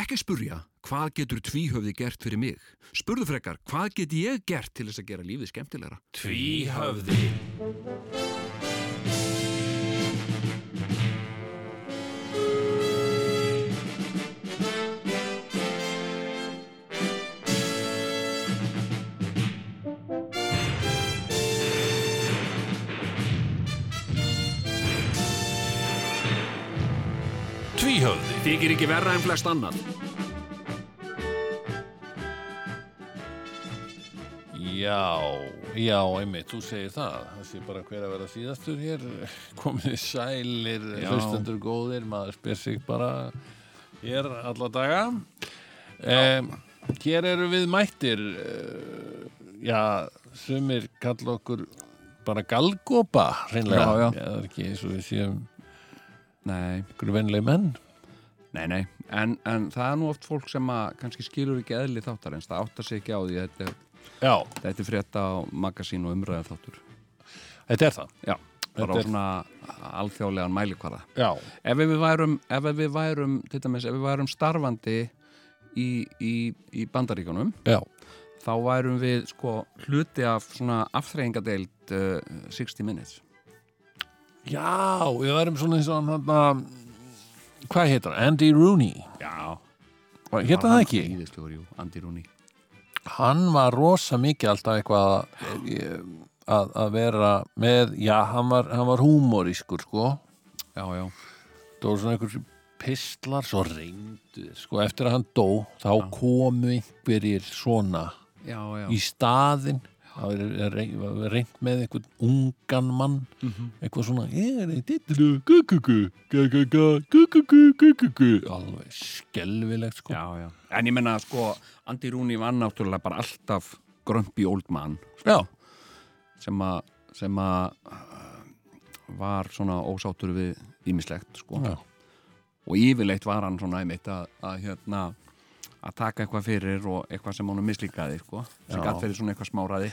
Ekki spurja, hvað getur tvíhöfði gert fyrir mig? Spurðu frekar, hvað get ég gert til þess að gera lífið skemmtilegra? Tvíhöfði Tvíhöfði Þykir ekki verra en flest annan. Já, já, einmitt, þú segir það það sé bara hver að vera síðastur hér komið þið sælir Já. hlustendur góðir, maður spyr sig bara hér alla daga um, Hér eru við mættir eh, já, sumir kalla okkur bara galgópa hreinlega, Já, já. það er ekki eins og við séum Nei, ykkur venlegi menn nei, nei. En, en það er nú oft fólk sem að kannski skilur ekki eðli þáttar en það áttar sig ekki á því að þetta, er- Já, þetta er frétta á magasín og umræða þáttur. þetta er það Já, Þetta bara á er- svona alþjóðlegan mælikvarða. Já, Ef við værum, ef við værum, til dæmis, ef við værum starfandi í, í, í bandaríkunum já, þá værum við sko hluti af svona afþreyingadeild uh, 60 Minutes já við verðum svona eins og hann hann hvað heitar, hann? Andy Rooney Já Hérna það ekki? Íðislegur, jú, Andy Rooney hann var rosa mikið alltaf eitthvað að, að, að vera með, já, hann var, hann var húmorískur, sko Já, já það voru svona einhver pistlar svo reyndu, sko, eftir að hann dó þá komu einhverjir svona Já, já í staðinn það var rey- var reynt með einhvern ungan mann Mhm. eitthvað svona ég er í titlu, gugugu gugugu, gugugu, gugugu alveg skelvilegt, sko Já, já En ég menna sko, Andy Rooney var náttúrulega bara alltaf grömpi old man já, sem að sem að uh, var svona ósátur við ímislegt sko já, og yfirleitt var hann svona einmitt að, að hérna að taka eitthvað fyrir og eitthvað sem honum mislíkaði sko sem Já. gatt fyrir svona eitthvað smáraði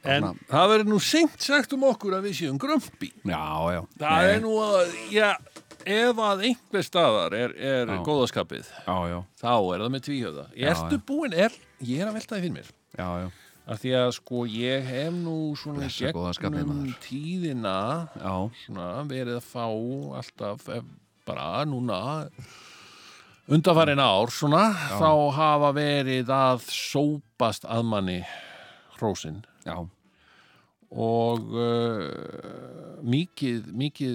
En Þarna- það verður nú seint sagt um okkur að við séum grömpi. Já, já Það Nei. er nú að, já, ef að einhver staðar er, er Já. góðaskapið, Já, já, þá er það með tvíhjöða. Já, Ertu já. búin, er, ég er að velta það fyrir mér. já, já, Af því að sko ég hef nú svona í Blessa góðaskapið, maður. tíðina já, svona verið að fá alltaf eh, bara núna undanfarin ár svona þá hafa verið að sópast að manni hrósin já, og uh, mikið, mikið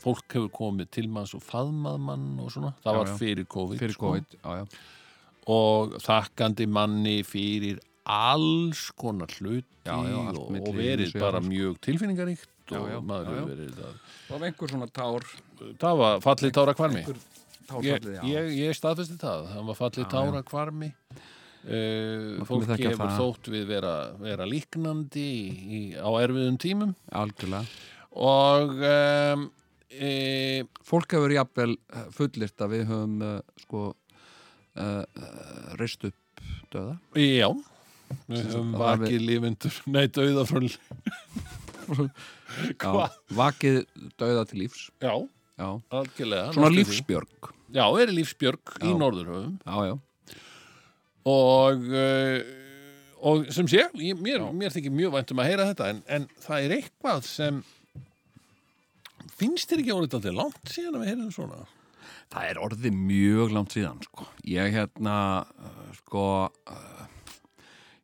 fólk hefur komið til manns og faðmað mann og svona, það Já, var já. fyrir COVID, fyrir sko. COVID, já, já, og þakkandi manni fyrir alls konar hluti Já, já, allt og, milli og hins verið vegar, bara sko. mjög tilfinningaríkt Já, og já, maður já, hefur já. verið að, Það var einhver svona tár, það var fallið tára kvarmi ég, tárfallið, já. ég, ég staðfesti það, það var fallið Já, tára kvarmi uh, Láttu mig fólk þekkja hefur það. þótt við vera, vera líknandi í, í, á erfiðum tímum Algjörlega. og um, e, Fólk hefur jafnvel eh, fullyrt að við höfum, uh, sko, uh, reist upp döða. e, já við höfum að það vakið lífendur nei, dauða frá lí- Já, Hva? Vakið döða til lífs, já, já. algjörlega Svona næstum því. lífsbjörg. já, verið lífsbjörg í Já. norðurhöfum Já, já, og uh, og sem sé, ég, mér, Já. mér þykir mjög vænt um að heyra þetta en, en það er eitthvað sem finnst þér ekki orðið alltaf langt síðan að við heyrum svona það er orðið mjög langt síðan, sko. Ég hérna, uh, sko, uh,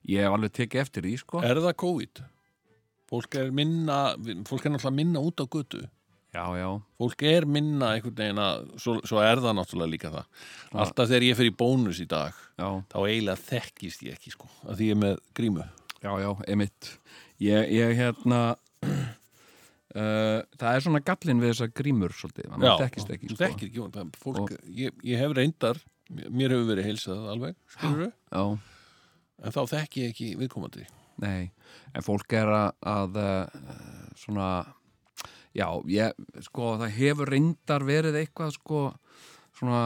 ég hef alveg tekið eftir því, sko. er það COVID? fólk er minna, fólk er náttúrulega minna út á götu Já, já, fólk er minna einhvern veginn að svo, svo er það náttúrulega líka það alltaf þegar ég fer í bónus í dag já. þá eiginlega þekkist ég ekki sko að því ég er með grímu Já, já, einmitt. Ég, ég hérna, uh, það er svona gallin við þessa grímur svolítið, Já, það þekkist ekki. þú Sko. þekkir ekki, það- fólk, ég, ég hef reyndar mér hefur verið heilsað alveg skilurðu, Já, en þá þekki ég ekki viðkomandi nei, en fólk er að, að uh, svona, já, ég, sko, það hefur reyndar verið eitthvað, sko, svona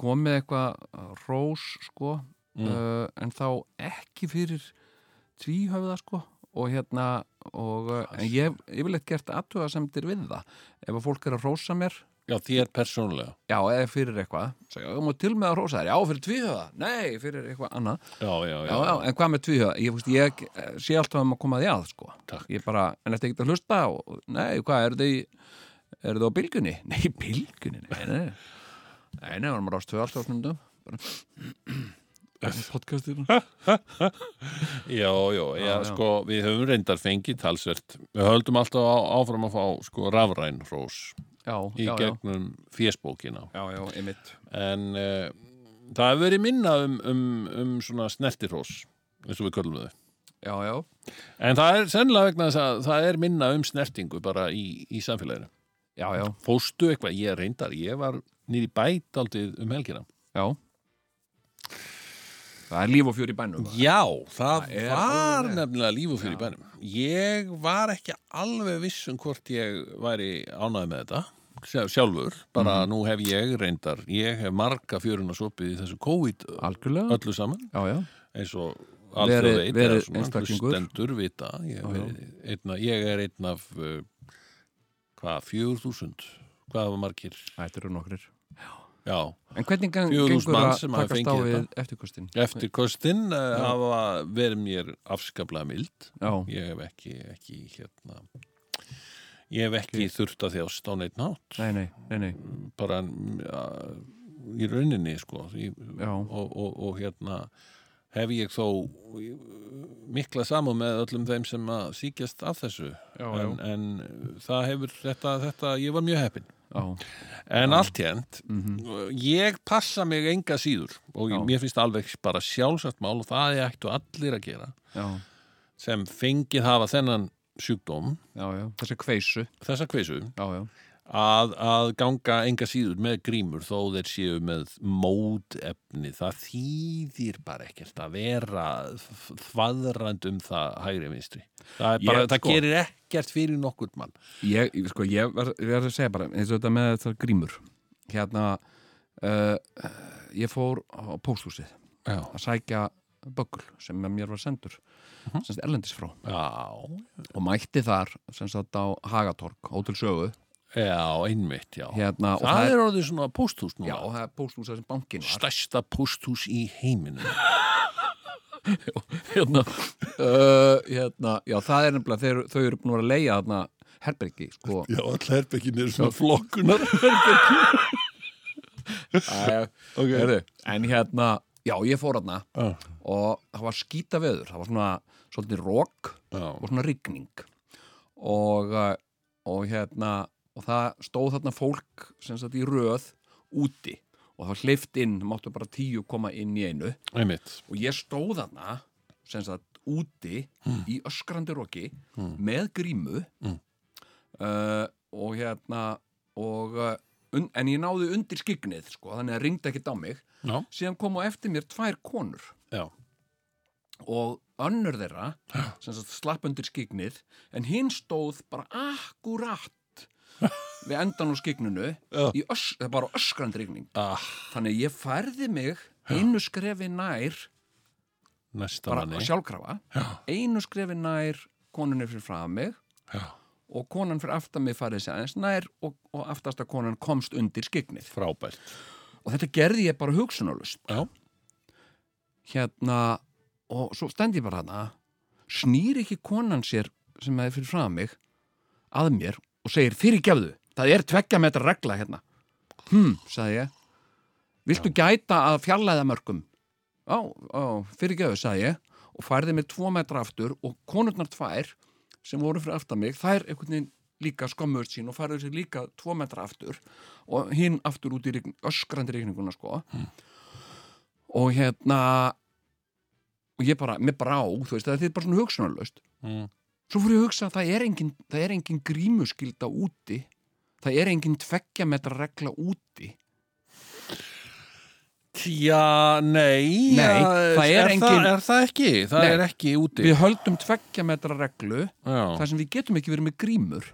komið eitthvað rós, sko, uh, en þá ekki fyrir tvíhöfða, sko, og hérna, og, uh, en ég hef yfirleitt gert aðtöðasemdir við það. Ef að fólk er að rósa mér, Já, þér persónulega. já, eða fyrir eitthvað Svo, já, má til með að rosa þær, já, fyrir tvíhöða nei, fyrir eitthvað annað já, Já, já, já. já, en hvað með tvíhöða, ég, fúst, ég eh, sé alltaf um að koma því að, sko Takk. ég bara, en þetta er ekkert að hlusta og, nei, hvað, eru þið í- eru þið á bylgunni? nei, bylgunni, nei, nei nei, nei, varum að rást tvö alltaf á snundum bara podcastir Já, já, já, Já, já. sko, við höfum reyndar fengið talsvert. Við höldum alltaf á, áfram að fá, sko, rafræn hrós já, í já, já, gegnum fésbókina. já, já, einmitt En uh, það hefur verið minna um, um, um svona snertirhrós, eins og við köllum þau. já, já, En það er sennilega vegna þess að það er minna um snertingu bara í, í samfélaginu. já, já, Fóstu eitthvað, ég reyndar, ég var nýri bæt aldrei um helgina. já það er líf og fjör í bænum Já, það, Það er var alveg. nefnilega líf og fyrir í bænum. Ég var ekki alveg viss um hvort ég væri ánæði með þetta sjá- sjálfur, bara nú hef ég reyndar, ég hef marga fjöruna sopið í þessu COVID algjörlega, öllu saman já, já eins og Verið- alþjóð veit verið eða svona, einstaklingur. hlustendur vita ég, hef Já, já. verið einn af- ég er einn af uh, hvað, fjögur þúsund hvað hafa margir, Þetta eru nokkrir. já En hvernig gang, 4.000 gengur manns að sem hafa takast á fengið við eftirkostin? eftir kostinn uh, Já. hafa verið mér afskaplega mild Já, ég hef ekki, ekki hérna ég hef ekki þurft að þjást á neitt nátt nei, nei, nei, nei, bara mm, ja, í rauninni sko í, Já. og, og, og hérna hef ég þó eh, mikla samúð með öllum þeim sem að síkjast af þessu Já, en, en það hefur þetta, þetta, ég var mjög heppin já, Mhm. en allt hérnt ég passa mig enga síður og Já. ég, mér finnst það alveg bara sjálfsagt mál og það er ættu allir að gera já, sem fengið hafa þennan sjúkdóm já, já, þessi kveisu, þessa kveisu já, já, að, að ganga enga síður með grímur þó þeir séu með mótefni það þýðir bara ekkert að vera þvaðrand um það hægri vinstri það, er Ég- bara, það sko- gerir ekkert fyrir nokkur mann Ég, ég- sko, ég verð ver að segja bara, eins og þetta með þessar grímur, hérna, uh, ég fór á pósthúsið já, að sækja böggul sem mér var sendur, uh -huh. semst erlendis frá, já, og mætti þar, semst þetta á Hagatorg, Hótel Sögu, já einmitt já. hérna, og það, er orðið svona pósthús já, núna það er pósthúsið sem bankin var. stærsta pósthús í heiminum hérna, uh, hérna, já, það er nefnilega, þeir, þau eru búin að vera að leia þarna herbergi, sko. já, all herbergin er svona flokkunar Æja, Ok. En hérna, já, ég fór hérna já, og það var skýta veður, það var svona svolítið rók og svona rigning og, uh, og hérna, og það stóð þarna fólk sem sagt í röð úti og það var hleyft inn, það máttu bara tíu koma inn í einu einmitt og ég stóð þarna sem sagt úti í öskrandi roki með grímu Mm. uh, og hérna og, uh, un, en ég náði undir skiknið sko, þannig að ringdi ekkert á mig já, síðan kom á eftir mér tvær konur já, og önnur þeirra sem sagt, slapp undir skiknið en hinn stóð bara akkurat við endan á skikninu Já. í ös, það er bara öskrandi rigning ah, þannig að ég færði mig einu skrefi nær næsta bara manni sjálfkrafa Já. einu skrefi nær konunni fyrir frá mig já og konan fyrir aftan mig farið sér aðeins nær og, og aftasta konan komst undir skiknið frábært og þetta gerði ég bara hugsunarlust já, hérna og svo stend ég bara hana snýr ekki konan sér sem hefði fyrir frá mig að mér og segir fyrirgefðu, það er tveggja metra regla hérna hm, sagði ég viltu gæta að fjarlæða mörgum á, á, fyrirgefðu, sagði ég og færði mér tvo metra aftur og konurnar tvær sem voru fyrir aftan mig þær einhvern veginn líka skömmur sín og færðu sér líka tvo metra aftur og hinn aftur út í rign, öskrandi reikninguna sko og hérna og ég bara, mér brá, þú veist, það er bara svona hugsunarlaust mm. svo fór ég að hugsa að það er engin, það er engin grímuskylda úti það er engin tveggja metra regla úti Já, nei, Nei, ja, það er engin- það, er það ekki, það Nei. er ekki úti við höldum tveggja metra reglu Já, þar sem við getum ekki verið með grímur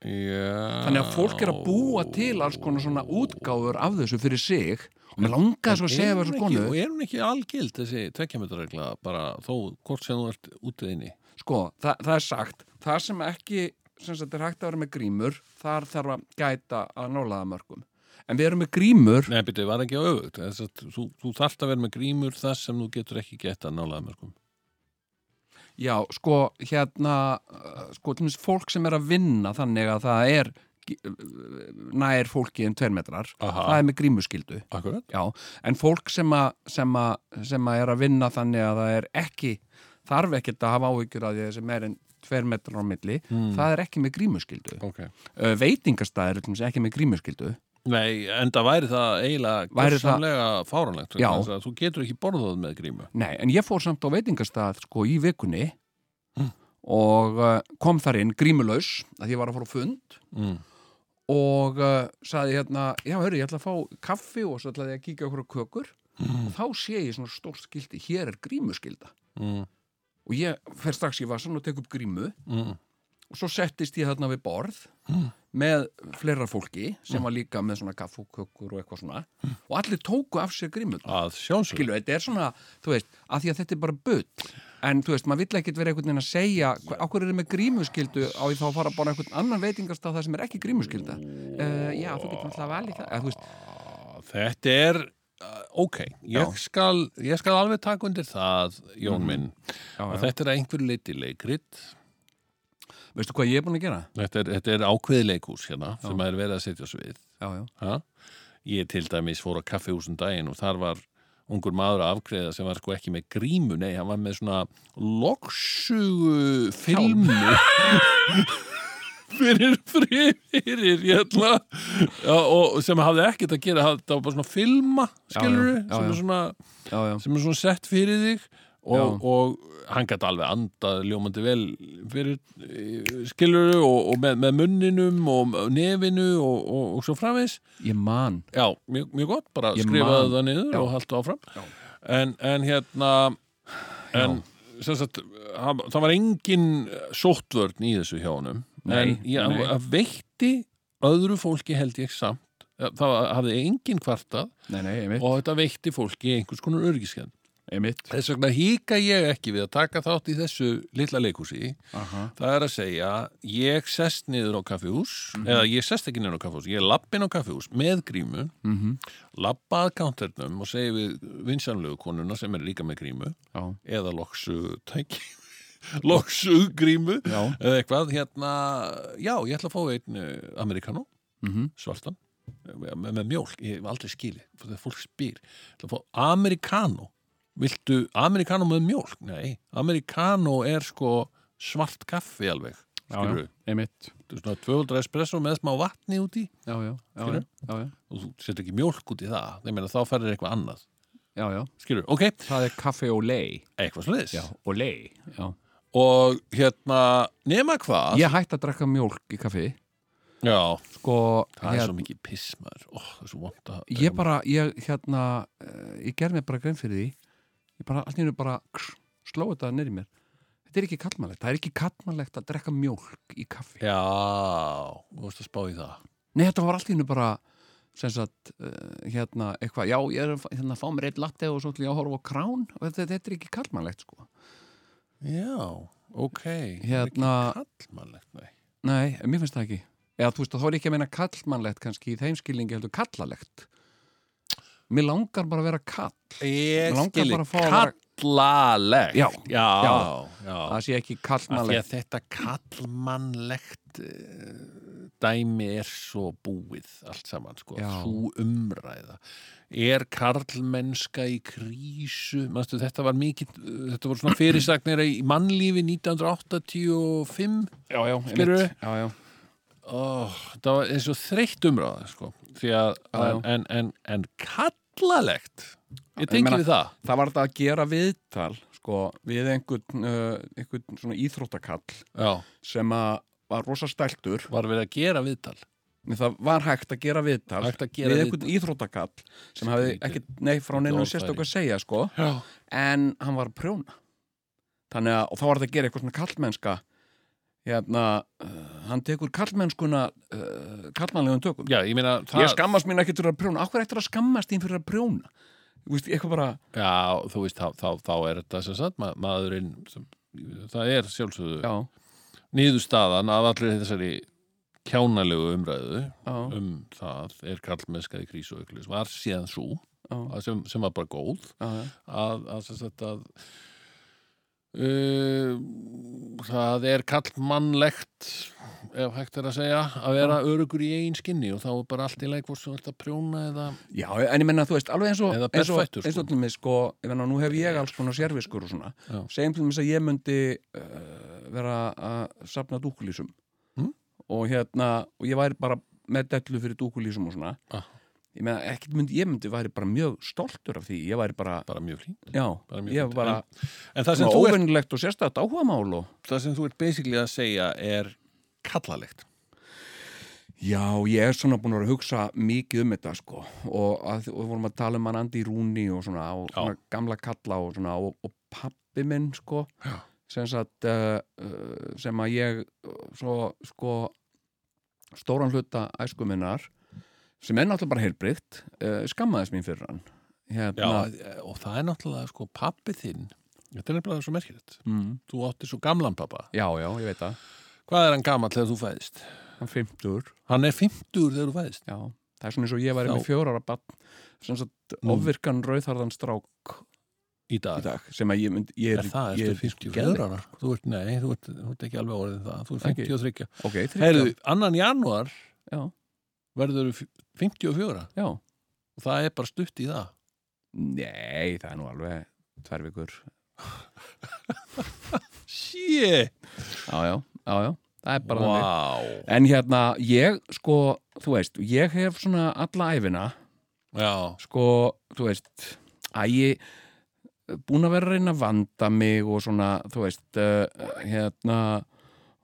já þannig að fólk er að búa til alls konar svona útgáfur af þessu fyrir sig og mér langaði svo að segja Er hún þessu ekki- konu Og er hún ekki algild þessi tvekjametaregla bara þó hvort sem þú ert útiðinni sko, það, það er sagt, það sem ekki sem sagt er hægt að vera með grímur þar þarf að gæta að nálaða mörgum en við erum með grímur Nei, byrju, var ekki á öfugt. Þess að Þú, þú þarft að vera með grímur þar sem þú getur ekki gett að sko. nálaða mörgum. já, sko, hérna uh, sko, til dæmis fólk sem er að vinna þannig að það er gi- uh, nær fólki en tveir metrar Aha. það er með grímuskyldu Akkurat. Já, en fólk sem að, sem, að, sem að er að vinna þannig að það er ekki, þarf ekkert að hafa áhyggjur að því að þessi meir en tver metrar á milli, það er ekki með grímuskyldu. Ok. Uh, veitingastæðir er til dæmis ekki með grímuskyldu. Nei, en það væri það eiginlega Væri það- gersamlega fáranlegt. Já. Þú getur ekki borðað með grímu. Nei, en ég fór samt á veitingastæð sko í vikunni og uh, kom þar inn grímulaus að ég var að fara á fund Mm. og uh, saði hérna, já, hörru, ég ætla að fá kaffi og svo ætla ég að kíka okkur á kökur og þá sé ég svona stórt skildi, hér er grímuskylda. Mm. og ég fer strax í vassan og tek upp grímu Mm. og svo settist ég þarna við borð Mm. með fleira fólki sem var líka með svona kaffukökur og eitthvað svona og allir tóku af sér grímu Að sjálfsög. skilu, þetta er svona, þú veist, að því að þetta er bara bull en þú veist, maður vill ekkert vera einhvern veginn að segja hva- á hverju er með grímuskyldu á því þá að fara bara á einhvern annan veitingastað það sem er ekki grímuskylda uh, já, þú getur alltaf valið það eða, þú veist, Þetta er uh, ok. Ég skal, ég skal alveg taka undir það, Jón minn. Mhm. já, Og já. þetta er að einhver liti leikrit. veistu hvað ég er búin að gera? Þetta er, þetta er ákveði leikhús hérna sem er verið að setja svið. já, já, Ha? Ég til dæmis fór á kaffihúsum daginn og þar var ungur maður að afgreða sem var sko ekki með grímu, nei, hann var með svona loksugu filmu fyrir fyrir hérna já, og sem hafði ekkert að gera hafði, það var bara svona filma, Já, já, skilur já, sem er já. svona já, já. sem er svona sett fyrir þig og, Já. og hann gæti alveg andað ljómandi vel fyrir skiluru og, og með, með munninum og nefinu og, og, og svo framvegs ég man já, mjög, mjög gott, bara Ég skrifaðu man- það niður Já. og haltu áfram Já. en, en hérna en sem sagt hann- það var engin sóttvörn í þessu hjá honum en Nei, ég, hann nei. hann veitti öðru fólki held ég samt það var- hafði engin kvartað nei, nei, ég mitt, og þetta veitti fólki einhvers konar örgiskend ég mitt Þess vegna hýka ég ekki við að taka þátt í þessu litla leikhúsi. aha Það er að segja, ég sest niður á kaffihús, eða ég sest ekki niður á kaffihús, ég lapp inn á kaffihús með grímu, mm lappa að counternum og segi við vinsanlegu konuna sem er líka með grímu, já, eða loksu tæki, loksu grímu, já, eða eitthvað, hérna, já, ég ætla að fá einn eh, americano, mhm svartan, eh, með, með mjólk, ég hef aldrei skilið, fyrir þegar fólk spyr, ætla að fá americano, viltu americano með mjólk? Nei, americano er sko svart kaffi alveg, skilur einmitt þetta er svona 200 espresso með smá vatni út í já, já, já, já, Skilurðu? já, já, og þú setur ekki mjólk út í það, ég meina þá færir eitthvað annað, já, já. skilur, ok, það er kaffe og lei eitthvað sliðis, og lei já. og hérna, nema hvað, ég hætti að drakka mjólk í kaffi já, sko, það er hér- svo mikið pissmar, ó, það er svo vond að, ég bara ég, hérna, eh, ég ger mér bara grein fyrir því ég bara, allt í hennu bara kss, sló þetta neyri mér þetta er ekki kallmannlegt, það er ekki kallmannlegt að drekka mjólk í kaffi já, þú veist að spá í það, nei, þetta var allt í hennu bara sem sagt, uh, hérna, eitthvað já, ég er að fá- hérna, að fá mér eitt latte og svo til ég að horfa á krán og þetta, þetta er ekki kallmannlegt sko. já, ok, Hérna- það er ekki kallmannlegt, nei, Nei, mér finnst það ekki. Eða þú veist, þá er ég ekki að meina kallmannlegt kannski í þeim skilningi heldur kallalegt. Mér langar bara að vera kall. Ég Langar skilji, bara að fá að vera- kallalegt Já, já, já. já. Það sé ekki Af því kallmannlegt. að þetta kallmannlegt eh, dæmi er svo búið allt saman, sko, Já. svo umræða er karlmennska í krísu, manstu þetta var mikið, eh, þetta voru svona fyrirsagnir í mannlífi 1985 Já, já, Skilurðu? einmitt. Já, já. Ó, það var eins og þreytt umræða, sko, því að Já, já. en, en, en, en kallalegt Ég ég tengi meina- við það Það var þetta að gera viðtal, sko, við einhvern, uh, einhvern svona íþróttakall Já, sem að var rosa stæltur. var verið að gera viðtal En það var hægt að gera viðtal Hægt að gera við viðtal. einhvern íþróttakall sem hafði Skrýtið. ekki, nei, frá neinum Skrýtið sérstöku orðfæri. að segja, sko. Já, en hann var að prjóna þannig að, og þá var þetta að gera eitthvað svona kallmennska hérna, uh, hann tekur kallmennskuna uh, kallmannlegum tökum já ég meina það, ég skammast mín ekkert fyrir að prjóna, akkur eftir að skammast þín fyrir að prjóna Þú Veist, eitthvað bara, Já, þú veist, þá, þá, þá er þetta sem sagt, ma maðurinn sem, það er sjálfsögðu já, niðurstaðan af allir þessari kjánalegu umræðu já, um það er kallmennska í krísu og ykkur var síðan svo já, að sem, sem var bara góð já, já. að, að, sem sagt að uh, það er kallmannlegt ef hægt er að segja að vera örugur í eigin skinni og þá er bara allt í leik hvort sem þú ert að prjóna eða Já, en ég menna, þú veist, alveg eins og Eða eins og, berfættur, sko. eins og til mig, sko, ég menna, nú hef ég alls konar serviskur og svona, Já. segjum til mig að ég myndi uh, vera að safna dúkulísum Mm. og hérna, og ég væri bara með dellu fyrir dúkulísum og svona Ah. ég meina, ekkert myndi, ég myndi væri bara mjög stoltur af því, ég væri bara bara mjög fín já, bara mjög ég fínt. var bara en það sem, svona þú ert, óvennilegt og sérstætt áhugamál og það sem þú ert basically að segja er kallalegt Já, ég er svona búin að vera að hugsa mikið um þetta sko og, að, og við vorum að tala um hann Andi Rúni og svona, og Já. svona gamla kalla og svona og, og pappi minn sko Já. sem, sagt, uh, uh, sem að ég uh, svo sko stóran hluta æsku minnar sem er náttúrulega bara heilbrygt uh, skammaðist mín fyrir hann hérna, Já, og það er náttúrulega sko pappi þinn þetta er nefnilega svo merkilegt mm, þú átti svo gamlan pappa já, já, ég veit það hvað er hann gamall þegar þú fæðist? hann 50 hann er 50 þegar þú fæðist já, það er svona eins og ég væri Já. með fjórar að bann sem sagt Nú. ofvirkan rauðharðan strák í dag, í dag sem að ég mynd ég er það ég eftir 54 ára þú ert, nei, þú ert, þú ert ekki alveg orðið það þú ert Ekki. 53 ok, Heyrðu, þriggja. 2. janúar já, verður þú 54 já, og það er bara stutt í það nei, það er nú alveg tvær vikur sí, já, já, já, já, það er bara þannig wow en hérna, ég sko þú veist, ég hef svona alla æfina já, sko, þú veist að ég búin að vera að reyna að vanda mig og svona, þú veist uh, hérna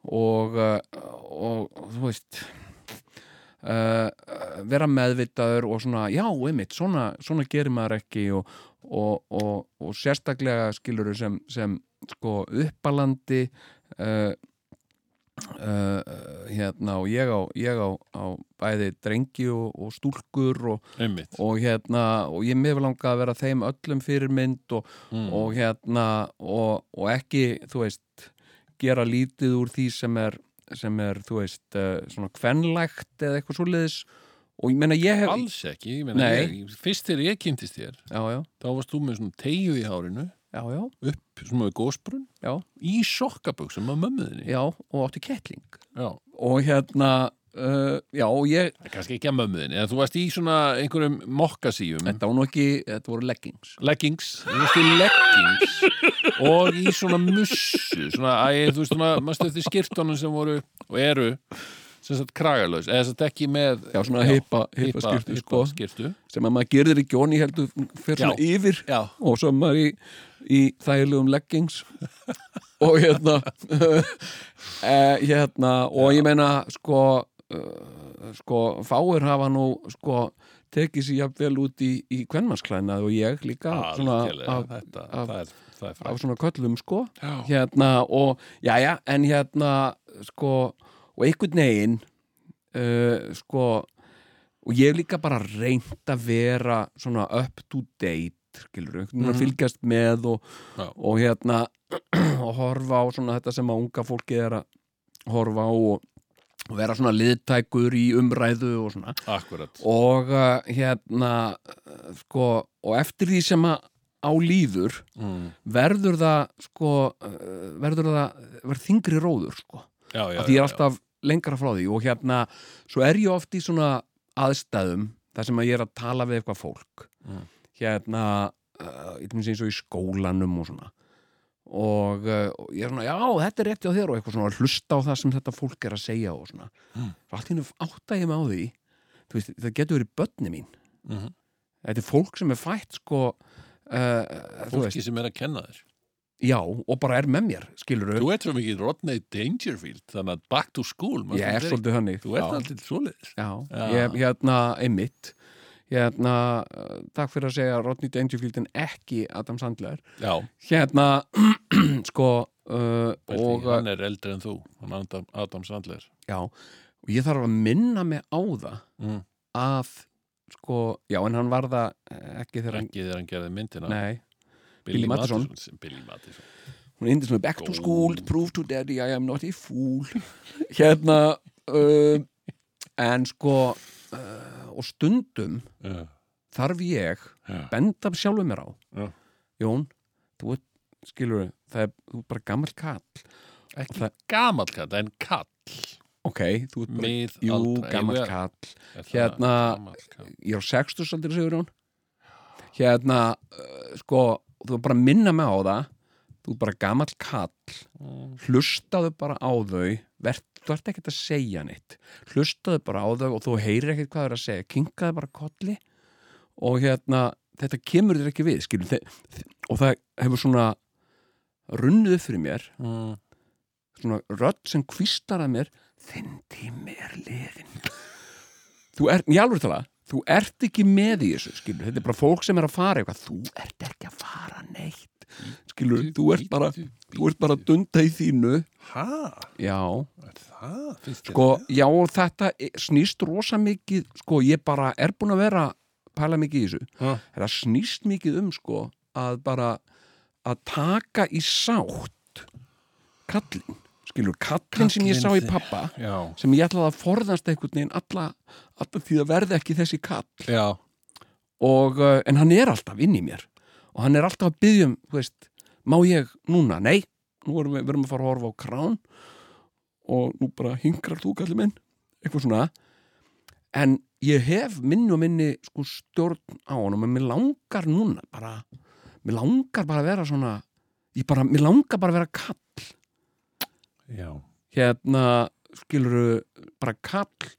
og, uh, og þú veist uh, vera meðvitaður og svona, já, einmitt, svona, svona gerir maður ekki og, og, og, og sérstaklega skilur sem, sem sko uppalandi uh, uh, hérna og ég á, ég á, á bæði drengi og, og stúlkur og, einmitt og hérna, og ég mér langa að vera þeim öllum fyrirmynd og, mm. og hérna, og, og ekki þú veist, gera lítið úr því sem er, sem er þú veist, uh, svona kvenlægt eða eitthvað svoleiðis og ég meina ég hef alls ekki, ég meina, Nei. ég, fyrst þegar ég kynntist þér já, já, þá varst þú með svona tegju í hárinu já, já, upp, svona með gósbrunn Já. í sokkabuxum af mömmuðinni já og átti kettling já. og hérna uh, já, og ég, kannski ekki af mömmuðinni, en þú varst í svona einhverjum mokkasíum þetta var nú ekki þetta voru leggings leggings, þú veist í leggings og í svona mussu svona, æ, þú veist svona, maður stöfði skirtunum sem voru og eru sem sagt kragalöðs, eða sem sagt ekki með já, svona heipa, heipa, hippa- skiptu, hippa sko, skyrtu sem að maður gerir ekki onni heldur fyrir svona yfir já, og svo er maður í, í þægilegum leggings og hérna e, hérna og ég meina sko uh, sko fáir hafa nú sko tekið sér jafnvel út í, í kvenmannsklæna og ég líka svona, algjörlega, af, þetta, af- það er, það er frægt. af svona köllum sko já, hérna og jæja en hérna sko og einhvern veginn uh, sko og ég hef líka bara reynt að vera svona up to date skilur, einhvern veginn Mhm. að fylgjast með og, Já. og hérna og horfa á svona þetta sem að unga fólki er að horfa á og, og vera svona liðtækur í umræðu og svona akkurat og uh, hérna uh, sko og eftir því sem að á líður mm. verður það sko, uh, verður það verður þingri róður sko. já, já, að því ég já, er alltaf lengra frá því og hérna, svo er ég oft í svona aðstæðum, þar sem að ég er að tala við eitthvað fólk Mm. hérna, uh, ég finnst eins og í skólanum og svona og, uh, og ég er svona, já, þetta er rétt hjá þér og eitthvað svona, hlusta á það sem þetta fólk er að segja og svona, Mm. svo allt hérna átta ég mig á því, þú veist, það getur verið börni mín, já. Mhm. þetta er fólk sem er fætt sko uh, þú veist fólki sem er að kenna þér Já, og bara er með mér, skilur þú ert svo mikið Rodney Dangerfield þannig að back to school maður Ég er finnst þér- svolítið hannig þú ert Já. alltaf svoleiðis Já, Já. ég, hérna, einmitt Hérna, uh, takk fyrir að segja Rodney Dangerfield en ekki Adam Sandler já, Hérna, sko uh, pældi, og, uh, hann er eldri en þú hann Adam, Adam Sandler já, og ég þarf að minna mig á það Mm. að, sko, já, en hann var það eh, ekki þegar hann ekki þegar hann gerði myndina Nei, Billy Mattisson. Mattisson- Billy Mattisson hún endur svona back to school, prove to daddy I am not a fool hérna uh, en sko uh, og stundum já, þarf ég já, benda sjálfur mér á já. Jón, þú ert, skilur það er, þú ert bara gammal kall Ekki Það- gamall kall, en kall ok, þú ert bara, Mið jú, aldra- gammal Eigum við að- kall Er það Hérna- gamall kall? ég er á sextusaldri, sigur hún hérna, uh, sko þú ert bara að minna mig á það þú ert bara gammal kall Mm, hlustaðu bara á þau vert, þú ert ekkert að segja neitt hlustaðu bara á þau og þú heyrir ekkert hvað þau eru að segja, kinkaðu bara kolli og hérna, þetta kemur þér ekki við, skilur þe- þe- og það hefur svona runnið upp fyrir mér, mm. svona rödd sem kvistar að mér þinn tími er liðin þú ert, ég alveg tala þú ert ekki með í þessu, skilur þetta er bara fólk sem er að fara eitthvað þú ert ekki að fara neitt skilur, þú ert bara, þú ert bara að dunda í þínu Hæ? já, Er það? Finnst þér Sko, það? já, og þetta snýst rosa mikið, sko, ég bara er búin að vera að pæla mikið í þessu. Ha? Þetta snýst mikið um, sko, að bara að taka í sátt kallin, skilur, kallin, sem ég Kallinn sá í þinn. pappa, Já, sem ég ætlaði að forðast einhvern veginn alla, alla því að verði ekki þessi kall. já, Og, uh, en hann er alltaf inn í mér og hann er alltaf að byggja um, þú veist, má ég núna? Nei, nú erum við, verum að fara að horfa á krán og nú bara hingrar þú kallir minn eitthvað svona en ég hef minni og minni sko stjórn á honum og mér langar núna bara mér langar bara að vera svona ég bara, mér langar bara að vera kall já hérna skiluru bara kall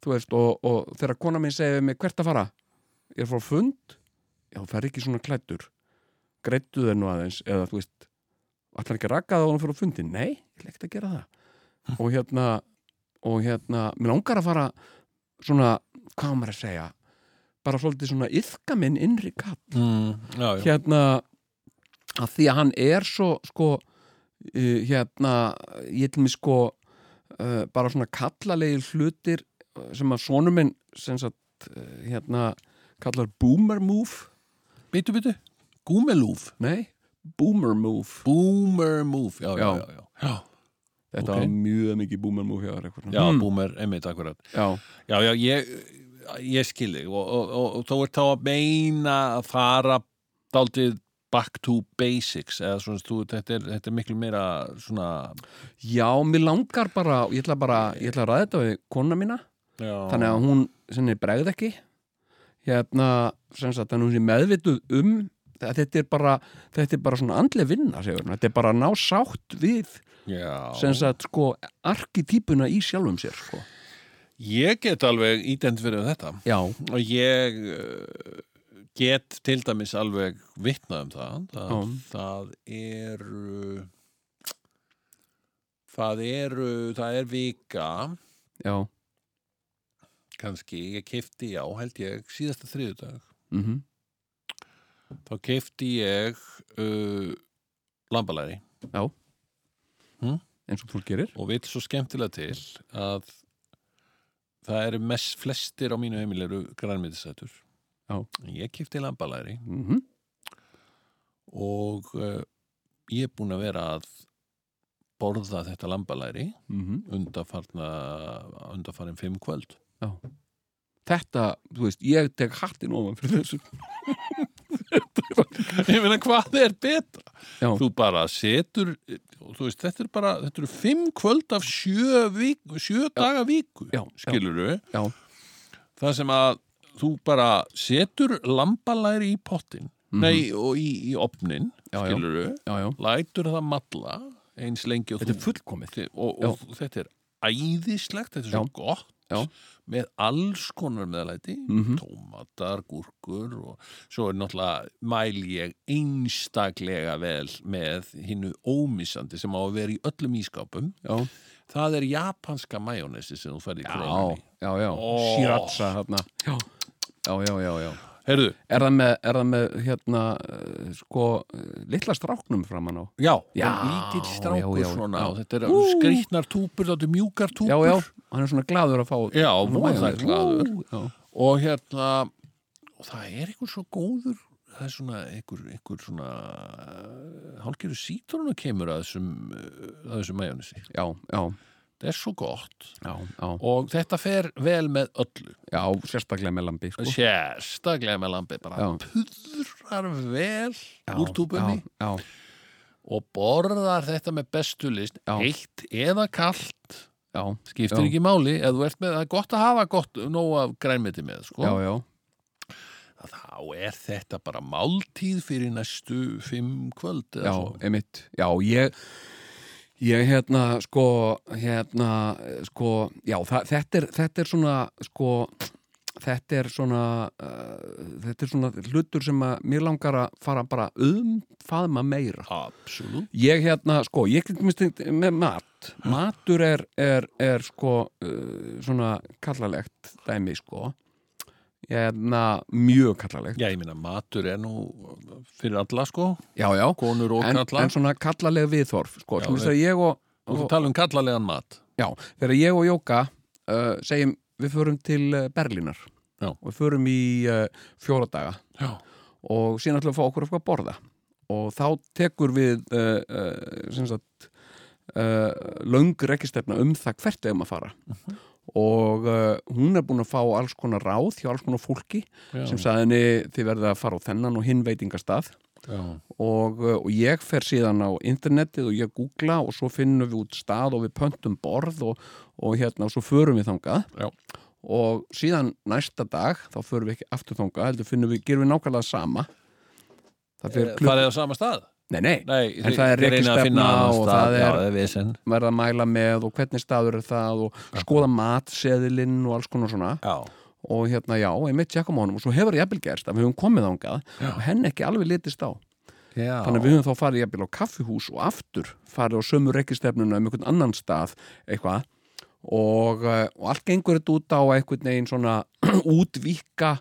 þú veist og, og þegar kona mín segir við mig hvert að fara ég er frá fund já þú fer ekki svona klættur greittu þeir nú aðeins eða þú veist allar ekki að raka það á hann fyrir á fundin nei, ég ætla ekkert að gera það og hérna og hérna, mér langar að fara svona, hvað á maður að segja bara svolítið svona yfka minn innri kall mm, Já, já, hérna að því að hann er svo sko uh, hérna ég til mig sko uh, bara svona kallalegi hlutir uh, sem að sonur minn sem sagt uh, hérna kallar boomer move Býtu, býtu Gúmelúf nei, boomer move Boomer move, já, já, Já. já Já, já, þetta Ok. var mjög mikið boomer move hjá þér eitthvað svona. já Hmm. boomer, einmitt, akkurat já, Já, já, ég, ég skil þig og, og, og, og þá er þá að meina að fara daldið back to basics eða svona, þú, þetta, er, þetta er miklu meira svona já, mér langar bara ég ætla bara, ég ætla að ræða þetta við kona mína já, þannig að hún senni bregð ekki hérna sem sagt þannig að hún sé meðvituð um að þetta er bara, þetta er bara svona andlega vinna segur hún, þetta er bara að ná sátt við sem já. sagt sko arkitýpuna í sjálfum sér sko. ég get alveg ídend fyrir þetta já, og ég eh, get til dæmis alveg vitnað um það það, Já. það eru það eru það er vika já kannski, ég kefti já held ég síðasta þriðudag mm þá keifti ég uh, lambalæri eins og fólk gerir og vil svo skemmtilega til að það eru mest flestir á mínu heimil eru grænmyndisætur Já. ég keifti lambalæri mm og uh, ég er búin að vera að borða þetta lambalæri Mhm. undarfarna undarfarin fimm kvöld þetta, þú veist, ég tek hattin ofan fyrir þessu ég meina hvað er betra Já. þú bara setur og þú veist, þetta er bara, þetta eru fimm kvöld af sjö, vik, sjö daga viku Já, já. skilur við Já. það sem að þú bara setur lambalæri í pottin nei, og í, í opnin Mhm. Já, já. skilur við, já, já, lætur það malla eins lengi og þetta er þú fullkomið Þi- og, og þetta er æðislegt, þetta er svo Já. gott Já. með alls konar meðlæti Mhm. tómatar, gúrkur og svo er náttúrulega mæl ég einstaklega vel með hinnu ómissandi sem á að vera í öllum ískápum já, það er japanska majónesi sem þú færði í já, krónunni já, já. Ó. shiratsa hérna já, já, já, já, já. Herðu, Er það með, er það með hérna, uh, sko, uh, litla stráknum framan á? já, Já, en lítill strákur já, já, svona já. og þetta er Ú. skrýtnar túpur, þetta er mjúkar túpur Já, já, hann er svona gladur að fá já svona voða majónes. glaður Ú, já. og hérna og það er einhvern svo góður það er svona einhver, einhver svona eh, hálfgerðu sítrónu kemur að þessum, eh, að þessum majónisi. já, já, Það er svo gott já, já, og þetta fer vel með öllu. já sérstaklega með lambi sko. Sérstaklega með lambið bara Já. puðrar vel Já, úr túpunni já, og borðar þetta með bestu list Já. heitt eða kallt já, já, skiptir Já. ekki máli eða þú ert með, það er gott að hafa gott nóg af grænmeti með sko. já, já, að þá er þetta bara máltíð fyrir næstu fimm kvöld eða já, svo. emitt já, ég ég hérna, sko hérna, eh, sko, já, þa- þetta er þetta er svona, sko þetta er svona uh, þetta er svona hlutur sem að mér langar að fara bara umfaðma meira Absolutt. Ég hérna, sko, ég get minnst með mat. Matur er, er, er sko, uh, svona kallalegt dæmi, sko. Hérna, mjög kallalegt. Já, ég meina, matur er nú fyrir alla sko, Já, já. konur og En, kalla. en svona kallaleg viðþorf, sko. Já, Já, við- þegar ég og, Þú ert að og, tala um kallalegan mat. já, þegar ég og Jóka uh, segjum, við förum til eh, Berlínar. Já. Og við förum í uh, fjóra daga Já. og síðan ætlum við að fá okkur eitthvað að borða. Og þá tekur við, uh, uh, sem sagt, uh, löng rekistefna um það hvert við um að fara. Mhm. Og uh, hún er búin að fá alls konar ráð hjá alls konar fólki Já. sem sagði henni þið verða að fara á þennan og hinn veitingastað Já. og, uh, og ég fer síðan á internetið og ég googla og svo finnum við út stað og við pöntum borð og, og hérna og svo förum við þangað Já. og síðan næsta dag þá förum við ekki aftur þangað heldur finnum við, gerum við nákvæmlega sama það fyrir klukk Eh, Farið á sama stað? nei, nei, Nei, En það er rekistefna og það er- Já, það er vesen. verða að mæla með og hvernig staður er það og skoða matseðilinn og alls konar svona Já. og hérna já, einmitt tjekkum á honum og svo hefur ég jafnvel gerst að við höfum komið þangað Já. og henn ekki alveg litist á Já. Þannig að við höfum þá farið jafnvel á kaffihús og aftur farið á sömu reikistefnuna um einhvern annan stað eitthvað og, eh, og allt gengur þetta út á einhvern veginn svona útvíkka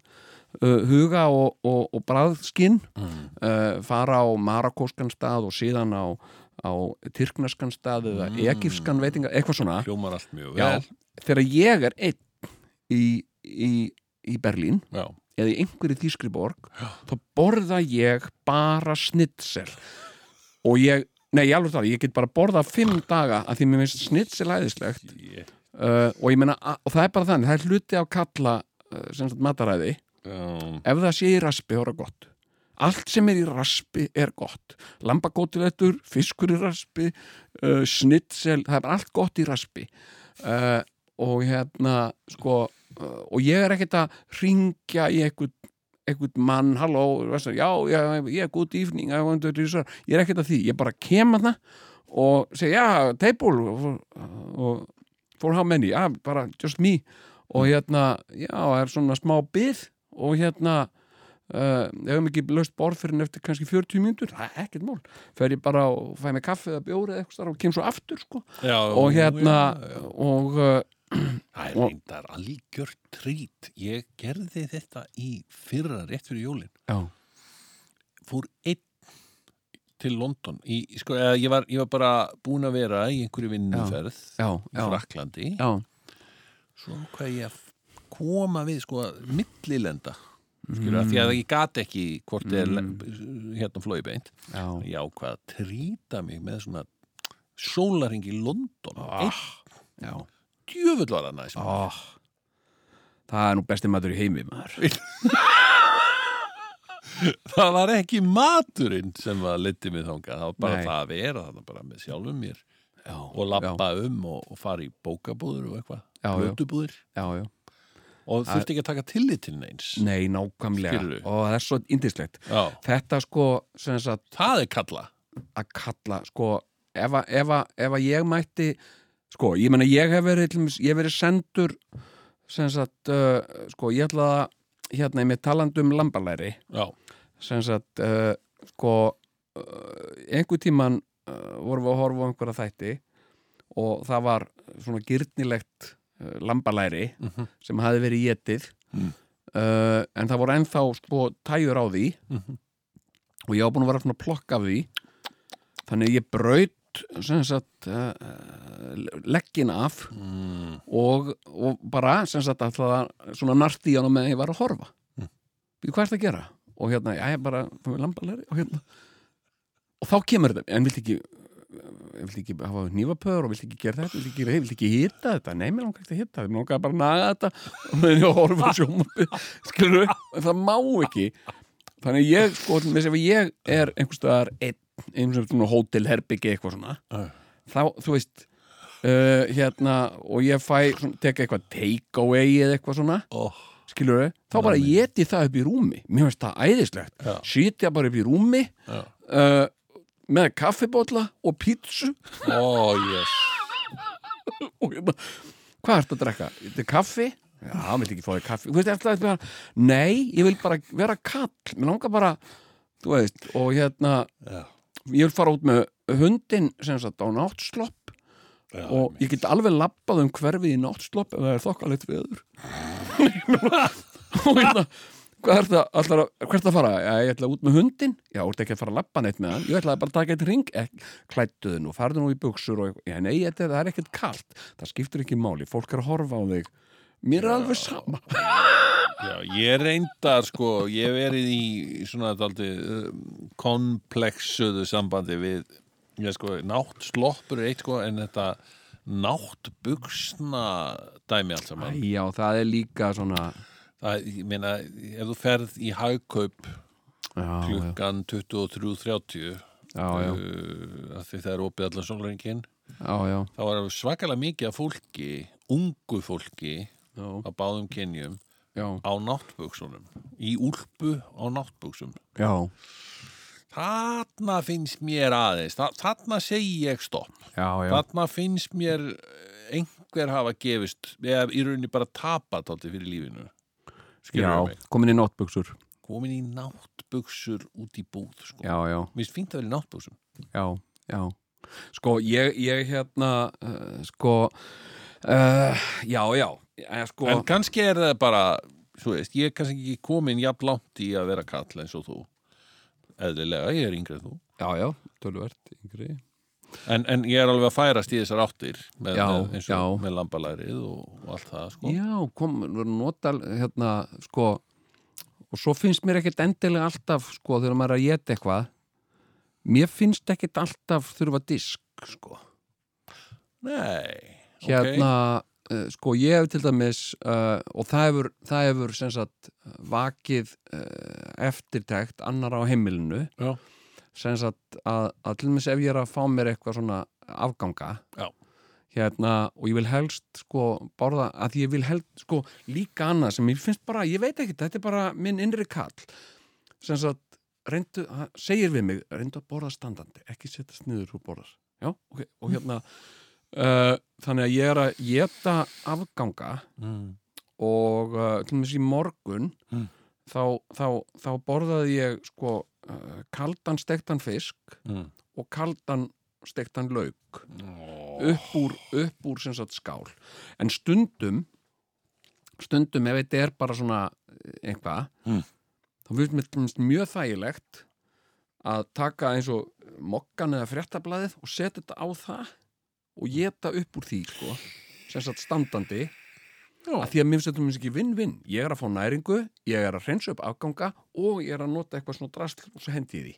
uh, huga og, og, og bræðskinn Mm. uh, fara á marakóskan stað og síðan á, á tyrknaskan stað eða Mm. egifskan veitinga, eitthvað svona Hljómar allt mjög Já, vel. þegar ég er einn í, í, í Berlín Já. eða í einhverju þýskri borg Já. þá borða ég bara snitsel og ég nei, ég alveg tala, ég get bara borða fimm daga að því mér finnst snitsel æðislegt Ég- uh, og ég meina, a- og það er bara þannig það er hluti af kalla uh, sem sagt mataræði Já. Mm. ef það sé í raspi, þá er það gott allt sem er í raspi er gott lambakótilettur, fiskur í raspi uh, snitsel, það er bara allt gott í raspi uh, og hérna sko, uh, og ég er ekkert að ringja í einhvern einhvern mann, halló, vestu, já, já, ég er góð dýfning, ég ég er ekkert að því, ég bara kem að það og segja, já, table og, og for how many, já, bara just me og hérna, já, það er svona smá byrð og hérna uh, ef við ekki löst borð fyrir en eftir kannski 40 mínútur, það er ekkert mál fer ég bara og fæ mig kaffi eða bjóri eða eitthvað starf og kem svo aftur, sko Já. og hérna, já, já. og uh, Það er Og- reyndar algjör trít. Ég gerði þetta í fyrra rétt fyrir jólin. já, Fór einn til London. Í, í sko, eða, ég, var, ég var bara búin að vera í einhverju vinnuferð í já, já, Fraklandi. já, Svo hvað ég að koma við sko millilenda. Skilur, mm. Því að ég gat ekki hvort er hérna flói beint. Mm. já, Já, hvað að trýta mig með svona sólaring í London. Ah. Einn já. djöfull var hann aðeins. Oh, það er nú besti matur í heimi, maður það var ekki maturinn sem var litið mig þangað, það var bara Nei. það að vera þarna bara með sjálfum mér já, og lappa um og, og fara í bókabúður og eitthvað, Já, já. blötubúður já, já, já. og þurfti ekki að taka tillit til neins nei, nákvæmlega Skilurðu? og það er svo indislegt Já, þetta sko, sem sagt, það er kalla að kalla sko, ef, að- ef, að- ef að ég mætti sko, ég meina ég hef verið, til dæmis- ég hef verið sendur sem sagt, uh, sko, ég ætla að hérna, ég með talandi um lambalæri Já, sem sagt, uh, sko uh, einhver tíman uh, vorum við að horfa á einhverja þætti og það var svona gyrnilegt uh, lambalæri Mhm. sem hafi verið getið Mm. uh, en það voru ennþá sko tæjur á því Mhm. og ég var búin að vera svona að plokka af því þannig að ég braut sem sagt uh, leggin af mm, og, og bara sem sagt að það svona narti í hann með að ég var að horfa mm. hvað er það að gera? og hérna, já, ég bara fá mér lambalæri og hérna og þá kemur þetta, en viltu ekki eh, viltu ekki hafa nývapöður og viltu ekki gera þetta, viltu ekki gera þetta, viltu ekki hita þetta nei, mér langar ekki að hita þetta, mér langar bara að naga þetta og meðan ég horfa sjómarbið skilur, það má ekki þannig að ég, sko, með þess að ég er einhverstaðar einn, einhverstaðar svona hótelherbyggi eitthvað svona Já. þá, þú veist uh, hérna, og ég fæ, svona, tek eitthvað takeaway eða eitthvað svona oh. skilur þá bara geti það upp í rúmi mér finnst það æðislegt Já. sitja bara upp í rúmi Já. uh, með kaffibólla og pítsu oh, yes og ég bara, hvað ertu að drekka? Þetta er kaffi? Já, hann vil ekki fá þér kaffi Þú veist, eftir að bara, nei, ég vil bara vera kall mér langar bara, þú veist og hérna, Já. ég vil fara út með hundin sem sagt á náttslopp Já, og ég get alveg labbað um hverfið í náttslopp ef það er þokkalegt veður og hérna hvað er það, allar að, hvert að fara? Já, ég ætla út með hundin, já, þú ert ekki að fara að labba neitt með hann, ég ætla bara að taka eitt ring Ek- klæddu þið nú, farðu nú í buksur og, já, nei, þetta, það er ekkert kalt það skiptir ekki máli, fólk er að horfa á þig mér er alveg sama Já, ég reyndar sko, ég hef verið í svona daldi komplexuðu sambandi við, ég sko, nátt sloppur er eitt sko, en þetta nátt buksna dæmi allt Æ, saman. já, það er líka svona Það, ég meina, ef þú ferð í hagkaup já, já, klukkan 23.30 já, já, uh, af því það er opið allan sólringin, já, já, þá var svakalega mikið af fólki, ungu fólki já, á báðum kynjum já, á náttbuksunum, í úlpu á náttbuksum. já, Þarna finnst mér aðeins, þa- þarna segi ég stopp. já, já. Þarna finnst mér eh, einhver hafa gefist, eða í rauninni bara tapa tólti fyrir lífinu. já Skilur mig. komin í náttbuksur Komin í náttbuksur út í búð, sko. já, já, Mér finnst fínt að vera í náttbuksum. já, já sko, ég, ég hérna uh, sko uh, já, já eh, sko, En kannski er það bara, svo veist, ég er kannski ekki komin jafn langt í að vera kall eins og þú. Eðlilega, ég er yngri en þú. já, já, tölvert yngri, En, en ég er alveg að færast í þessar áttir með, Já, með, eins og já. með lambalærið og, og allt það, sko. já, kom nota, hérna, sko og svo finnst mér ekkert endilega alltaf sko, þegar maður er að geta eitthvað mér finnst ekkert alltaf þurfa disk, sko Nei, ok. hérna, okay. sko ég hef til dæmis uh, og það hefur, það hefur sem sagt vakið uh, eftirtækt annar á heimilinu Já. sem sagt að, að til dæmis ef ég er að fá mér eitthvað svona afganga Já. hérna og ég vil helst sko borða að ég vil helst sko líka annað sem ég finnst bara, ég veit ekki þetta er bara minn innri kall sem sagt, reyndu, hann segir við mig reyndu að borða standandi, ekki setjast niður og borðar, já, ok, og hérna uh, þannig að ég er að geta afganga Mm. og uh, til dæmis í morgun Mm. þá, þá, þá borðaði ég sko uh, kaldan stektan fisk Mm. og kaldan stektan lauk Oh. upp úr, upp úr sem sagt skál en stundum stundum ef þetta er bara svona eh, eitthvað Mm. þá finnst mér til dæmis mjög þægilegt að taka eins og mokkan eða fréttablaðið og setja þetta á það og geta upp úr því sko, sem sagt standandi Já. að því að mér finnst þetta mér ekki vinn-vinn ég er að fá næringu, ég er að hreinsa upp afganga og ég er að nota eitthvað svona drast og svo hendi ég því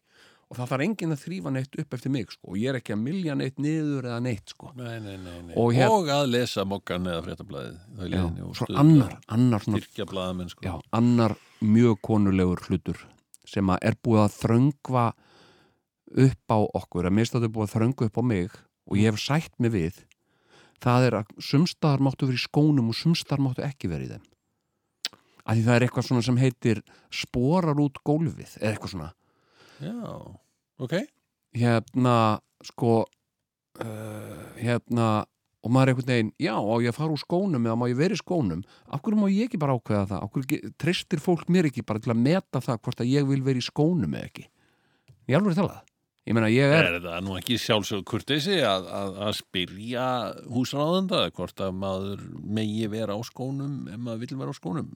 og það þarf enginn að þrýfa neitt upp eftir mig sko, og ég er ekki að milja neitt niður eða neitt sko. Nei, nei, nei, nei. Og Og, hér- að lesa mokkan eða fréttablaðið Já, svo annar, annar svona, Tyrkja blaðamenn sko já, annar mjög konulegur hlutur sem að er búið að þröngva upp á okkur að minnst að þau búið að þröngu upp á mig og ég hef sætt mig við það er að sumstaðar máttu verið í skónum og sumstaðar máttu ekki verið í þeim að því það er eitthvað svona sem heitir sporar út gólfið eða eitthvað svona Já, ok hérna sko uh, hérna og maður er einhvern veginn, já, á ég að fara úr skónum eða má ég vera í skónum, af hverju má ég ekki bara ákveða það, af hverju ge- treystir fólk mér ekki bara til að meta það hvort að ég vil vera í skónum eða ekki, ég alveg talað ég meina, ég er, Er þetta nú ekki sjálfsög kurteisi að, að, að spyrja húsráðanda hvort að maður megi vera á skónum ef maður vill vera á skónum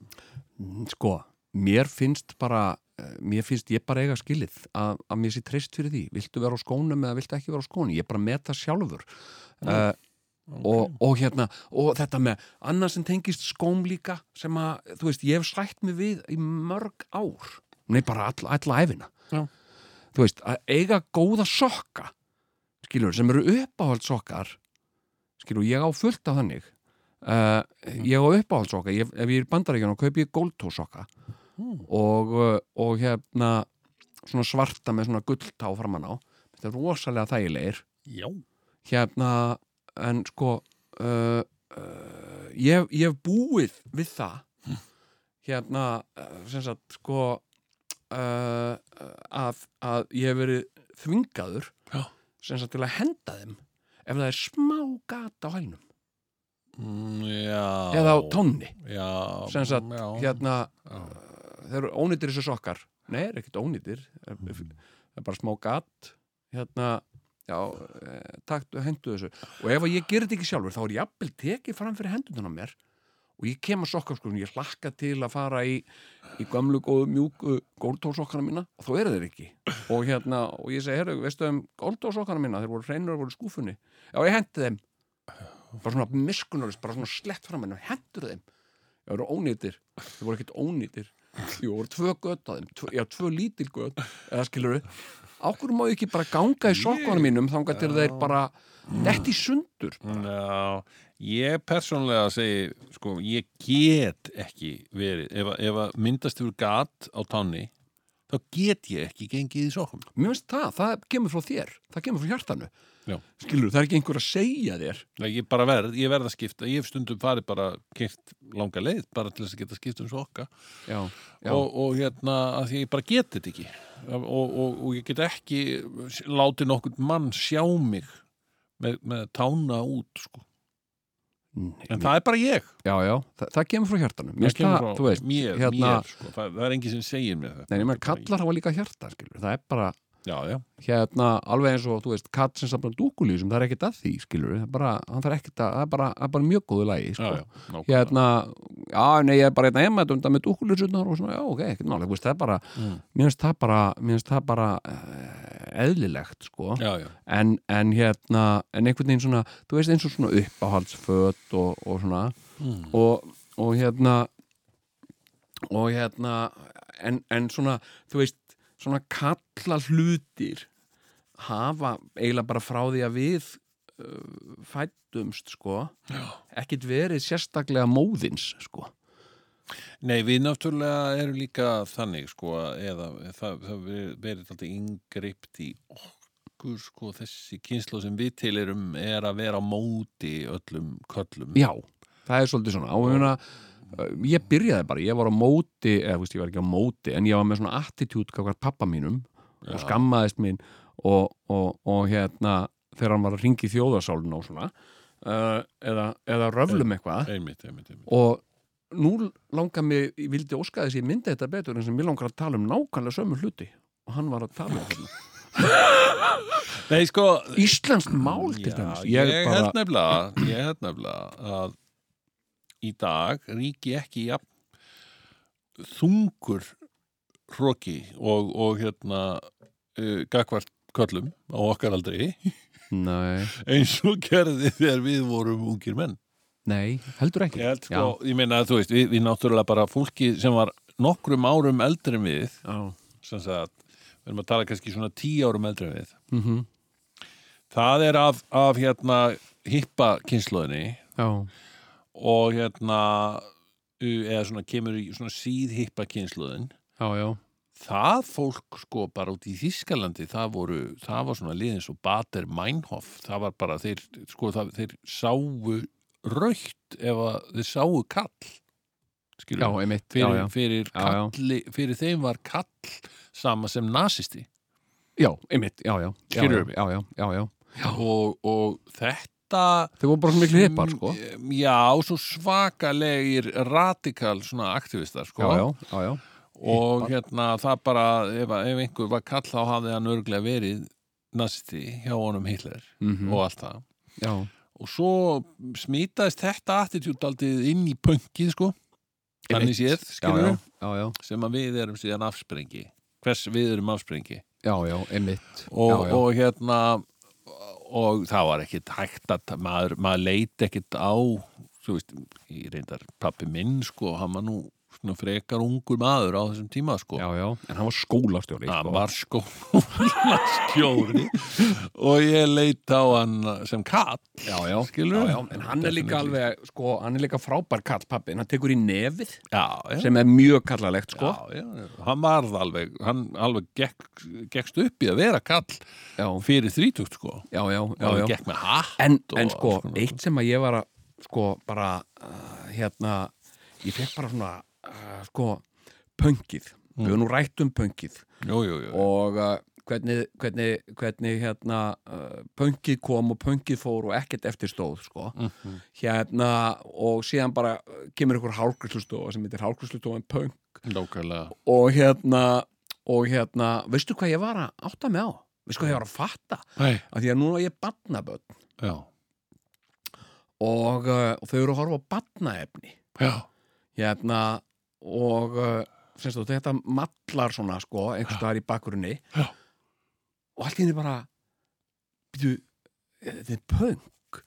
Mm, sko, mér finnst bara eh, mér finnst ég bara eiga skilið að, að mér sé treyst fyrir því, viltu vera á skónum eða viltu ekki vera á skónum, ég bara meta sjálfur uh, og, og hérna og þetta með annað sem tengist skóm líka sem að, þú veist, ég hef sætt mig við í mörg ár nei bara all, alla æfina Já. þú veist, að eiga góða sokka skilur, sem eru uppáhald sokkar skilur, ég á fullt af þannig uh, ég á uppáhald sokka ég, ef ég er bandarækjunum, kaupi ég goldtó sokka Mm. og, uh, og hérna svona svarta með svona gulltá framan á þetta er rosalega þægilegir Já. hérna en sko uh, uh, ég, ég hef búið við það hérna uh, sem sagt sko uh, að, að ég hef verið þvingaður Já. sem sagt til að henda þeim ef það er smá gata á hælnum Mm, já. eða á tónni Já. Sem sagt, já. hérna Já. þeir eru ónýttir þessu sokkar nei, þeir eru ekkert ónýttir Mm. það er- það er bara smá gatt hérna, já, eh, taktu, hendu þessu og ef að ég gerir þetta ekki sjálfur þá er ég jafnvel tekið fram fyrir hendunum á mér og ég kem að sokka sko, ég hlakka til að fara í, í gamlu góðu mjúku góldtósokkana mína og þá eru þeir ekki og hérna, og ég segi, herru, veistu um góldtósokkana mína, þeir voru hreinur og voru í skúfunni já, ég hendi þeim bara svona miskunarist, bara svona slett fram henni hendur þeim, þeir voru ónýttir þeir voru ekkert ónýttir Jú, voru tvö gött að þeim, tvö, já, tvö lítil gött eða skilur við Ákvörðu má ég ekki bara ganga í sokkanum mínum þangar til þeir bara dett í sundur Já, ég persónlega segi, sko, ég get ekki verið, ef, að- ef að myndast yfir gat á tánni, þá get ég ekki gengið í sokkum. Mér finnst það, það kemur frá þér, það kemur frá hjartanu Já. Skilur, það er ekki einhver að segja þér Nei, Ég bara verð, ég verð að skipta, ég hef stundum farið bara kert langa leið, bara til þess að geta skipt um sokka Já, já, og, og hérna, að því að ég bara get þetta ekki og, og, og ég get ekki látið nokkurn mann sjá mig með, með tána út, sko. Nei, En það er bara ég. já, já það, það kemur frá hjartanu Mér finnst kemur það, frá þú veist mér, hérna, mér, sko. það, það er enginn sem segir mér það Nei, ég meðan kallar hafa líka hjarta, skilur Það er bara, Já, já, hérna, alveg eins og, þú veist, kall sem samlar dúkulísum, það er ekkert að því, skilur Það er bara, hann þarf ekkert að, það er bara, það er bara mjög góðu lagi, já, sko já, nákvæmlega. hérna, já, nei, ég er bara hérna heima þetta undan með dúkulisutnar og svona, já, ok, ekkert máli þú veist, það er bara, Mm. mér finnst það bara mér finnst það bara uh, eðlilegt, sko, já, já. en, en hérna en einhvern veginn svona, þú veist, eins og svona uppáhaldsföt og, og svona Mm. og, og hérna og hérna en, en svona, þú veist svona kalla hlutir hafa eiginlega bara frá því að við uh, fættumst, sko ekkit verið sérstaklega móðins sko. Nei, við náttúrulega erum líka þannig sko að eða það, það verið- verið alltaf yngript í okkur sko þessi kynslu sem við til erum er að vera á móti öllum köllum já, það er svolítið svona og ég meina, uh, ég byrjaði bara, ég var á móti eða þú veist, ég var ekki á móti, en ég var með svona attitút kakvar pappa mínum og skammaðist mín og, og, og hérna, þegar hann var að ringi þjóðasálun og svona uh, eða, eða röflum eitthvað Einmitt, einmitt, einmitt og nú langar mig, ég vildi óska þess að ég myndi þetta betur en sem ég langar að tala um nákvæmlega sömu hluti og hann var að tala um þetta Nei, sko Íslensk mál til Já, dæmis Ég, held nefnilega Ég held nefnilega að í dag ríki ekki jafn, þungur hroki og, og hérna uh, gagvart köllum á okkar aldrei Nei, eins og gerði þegar við vorum ungir menn nei, heldur ekki Ég held sko, ég meina að þú veist við, við náttúrulega bara fólki sem var nokkrum árum eldri en við Já, já. sem sagt, við erum að tala kannski svona tíu árum eldri en við mhm það er af, af hérna hippa kynnslóðinni Já, og hérna u- eða svona kemur í svona síðhippa kynsluðin já, já. það fólk sko bara út í Þískalandi það voru, það var svona liðin svo Bader Meinhof, það var bara þeir, sko það, þeir sáu raukt ef að þeir sáu kall skilur Já, einmitt. já, fyrir, já. Fyrir, Já, já. kalli, fyrir þeim var kall sama sem nasisti já, einmitt, já, já. Já, Skilurðu mig? Já, já, já, já. og, og þetta Þau voru bara svona miklu hippar, sko. Mm, Já, svo svakalegir radikal svona aktivistar sko. Já, já, já, já. og hérna það bara ef, ef einhver var kall þá hafði hann örglega verið nazisti hjá honum Hitler Mhm. og allt það Já, og svo smítaðist þetta attitút aldrei inn í pönkið sko þannig séð, já, já, skilur já, já, sem að við erum síðan afsprengi hvers við erum afsprengi já, já, einmitt. og, já, já. og hérna og það var ekkit hægt að maður, maður leiti ekkit á þú veist, ég reyndar pappi minn sko, hann var nú svona frekar ungur maður á þessum tíma sko. já, já, en hann var skólastjóri hann sko. var skólastjóri og ég leit á hann sem katt já, já, skilur já, já, en hann er líka alveg sko, hann er líka frábær kall pappi en hann tekur í nefið já, já, sem er mjög kallalegt sko. já, já, já. hann varð alveg hann alveg gekk, gekkst upp í að vera kall já, fyrir þrítugt sko já, já, já, hann já. gekk með hatt En, og en sko, alls konar. eitt sem að ég var að sko bara uh, hérna, ég fekk bara svona uh, sko, pöngið við Mm. höfum nú rætt um pöngið jú, jú, jú. og uh, hvernig, hvernig, hvernig hérna uh, pöngið kom og pöngið fór og ekkert eftir stóð sko. Mm. hérna og síðan bara uh, kemur ykkur hálgrislustofa sem heitir hálgrislustofa en pöng Nákvæmlega. og hérna og hérna, veistu hvað ég var að átta mig á? veistu hvað ég var að fatta? Nei, af því að núna er ég barnaböld já, og, uh, og þau eru að horfa á batnaefni já, hérna og uh, semst þú, þetta mallar svona sko, einhvers staðar í bakgrunni Já. og allt í henni bara býtu, þetta er punk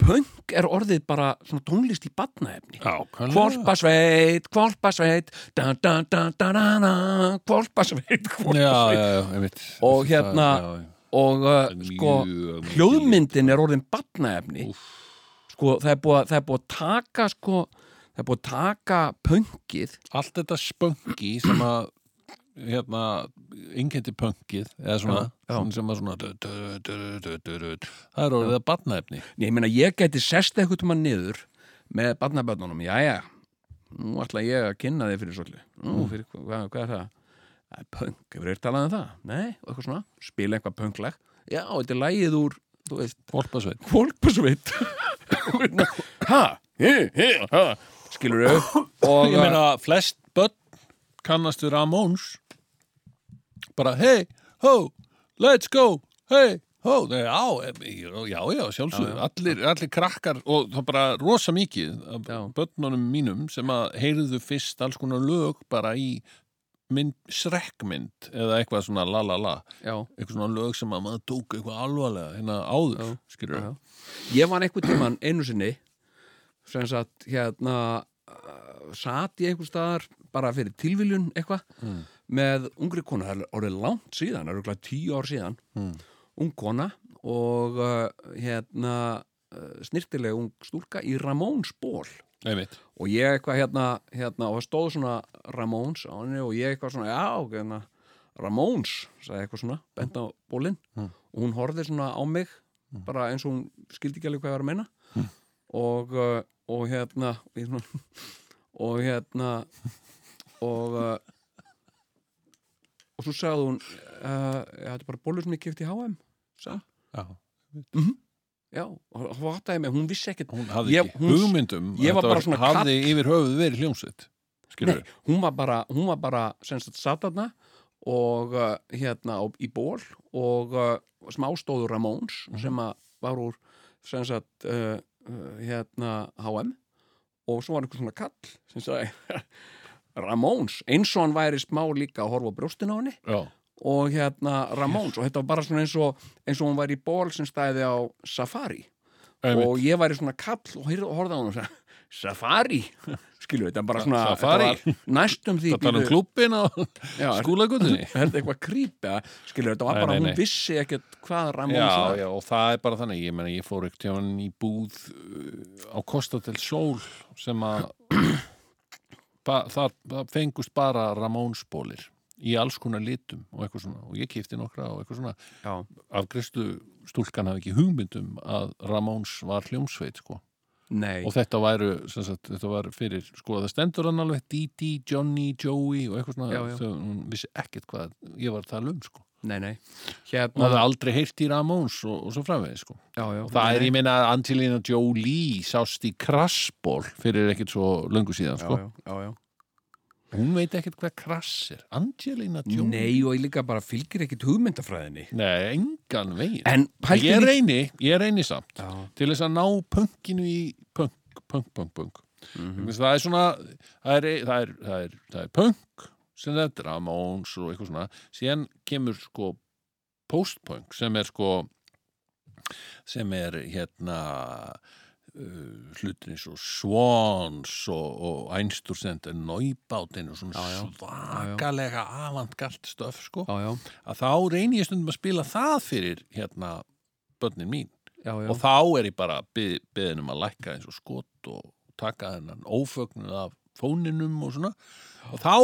punk er orðið bara svona tónlist í batnaefni nákvæmlega Kvolpasveit, kvolpasveit da da da da da da kvolpasveit, já, kvolpasveit já, já, einmitt Og hérna, Já, já. og uh, sko, Mjög mikið hljóðmyndin er orðin batnaefni Úff. sko, það er búið að, það er búið að taka sko, það er búið að taka pöngið allt þetta spöngi sem að hérna, innkjönti pöngið eða svona, Já, já. sem að svona dö, dö, dö, dö, dö, dö, dö. það er orðið að batnaefni Nei, ég meina, ég gæti sest eitthvað tíma niður með barnaböndunum, jæja nú ætla ég að kynna þig fyrir svolítið nú, fyrir, hvað, hvað er það? Það er pöng, hefur þér talað um það? Nei, og eitthvað svona, spila eitthvað pöngleg já, þetta er lægið úr, þú veist Volpasveit kvolpasveit ha, hi, hi, ha skilur þau og Ég meina, flest börn kannast við Ramóns bara hey, ho, let's go hey, ho, Nei, já e- já, já, sjálfsög, allir, allir krakkar og það bara rosa mikið af Já. börnunum mínum sem að heyrðu fyrst alls konar lög bara í mynd, srekkmynd eða eitthvað svona la la la já, eitthvað svona lög sem að maður tók eitthvað alvarlega hérna áður, Já. skilur Já. Ég var einhvern tíman einu sinni sem sagt hérna uh, sat ég einhver staðar bara fyrir tilviljun eitthvað með ungri kona, það er orðið langt síðan það er okkur tíu ár síðan Mm. ung kona og uh, hérna uh, snirtilega ung stúlka í Ramóns ból einmitt, og ég eitthvað hérna, hérna og það stóð svona Ramóns á henni og ég eitthvað svona, já, hérna, Ramóns sagði eitthvað svona, bent á bólinn Mm. og hún horfði svona á mig bara eins og hún skildi ekki alveg hvað ég var að meina og, uh, og hérna ég svona- og hérna og uh, og svo sagði hún uh, þetta er bara bólur sem ég kefti í H&M sagði, hún. já já, og hún áttaði mig, hún vissi ekkert hún hafði Ég- ekki hún- hugmyndum ég var þetta bara svona hafði yfir höfuð verið hljómsveit skilur Nei, hún var bara, hún var bara sem sagt satarna og uh, hérna á, í ból og uh, smástóður Ramóns sem að var úr sem sagt uh, uh, hérna HM og svo var einhver svona kall sem sagði Ramóns, eins og hann væri smá líka að horfa á brjóstin á henni já, og hérna Ramóns og þetta var bara svona eins og eins og hún væri í ból sem stæði á Safari einmitt, og ég væri svona kall og heyrði- og horfði á hann og sagði Safari, skilu, þetta er bara svona Safari? þetta var næstum því það tala um bíddu, klúbbin á já, er- skúlagutinni er þetta eitthvað krýpa, skilu, þetta var Nei, bara nei, hún nei. vissi ekkert hvað Ramón já, sagði já, og það er bara þannig ég meina, ég fór ekkert hjá hann í búð uh, á Costa del Sol sem að ba- þar það fengust bara Ramónsbólir í alls konar litum og eitthvað svona, og ég kipti nokkra og eitthvað svona já, afgristu stúlkan hafði ekki hugmyndum að Ramóns var hljómsveit sko. nei, og þetta væru, sem sagt, þetta var fyrir sko, það stendur hann alveg Didi, Johnny, Joey og eitthvað svona Já, já. Þau, hún vissi ekkert hvað ég var að tala um sko. nei, nei og hafði hérna, aldrei heyrt í Ramóns og, og svo framvegis sko. já, já, og það er, nei, ég meina, Angelina Jolie sást í krassból fyrir ekkert svo löngu síðan já, sko. já, já, já. hún veit ekkert hvað krass er Angelina Jolie nei, og ég líka bara fylgir ekkert hugmyndafræðinni Nei, engan veginn en pældi ég líka- reyni, ég reyni samt já, til þess að ná pönkinu í pönk, pönk, pönk, pönk mhm, mm. það er svona það er, það er, það er, það er punk sem þetta er Ramones og eitthvað svona síðan kemur sko postpunk sem er sko sem er hérna uh, hlutin eins og Swans og, og Einstursend en Neubátin og svona Já, já. svakalega avantgalt stöf sko, já, já, að þá reyni ég stundum að spila það fyrir hérna börnin mín já, já. og þá er ég bara beðin um að lækka eins og skot og taka þennan ófögnuð af fóninum og svona og þá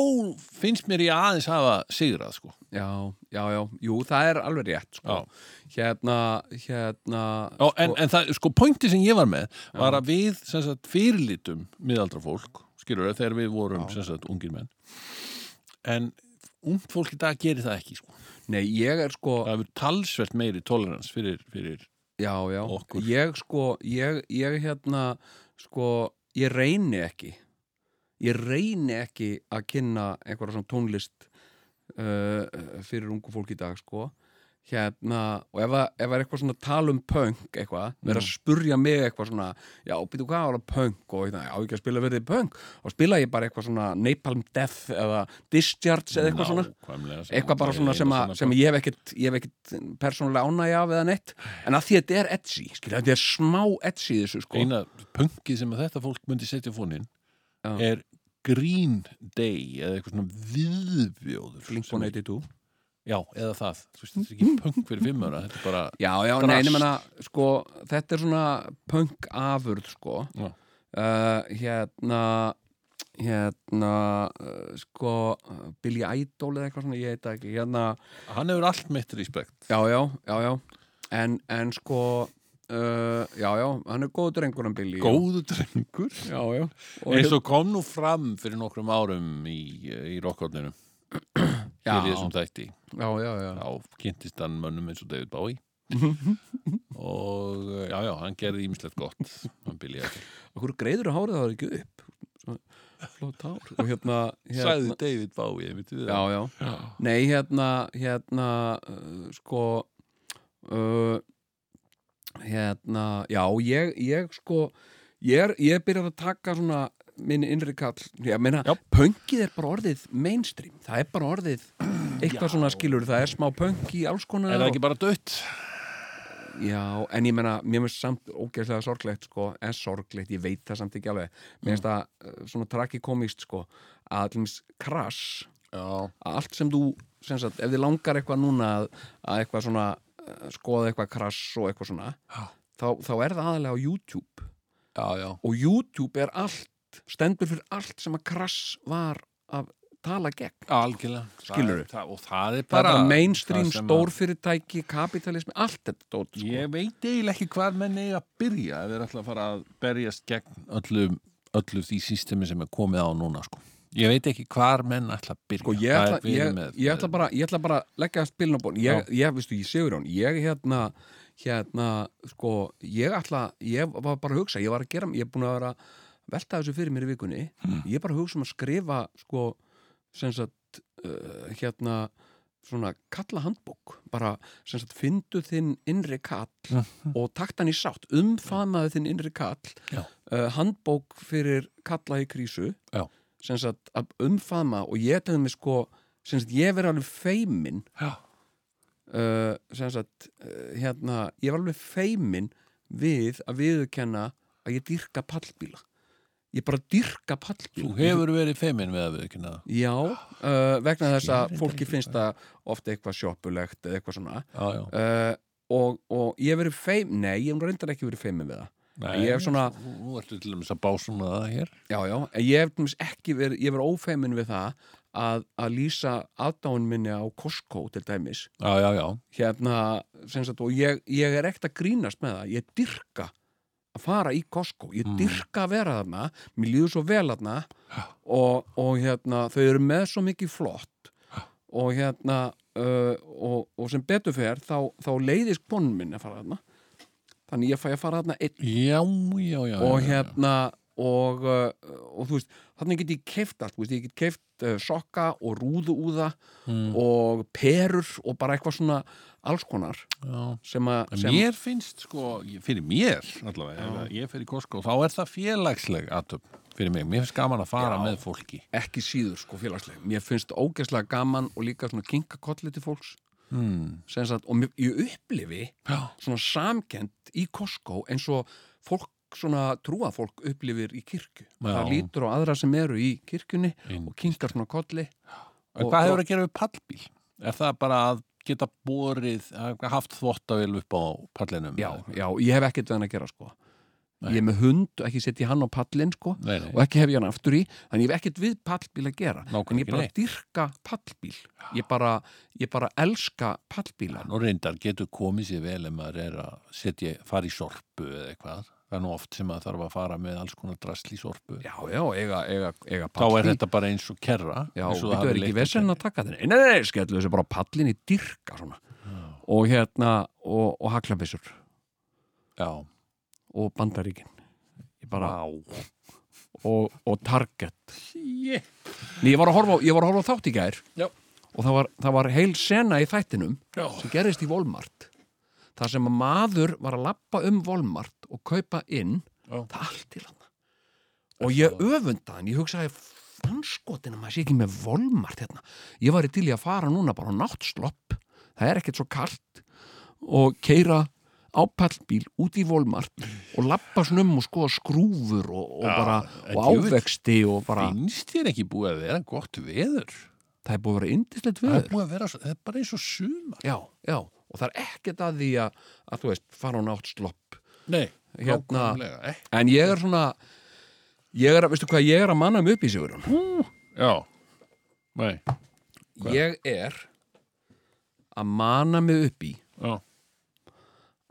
finnst mér ég aðeins hafa sigrað sko Já, já, já, jú, það er alveg rétt sko. Já. Hérna, hérna Ó, en, en það, sko, pointi sem ég var með var að við, sem sagt, fyrirlitum miðaldra fólk, skilur við, þegar við vorum, sem sagt, ungir menn en ungt fólk í dag gerir það ekki, sko. Nei, ég er sko Það hefur talsvert meiri tolerans fyrir, fyrir Já, já, Okkur. ég sko ég, ég hérna sko, ég reyni ekki ég reyni ekki að kynna einhverja svona tónlist uh, fyrir ungu fólk í dag sko hérna, og ef, að, ef að er eitthvað svona tal um punk eitthvað, vera að spurja mig eitthvað svona, já, býtu hvað var að punk og hérna, á ekki að spila verið punk og spila ég bara eitthvað svona Napalm Death eða Discharge eða eitthvað svona nákvæmlega sem- eitthvað bara svona sem, að, sem ég hef ekkit, ég hef ekkit persónulega ánægja af eða neitt en að því að þetta er edgy, skilja, þetta er smá edgy í þessu, sko eina punkið sem að þetta fólk myndi setja fónin Já. er Green Day eða eitthvað svona viðbjóður sem er- Blink-182 Já, eða það, þú veist, þetta er ekki punk fyrir fimm ára þetta er bara, Já, já, Drast. nei, nema sko, þetta er svona punk afurð, sko Já. uh, hérna hérna uh, sko, uh, Billy Idol eða eitthvað svona, ég heit það ekki, hérna hann hefur allt mitt respekt já, já, já, já en, en sko uh, já, já, hann er góður drengur hann Billy góðu drengur já, já, og, eins og kom nú fram fyrir nokkrum árum í, í rockordninu já, fyrir þessum þætti já, já, já þá kynntist hann mönnum eins og David Bowie og eh, já, já, hann gerði ímislegt gott hann byrjaði ekki Okkur greiður að hárið það er ekki upp Svona Flott hár Og hérna, hérna sagði David Bowie, veitum við Já, það já Já. Nei, hérna, hérna uh, Sko uh, Hérna Já, ég, ég sko Ég er, ég er byrjað að taka svona minn innri kall, ég meina Já. pöngið er bara orðið mainstream það er bara orðið eitthvað Já. svona skilur það er smá pöng í alls konar er það og- ekki bara dött? Já, en ég menna, mér finnst samt ógeðslega sorglegt, sko, en sorglegt, ég veit það samt ekki alveg. Mér Mm. finnst það uh, svona tragikomist, sko, að allins krass, Já, að allt sem þú, sem sagt, ef þið langar eitthvað núna að, að eitthvað svona, uh, skoða eitthvað krass og eitthvað svona, Já. þá, þá er það aðalega á YouTube. já, já Og YouTube er allt, stendur fyrir allt sem að krass var að tala gegn. Algjörlega, Skilurðu? það, það, og það er Bara, bara, bara mainstream, það sem að- stórfyrirtæki, kapitalismi, allt þetta dót, sko. Ég veit eiginlega ekki hvar menn eigi að byrja ef þeir ætla að fara að berjast gegn öllu, öllu því sístemi sem er komið á núna sko. Ég veit ekki hvar menn ætla að byrja Sko ég Það ætla, er verið ég, ég ætla bara ég ætla bara að leggja spilin á bón ég, ég, veistu, ég segur hún, ég hérna hérna, sko, ég ætla ég var bara að hugsa, ég var að gera ég er búin að vera að velta þessu fyrir mér í vikunni Hmm. ég er bara að hugsa um að skrifa sko, sem sagt uh, hérna, svona kalla handbók, bara, sem sagt, fyndu þinn innri kall og takt hann í sátt, umfamaðu þinn innri kall Já. uh, handbók fyrir kalla í krísu Já. sem sagt, að umfama og ég tegði mig sko, sem sagt, ég verið alveg feimin Já, uh, sem sagt, uh, hérna ég var alveg feimin við að viðurkenna að ég dyrka pallbíla ég bara dyrka þú pallbíla hefur Ah, verið feimin við að við ekki naða Já, uh, vegna þess að fólki finnst það ofta eitthvað sjoppulegt eða eitthvað svona Já, já uh, og, og ég hef verið feim nei, ég hef reyndar ekki verið feimin við það Nei, ég hef svona- Nú nú ertu til dæmis að básum að það hér Já, já, en ég hef til dæmis ekki verið, ég hef verið ófeimin við það að, að lýsa aðdáun minni á Costco til dæmis Já, já, já hérna, sem sagt, og ég, ég er ekkert að grínast með það, ég dyrka að fara í Costco, Mm. ég dyrka að vera þarna, mér líður svo vel þarna og, og hérna þau eru með svo mikið flott og hérna uh, og, og sem betur fer, þá, þá leiðist konun minn að fara þarna þannig ég fæ að fara þarna einn Já, já, já og já, já. hérna og, uh, og þú veist, þannig get ég keift allt, þú veist, ég get keift uh, sokka og rúðuúða Mm. og perur og bara eitthvað svona alls konar Já. sem að En sem- Mér finnst sko, ég- fyrir mér allavega, ef að ég fer í Costco, þá er það félagsleg aðtöp fyrir mig. Mér finnst gaman að fara Já. með fólki. ekki síður sko félagsleg mér finnst það ógeðslega gaman og líka svona kinkakolli til fólks Hmm. Mm. sem sagt, og mér, ég upplifi Já. svona samkend í Costco eins og fólk svona trúafólk upplifir í kirkju það Já. lítur á aðra sem eru í kirkjunni og kinkar svona kolli En Og- hvað hefur að gera við pallbíl? Er það bara að geta borið, að haft þvottavél upp á pallinum? já, já, ég hef ekkert við hann að gera sko Nei. ég er með hund og ekki setja hann á pallin sko Nei, nei. og ekki hef ég hann aftur í þannig ég hef ekkert við pallbíl að gera Nákvæmlega en ég ekki bara neitt. dyrka pallbíl ég bara, ég bara elska pallbíla Nú reyndar getur komið sér vel ef maður er að setja, fara í sorpu eða eitthvað. Það er nú oft sem maður þarf að fara með alls konar drasli í sorpu. já, já, eiga, eiga, eiga Þá pallbíl er þetta bara eins og kerra. Já, eins og þetta hafi er ekki leitt vesinn að taka þenni. Nei, nei, nei, skellu þessu bara á pallin í dyrka svona. Og hérna, og, og haklabissur Já. og bandaríkin. Ég bara, Vá. og, og target. Yeah. Nei, ég var að horfa, á- ég var að horfa á þátt í gær Já. og það var, það var heil sena í þættinum Já. sem gerist í Volmart. þar sem að maður var að lappa um Volmart og kaupa inn, Já. það er allt til hann. Og ég öfunda hann, ég hugsaði, fannskotin að maður sé ekki með Volmart hérna. Ég var í til í að fara núna bara á náttslopp, það er ekkert svo kalt og keira á pallbíl út í Volmart og lappa snum og skoða skrúfur og, og Já, bara, en og djöfull. ávexti og bara, Finnst þér ekki búið að vera gott veður? það er búið að vera indislegt Það er veður. búið að vera, svo- það er bara eins og sumar. Já, já, og það er ekkert að því að, að þú veist, fara á náttslopp Nei, Hérna- nákvæmlega. Eh, En ég er svona ég er, að- veistu hvað, ég er að manna um upp í sigur Já. Nei. Ég er að manna mig upp í Já.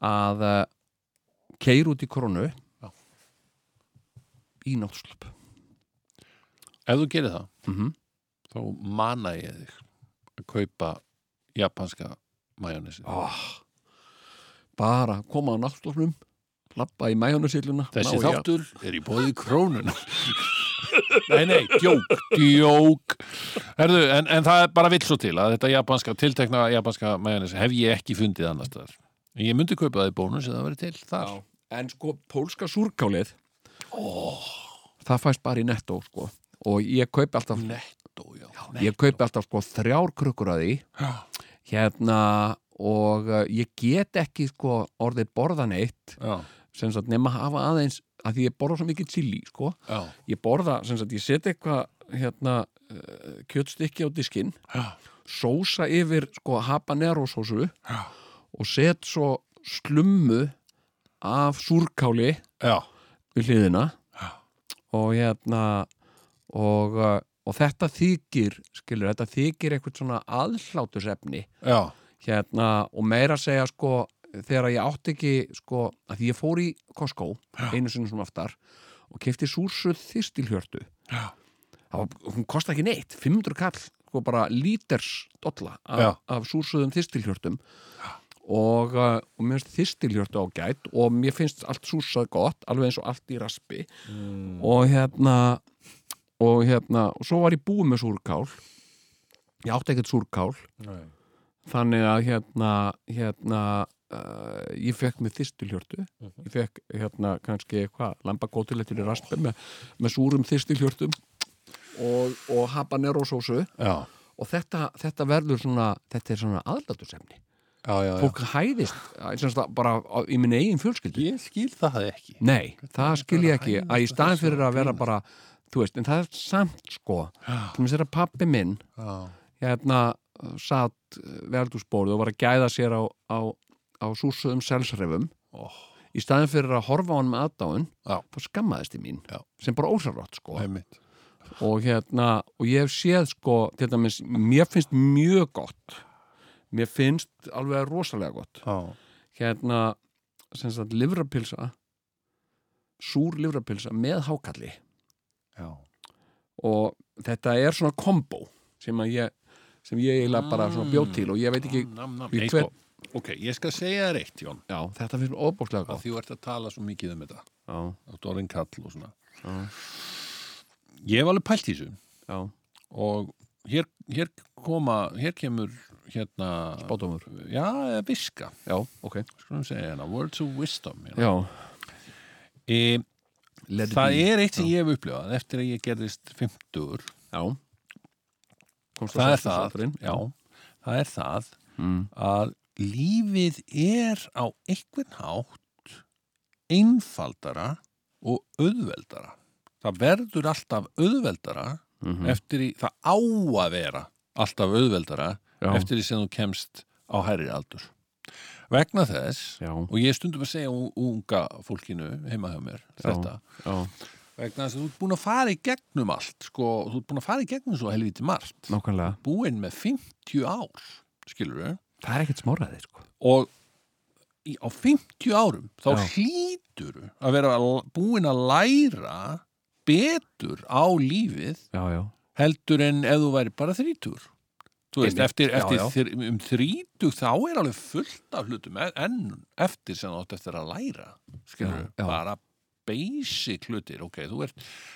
að uh, keir út í koronu Já. í náttslöp Ef þú gerir það, Mhm. þá mana ég þig að kaupa japanska majónesi. oh. bara koma á náttslöpnum lappa í mæjónusilluna Þessi þáttur er í bóði krónuna. nei, nei, djók, djók. Herðu, en, en það er bara vill svo til að þetta japanska, tiltekna japanska majónesi hef ég ekki fundið annars þar. En ég myndi kaupa það í bónus eða það verið til þar. en sko, pólska súrkálið oh. það fæst bara í nettó sko. og ég kaupi alltaf Netto, já. ég kaupi alltaf sko þrjár krukkur að því Já. hérna og uh, ég get ekki sko orðið borðan eitt Já, sem sagt nema hafa aðeins að því ég borða svo mikið chili sko já, ég borða, sem sagt ég seti eitthvað hérna uh, kjötstykki á diskinn já, sósa yfir sko habanero sósu Já. og set svo slummu af súrkáli já. við hliðina Já. og hérna og, uh, og þetta þykir skilur, þetta þykir eitthvað svona aðhlátusefni já. hérna og meira að segja sko þegar ég átti ekki sko að því ég fór í Costco einu sinni svona aftar og kefti súrsuð þistilhjörtu Já. Það var, hún kosta ekki neitt, 500 kall sko bara líters dolla Já. af, af súrsuðum þistilhjörtum og, uh, og mér finnst þistilhjörtu ágætt og mér finnst allt súrsað gott, alveg eins og allt í raspi Mm. og hérna og hérna, og svo var ég búið með súrkál ég átti ekkert súrkál Nei. þannig að hérna, hérna uh, ég fekk með þistilhjörtu Mhm. ég fekk hérna kannski hvað, lambakótilettur í raspi með, með súrum þistilhjörtum og, og habanero sósu Já, og þetta, þetta verður svona þetta er svona aðlátursefni já, já. já. fólk hæðist að- sem sagt, bara á, í minni eigin fjölskyldu Ég skil það ekki. nei, það skil ég að ekki hæðast að í að staðin þessu fyrir að vera grínast? bara þú veist, en það er samt sko Já. sem þess að pappi minn Já, hérna uh, satt verðúsbórið og var að gæða sér á, á, á súsuðum selsrefum Ó. í staðin fyrir að horfa á hann með aðdáun Já. þá skammaðist ég mín Já. sem bara ósarrátt sko einmitt. og hérna og ég hef séð sko til dæmis, mér finnst mjög gott mér finnst alveg rosalega gott Já, hérna sem sagt livrapilsa súr livrapilsa með hákalli já. og þetta er svona kombo sem að ég sem ég eiginlega bara svona bjóð til og ég veit ekki nam, nam. Ég Nei, hvet- sko, ok, ég skal segja þér eitt, Jón Já, þetta finnst mér óbúrslega að gott. því þú ert að tala svo mikið um þetta Já, áttu orðin kall og svona Já. ég hef alveg pælt í þessu já, og hér, hér koma hér kemur hérna bátumur. já, eða viska, Já, ok. skulum segja hérna words of wisdom hérna. Já, e, let it það be. er eitt sem ég hef upplifað eftir að ég gerðist 50 Já. Komst það er sáttur það, sátturinn? já, það er það Mm. að lífið er á einhvern hátt einfaldara og auðveldara það verður alltaf auðveldara Mhm. eftir í, það á að vera alltaf auðveldara Já. eftir því sem þú kemst á hærri aldur vegna þess Já. og ég er stundum að segja ú- unga fólkinu heima hjá mér þetta já, vegna þess að þú ert búin að fara í gegnum allt sko, þú ert búin að fara í gegnum svo helviti margt nákvæmlega búin með 50 ár skilur við það er ekkert smáraði sko. og í, á 50 árum þá Já. hlýtur að vera l- búin að læra betur á lífið já, já, heldur en ef þú væri bara þrítur þú Einmitt. veist, eftir, Já, eftir já. Þr, um þrítug þá er alveg fullt af hlutum e, en- enn eftir sem þú átt eftir að læra skilur, Já, já. bara basic hlutir, ok, þú ert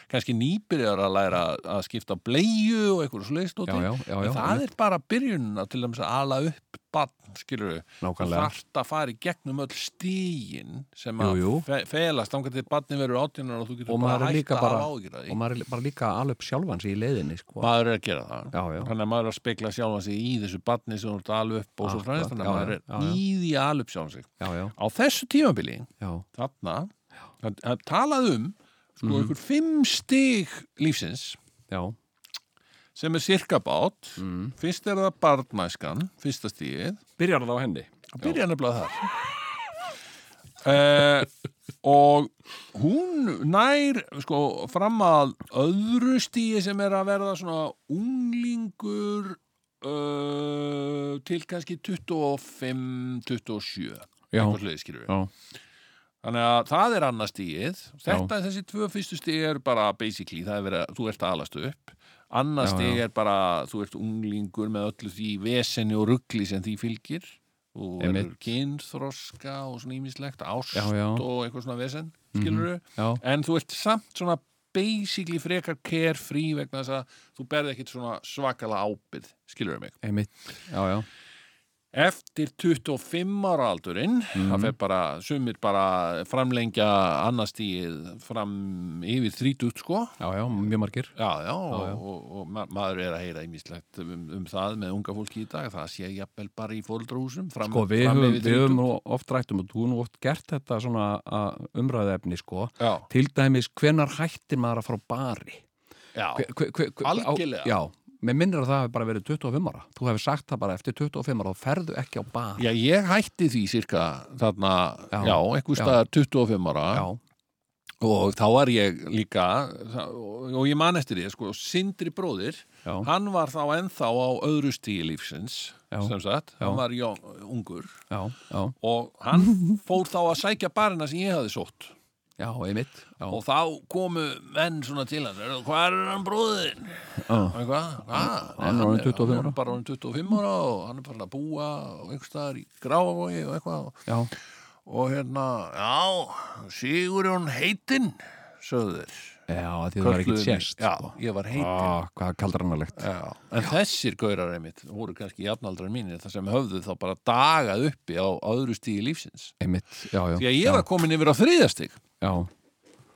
kannski nýbyrjar að læra að skipta bleju og einhverju já, sleikstóti já, já, já það er bara byrjunna til dæmis að ala upp bann, skilur nákvæmlega þarft að fara í gegnum öll stígin sem Jú, að jú. fe- felast þangar til barni verður átjónar og þú getur Og maður bara er hægt líka að bara- hafa ágjur að og því maður er bara líka alveg upp sjálfan sig í leiðinni sko. maður er að gera það já, já, þannig að maður er að spekla sjálfan sig í þessu barni sem þú ert að ala upp og svo Akkurat, fræðist þannig já, að já, maður er já, já. í því að ala upp sjálfan sig já, já, á þessu tímabili, já, þarna það það er talað um sko Mhm. mm. ykkur fimm stig lífsins já, sem er sirkabát Mhm. mm. fyrst er það barnæskan, fyrsta stíð byrjar það á henni að byrja nefnilega þar uh, og hún nær sko, fram að öðru stíi sem er að verða svona unglingur uh, til kannski 25-27 já, þannig já, að það er annað stíið þetta er þessi tvö fyrstu stíið eru bara basically, það er verið að þú ert að alast upp annað Já, stíið er bara þú ert unglingur með öllu því vesenni og ruggli sem því fylgir og verður Einmitt. kynþroska og svona ímislegt, ást Já, Mhm. já. og eitthvað svona vesen, skilurðu já, en þú ert samt svona basically frekar carefree vegna þess að þú berði ekkit svona svakala ábyrð skilurðu mig einmitt já, já, Eftir 25 ára aldurinn, Mhm. það fer bara, sumir bara framlengja annars stíð fram yfir 30 sko. já, já, mjög margir Já, já, og, já. og, og ma maður er að heyra ímislegt um, um það með unga fólki í dag, það sé jafnvel bara í fóldrahúsum fram, sko, við fram höfum, yfir 30. við höfum nú oft rættum og þú hefur nú oft gert þetta svona umræðefni sko Já, til dæmis, hvenar hættir maður að fara á bari já, Hve- hve- hve- hve- á- Algjörlega. já, mér minnir að það hefur bara verið 25 ára þú hefur sagt það bara eftir 25 ára þá ferðu ekki á bar já, ég hætti því cirka þarna, já, Já, einhver já. staðar 25 ára já, og þá var ég líka, það- og, og ég man eftir því, sko, Sindri bróðir, já, Hann var þá ennþá á öðru stíi lífsins, Já. sem sagt, hann Já. var jón, ungur já, já, og hann fór þá að sækja barina sem ég hafði sótt já, einmitt já, og þá komu menn svona til hann, "Heyrðu, hvað er hann bróðin? já, Og Hvað? Hvað? Hann er orðinn 25 Hann ára. er bara orðin 25 ára og hann er bara að búa og einhvers staðar í gráavogi og eitthvað já, og hérna, já, Sigurjón heitinn, sögðu þeir. já því það var ekkert Kölluðu mig. sérst Já, sko. ég var heitinn. ah, hvað kaldranalegt Já, en þessir gaurar einmitt voru kannski jafnaldrar mínir þar sem höfðu þá bara dagað uppi á öðru stíði lífsins. einmitt, já, já, Því að ég var komin yfir á þriðastig. já,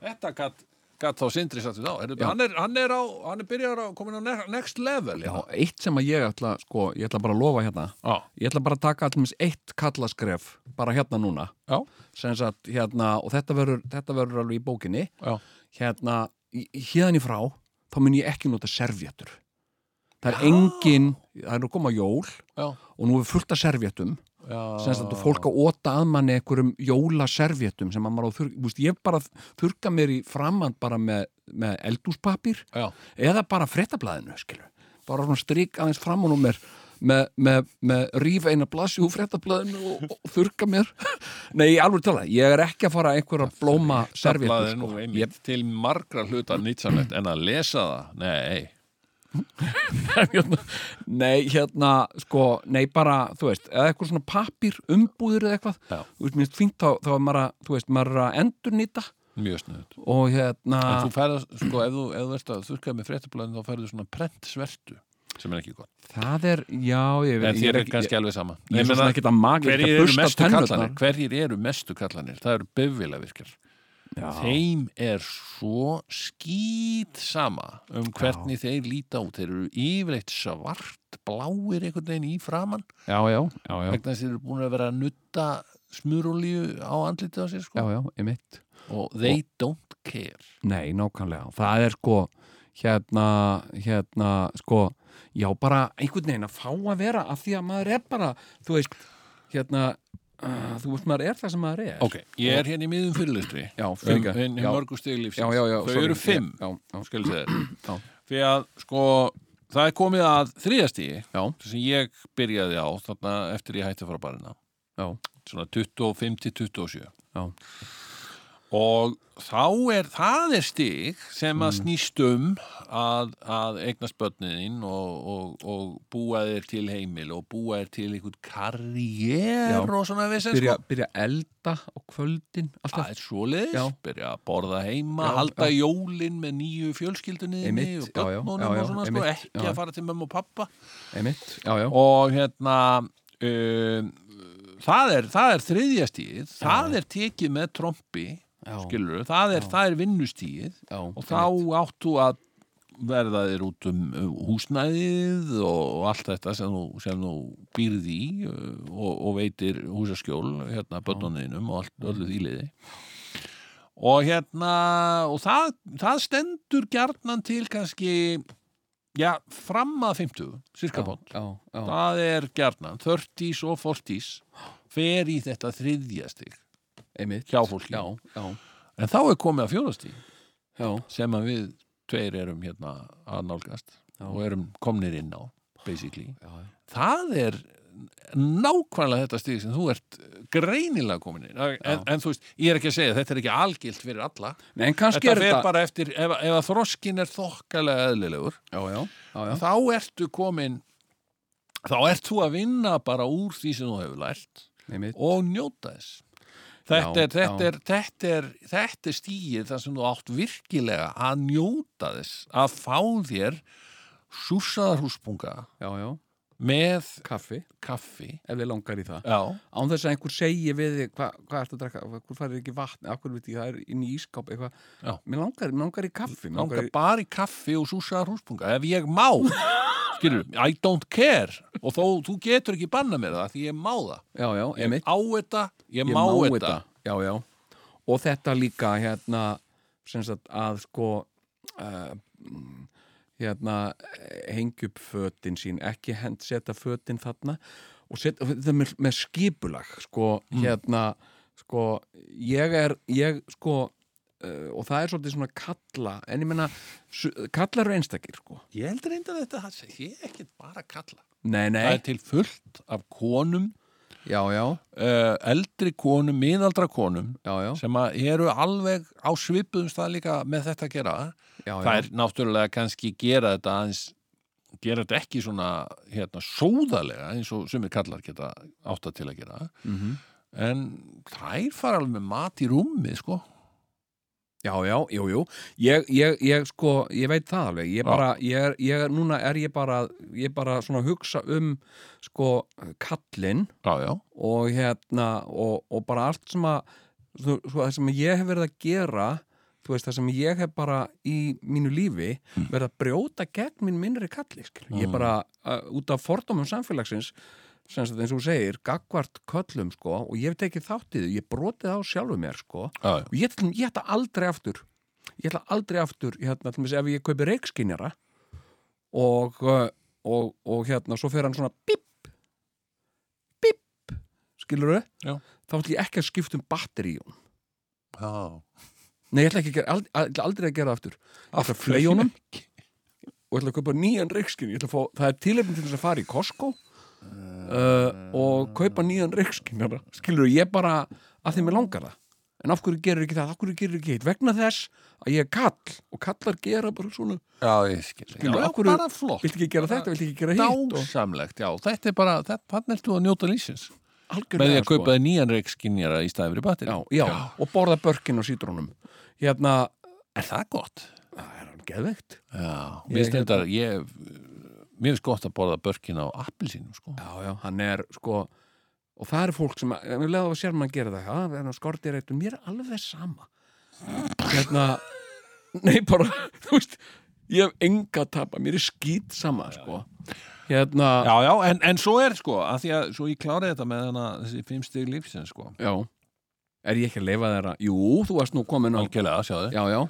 Þetta gatt gat þá sindri satt við á. Heyrðu, Hann er, hann er, á, hann er byrjar að komin á ne- next level. já, eitt sem að ég ætla sko, ég ætla bara að lofa hérna Já, ég ætla bara að taka allmest eitt kallaskref bara hérna núna já, sem sagt, hérna, og þetta verður, þetta verður alveg í bókinni já. hérna, í- hérna í frá þá mun ég ekki nota servjötur það er engin, það er nú koma jól já, og nú er fullt af servjötum já. sem sagt, og fólk að óta að manni einhverjum jólaservjötum sem að maður á þurr, veist, ég bara þurka mér í framann bara með, með eldúspapir Já, eða bara fréttablaðinu, skilu bara svona strik aðeins fram og nú mér með, með, með ríf eina blassi úr fréttablaðinu og, og þurka mér nei, ég alveg tala, ég er ekki að fara einhverja blóma Sérfjöld, servjötu, sko. sko einmitt, Til margra hluta nýtsamlegt en að lesa það, nei, hérna, nei, hérna, sko, nei, bara, þú veist, eða eitthvað svona pappir, umbúður eða eitthvað, Já. þú veist, minnst fínt þá, þá er maður að, þú veist, maður er að endurnýta mjög snuðut. og hérna, En þú færðu, sko, ef þú, ef þú ert að þurrkað með fréttablaðin þá færðu svona prentsvertu sem er ekki gott. það er, já, ég En veit, þér ég er kannski alveg sama ég er svo sem ekki að magi, hverjir ekki að eru bursta mestu kallanir? tennurnar. Hverjir eru mestu kallanir? Það eru böfvilavirkjar Já, Þeim er svo skýt sama um hvernig þeir líta út Þeir eru yfirleitt svart bláir einhvern veginn í framann já, já, já, já, vegna þess að þeir eru búin að vera að nutta smurolíu á andlitið á sér já, sko já, ég mitt, og they don't care Nei, nákvæmlega. Það er sko hérna, hérna sko, já bara einhvern veginn að fá að vera af því að maður er bara, þú veist hérna, uh, þú veist maður er það sem maður er. Ok, ég er hérna í miðum fyrirlistri Já, um, fyrir um, ekki. Já, mörgum stiglífsins já, já, já. Þau sorry. eru fimm, Já, já, já. skilur þér Já. Því að, sko, það er komið að þriðastíi Já, sem ég byrjaði á þarna eftir ég hætti að fara á barina já, svona 25 til 27 já. og þá er, það er stig sem Mm. að snýst um að, að eignast börniðin og, og, og búa þér til heimil og búa þér til einhvern karriér Já. og svona sko. vissin Byrja, byrja að elda á kvöldin, alltaf. Það er svoleiðis, Já. byrja að borða heima, Já, halda jólin með nýju fjölskyldunniðinni Einmitt, og já, já, börnunum já, já, og svona sko, einmitt, ekki já. að fara til mömmu og pappa. Einmitt, já, já. Og hérna, um, það er, það er þriðja stíð, það er tekið með trompi, Já. skilur, það er, það er vinnustíð já, og þá áttu að verða þér út um um húsnæðið og allt þetta sem þú, sem þú býrð í uh, og, og veitir húsaskjól hérna börnunniðinum og allt, öllu þýliði og hérna og það, það stendur gjarnan til kannski já, fram að 50 já, cirka bótt já, já, já, það er gjarnan, 30s og 40s fer í þetta þriðja stig einmitt. hjá fólki. Já, já, en þá er komið að fjórastig já, sem að við tveir erum hérna að nálgast Já. og erum komnir inn á, basically. já, já. Það er nákvæmlega þetta stig sem þú ert greinilega komin inn. En, en þú veist, ég er ekki að segja, þetta er ekki algilt fyrir alla. Nei, en kannski Þetta er fer þetta. bara eftir, ef, ef að þroskin er þokkalega eðlilegur, Já, já, já, já. þá ertu komin, þá ert þú að vinna bara úr því sem þú hefur lært Einmitt, og njóta þess. Þetta Já, er, já. þetta, er, þetta, er, þetta er stíið þar sem þú átt virkilega að njóta þess, að fá þér súsaðar húspunga já, já. með Kaffi, kaffi. ef við langar í það. Já, án þess að einhver segi við þig hva, hvað ertu að drakka, hvað farið ekki vatn akkur veit ég, það er inn í ískáp eitthvað Já. mér langar, mér langar í kaffi mér langar langar í, bara í kaffi og súsaðar húspunga ef ég má, skilur, I don't care og þó, þú getur ekki banna mér það því ég má það. já, já, Ég emitt, á þetta, ég, ég má, þetta. já, já, og þetta líka hérna, sem sagt að sko uh, hérna hengja upp fötin sín, ekki hend setja fötin þarna og setja þetta með, með skipulag sko, Mm. hérna sko, ég er, ég sko uh, og það er svolítið svona kalla en ég meina, su- kallar eru einstakir sko Ég heldur einnig að þetta, ég er ekkert bara að kalla. Nei, Það nei, er til fullt af konum já, já, uh, eldri konum, miðaldra konum já, já, sem að eru alveg á svipuðum stað líka með þetta að gera já, það já, er náttúrulega kannski gera þetta aðeins gera þetta ekki svona hérna, sóðalega eins og sumir kallar geta átta til að gera Mhm. en þær fara alveg með mat í rúmi sko já, já, jú, jú, ég, ég, ég, sko, ég veit það alveg, ég Já. bara, ég er, ég er, núna er ég bara, ég bara svona að hugsa um, sko, kallinn já, já, og hérna, og, og bara allt sem að, svo, svo það sem ég hef verið að gera, þú veist, það sem ég hef bara í mínu lífi verið að brjóta gegn minn minnri kalli, skil, ég bara, uh, út af fordómum samfélagsins, sem sagt eins og þú segir, gagvart köllum, sko, og ég hef tekið þátt í því, ég brotið á sjálfu mér, sko, já, já. og ég ætla, ég ætla aldrei aftur ég ætla aldrei aftur hérna, til dæmis ef ég kaupi reikskinjara og, uh, og, og hérna svo fer hann svona bíp bíp skilur Já. þá ætla ég ekki að skipta um batteri í hún já. nei, ég ætla, ekki að gera, ald- ætla aldrei að gera það aftur ég ætla að flei honum og ætla að kaupa nýjan reikskinj Ég ætla að fá- það er tilefni til þess að fara í Costco uh, og kaupa nýjan reikskinjara skilur ég bara að þeim er langar það en af hverju gerir ekki það, af hverju gerir ekki hitt vegna þess að ég er kall og kallar gera bara svona, já, ég skil já, Skilur, já, af hverju- bara flott vilt ekki gera þetta, vilt ekki gera hitt og dásamlegt, já, þetta er bara þannig ertu að njóta lýsins með því algjörlega að kaupa þér nýjan reikskinjara í staði fyrir batteri sko. já, já, og borða börkin og sítrónum hérna, er það gott? það er hann geðveikt Já, Ég mér finnst hérna- þetta, ég, mér finnst gott að borða börkin á appelsínum, sko. já, já, hann er sko og það er fólk sem, ef við leðum að sér mann gera það, já, það er hann skortir eitt mér er alveg sama hérna, nei bara þú veist, ég hef enga að tapa mér er skýt sama, sko hérna, Já, já, en, en svo er, sko, að því að, svo ég kláraði þetta með hana, þessi fimm stig lífsins, sko. já, er ég ekki að leifa þeirra jú, þú varst nú komin á algjörlega, sjáðu já, já,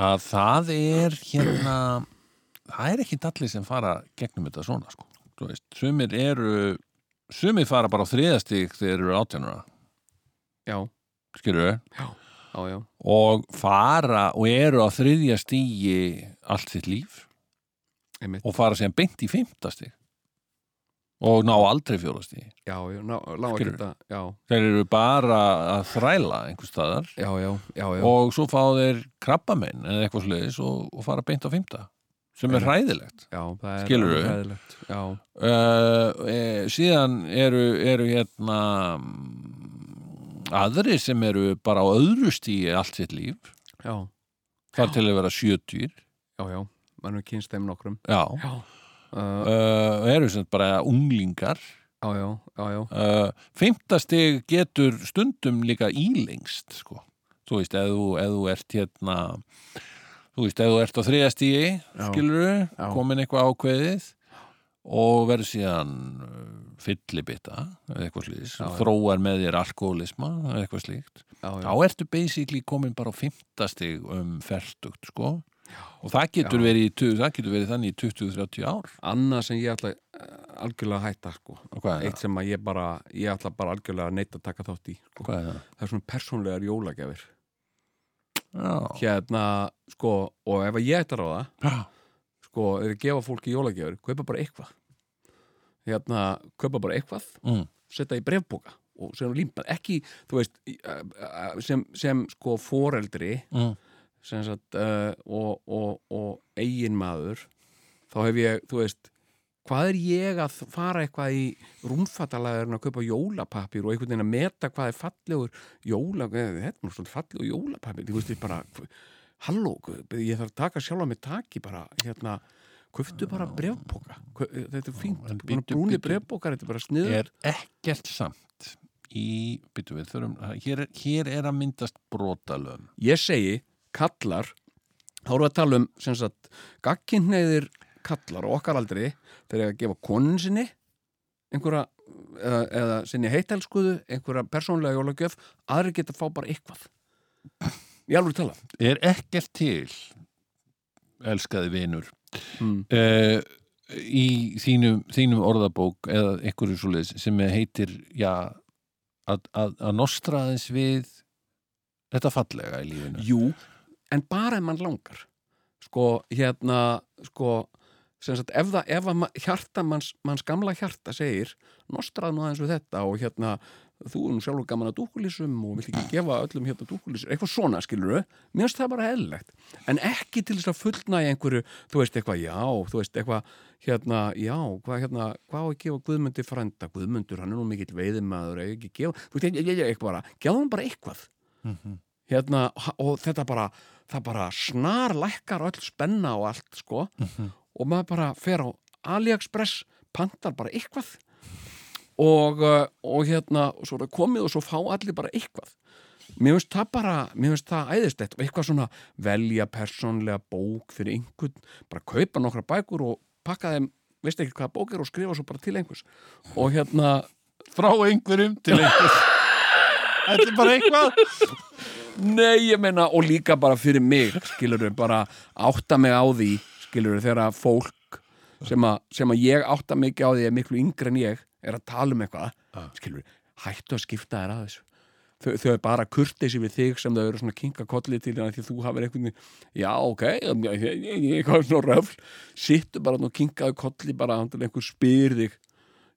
að það er hérna það er ekki allir sem fara gegnum þetta svona sko Þú veist, sumir eru sumir fara bara á þriðastík þegar þeir eru átjánara já, skilur við já, já og fara og eru á þriðja stígi allt þitt líf Einmitt. og fara sem beint í fimmtastíg og ná aldrei fjórastígi já, já, ná, lág að Skilurðu? geta já, þeir eru bara að þræla einhvers staðar já, já, já, já, og svo fá þeir krabbamenn eða eitthvað sliðis og, og fara beint á fimmta sem er Einmitt. hræðilegt já það er Skilurðu? alveg hræðilegt. já, uh, e, síðan eru, eru hérna mm, aðrir sem eru bara á öðru stíi allt sitt líf já, þar til að vera sjötýr já, já mannum kynst þeim nokkrum já, já, uh, uh, eru sem sagt bara unglingar já, já, já, já uh, fimmtastig getur stundum líka ílengst sko. þú veist, ef þú, ef þú ert hérna þú veist, ef þú ert á þriðastíi Já. skilur Já. komin eitthvað ákveðið og verður síðan uh, fyllibitta eða eitthvað slíkt, Já, já. þróar með þér alkoholisma eða eitthvað slíkt já, já, þá ertu basically komin bara á fimmtastig um ferstugt sko. og það getur, Já. verið, í tu- það getur verið þannig í 20-30 ár annað sem ég ætla eh, algjörlega að hætta sko. og hvað er eitt það? sem að ég bara ég ætla bara algjörlega að neitt að taka þátt í sko. Hvað er það? það er svona persónlegar jólagjafir Já. hérna, sko, og ef að ég ætla ráða Já. sko, er að gefa fólki jólagjafir kaupa bara eitthvað hérna, kaupa bara eitthvað Mm. setja í brefbóka og sem límpað ekki, þú veist í- eh, eh, sem, sem sko foreldri Mm. sem sagt, uh, og, og, og eigin maður þá hef ég, þú veist hvað er ég að fara eitthvað í rúmfattalæðurinn að kaupa jólapapir og einhvern veginn að meta hvað er fallegur jóla, eh, þetta er nú svolítið fallegur jólapapir þú veist, ég bara halló, ég þarf að taka sjálf að mig taki bara, hérna, köftu bara brefbóka, þetta er fínt bara en bíddu, brúni bíddu. brefbókar, þetta er bara sniður er ekkert samt í, byttu við, þurfum hér, er- hér er að myndast brotalöfum ég segi kallar þá erum við að tala um sem sagt gagkinneiðir kallar á okkar aldri þegar að gefa konin sinni einhverja eða, eða sinni heitelskuðu, einhverja persónlega jólagjöf, aðri geta að fá bara eitthvað ég alveg tala er ekkert til elskaði vinur mm. uh, í þínum, þínum orðabók eða einhverju svoleiðis sem heitir já, að, að, að nostra aðeins við þetta fallega í lífinu jú, en bara ef mann langar sko, hérna sko, sem sagt, ef það ef að ma- hjarta manns, manns gamla hjarta segir, nostrað nú aðeins við þetta og hérna, þú er nú sjálfur gaman að dúkulísum og vilt ekki gefa öllum hérna dúkulísum, eitthvað svona skilur þau minnst það bara eðlilegt, en ekki til þess að fullnæja einhverju, þú veist eitthvað já, þú veist eitthvað, hérna já, hvað hérna, hvað á að gefa Guðmundi frænda Guðmundur, hann er nú mikill veiðimaður eigi ekki gefa, þú veist, ég, ég, ég, eitthvað bara gefðu hann bara eitthvað hérna, ha- og þetta bara, það bara snar lækkar öll spenna og allt, sko, og maður bara fer á AliExpress, pantar bara eitthvað og, uh, og hérna, og svo er það komið og svo fá allir bara eitthvað. Mér finnst það bara, mér finnst það æðistett, eitthvað svona velja persónlega bók fyrir einhvern, bara kaupa nokkra bækur og pakka þeim, veist ekki hvað bók er og skrifa svo bara til einhvers. Og hérna, frá einhverjum til einhvers þetta er bara eitthvað Nei, ég meina, og líka bara fyrir mig, skilur bara átta mig á því, skilur þegar að fólk sem að, sem að ég átta mig ekki á því er miklu yngri en ég er að tala um eitthvað, Ah. skilur hættu að skipta þér að þessu. Þau, þau er bara kurtið sér við þig sem þau eru svona kinka kollið til hérna því að þú hafir einhvern veginn, já, ok, ég- ég ég- ég- ég- eitthvað svona röfl, sittu bara þarna og kinkaðu kollið bara hann til einhver spyr þig,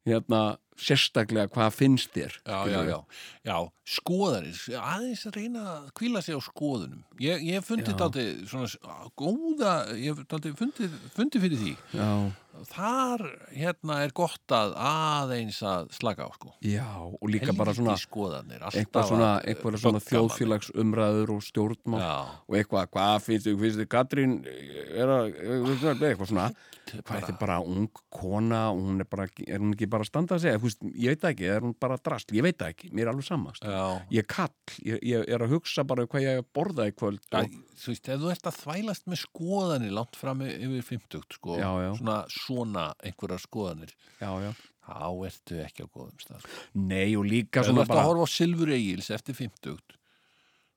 hérna, sérstaklega hvað finnst þér. já, já, skilurðu. já, já, skoðarir aðeins að reyna að kvíla sig á skoðunum ég, ég hef fundið Já. dálítið svona s- á, góða, ég hef dálítið fundið, fundið fyrir því, Já. þar hérna er gott að aðeins að slaka á sko Já, og líka bara svona Helvíti skoðanir, alltaf eitthvað svona, að, eh, eitthvað svona bögga þjóðfélagsumræður og stjórnmál manni. og eitthvað, hvað finnst þið, finnst þið Katrín eh, er að, eitthvað svona hvað þetta er bara ung kona og hún er bara, er hún ekki bara að standa að segja Þú veist, ég veit það ekki, er hún bara drast ég veit það ekki, mér er alveg samast já, já ég er kall, ég, ég er að hugsa bara um hvað ég er að borða í kvöld Æ, og, þú veist, ef þú ert að þvælast með skoðanir langt fram yfir 50 sko, Já, já. svona svona einhverjar skoðanir já, já, þá ertu ekki á góðum stað sko. Nei og líka ef þú svona ert að bara horfa á Silfur Egils eftir 50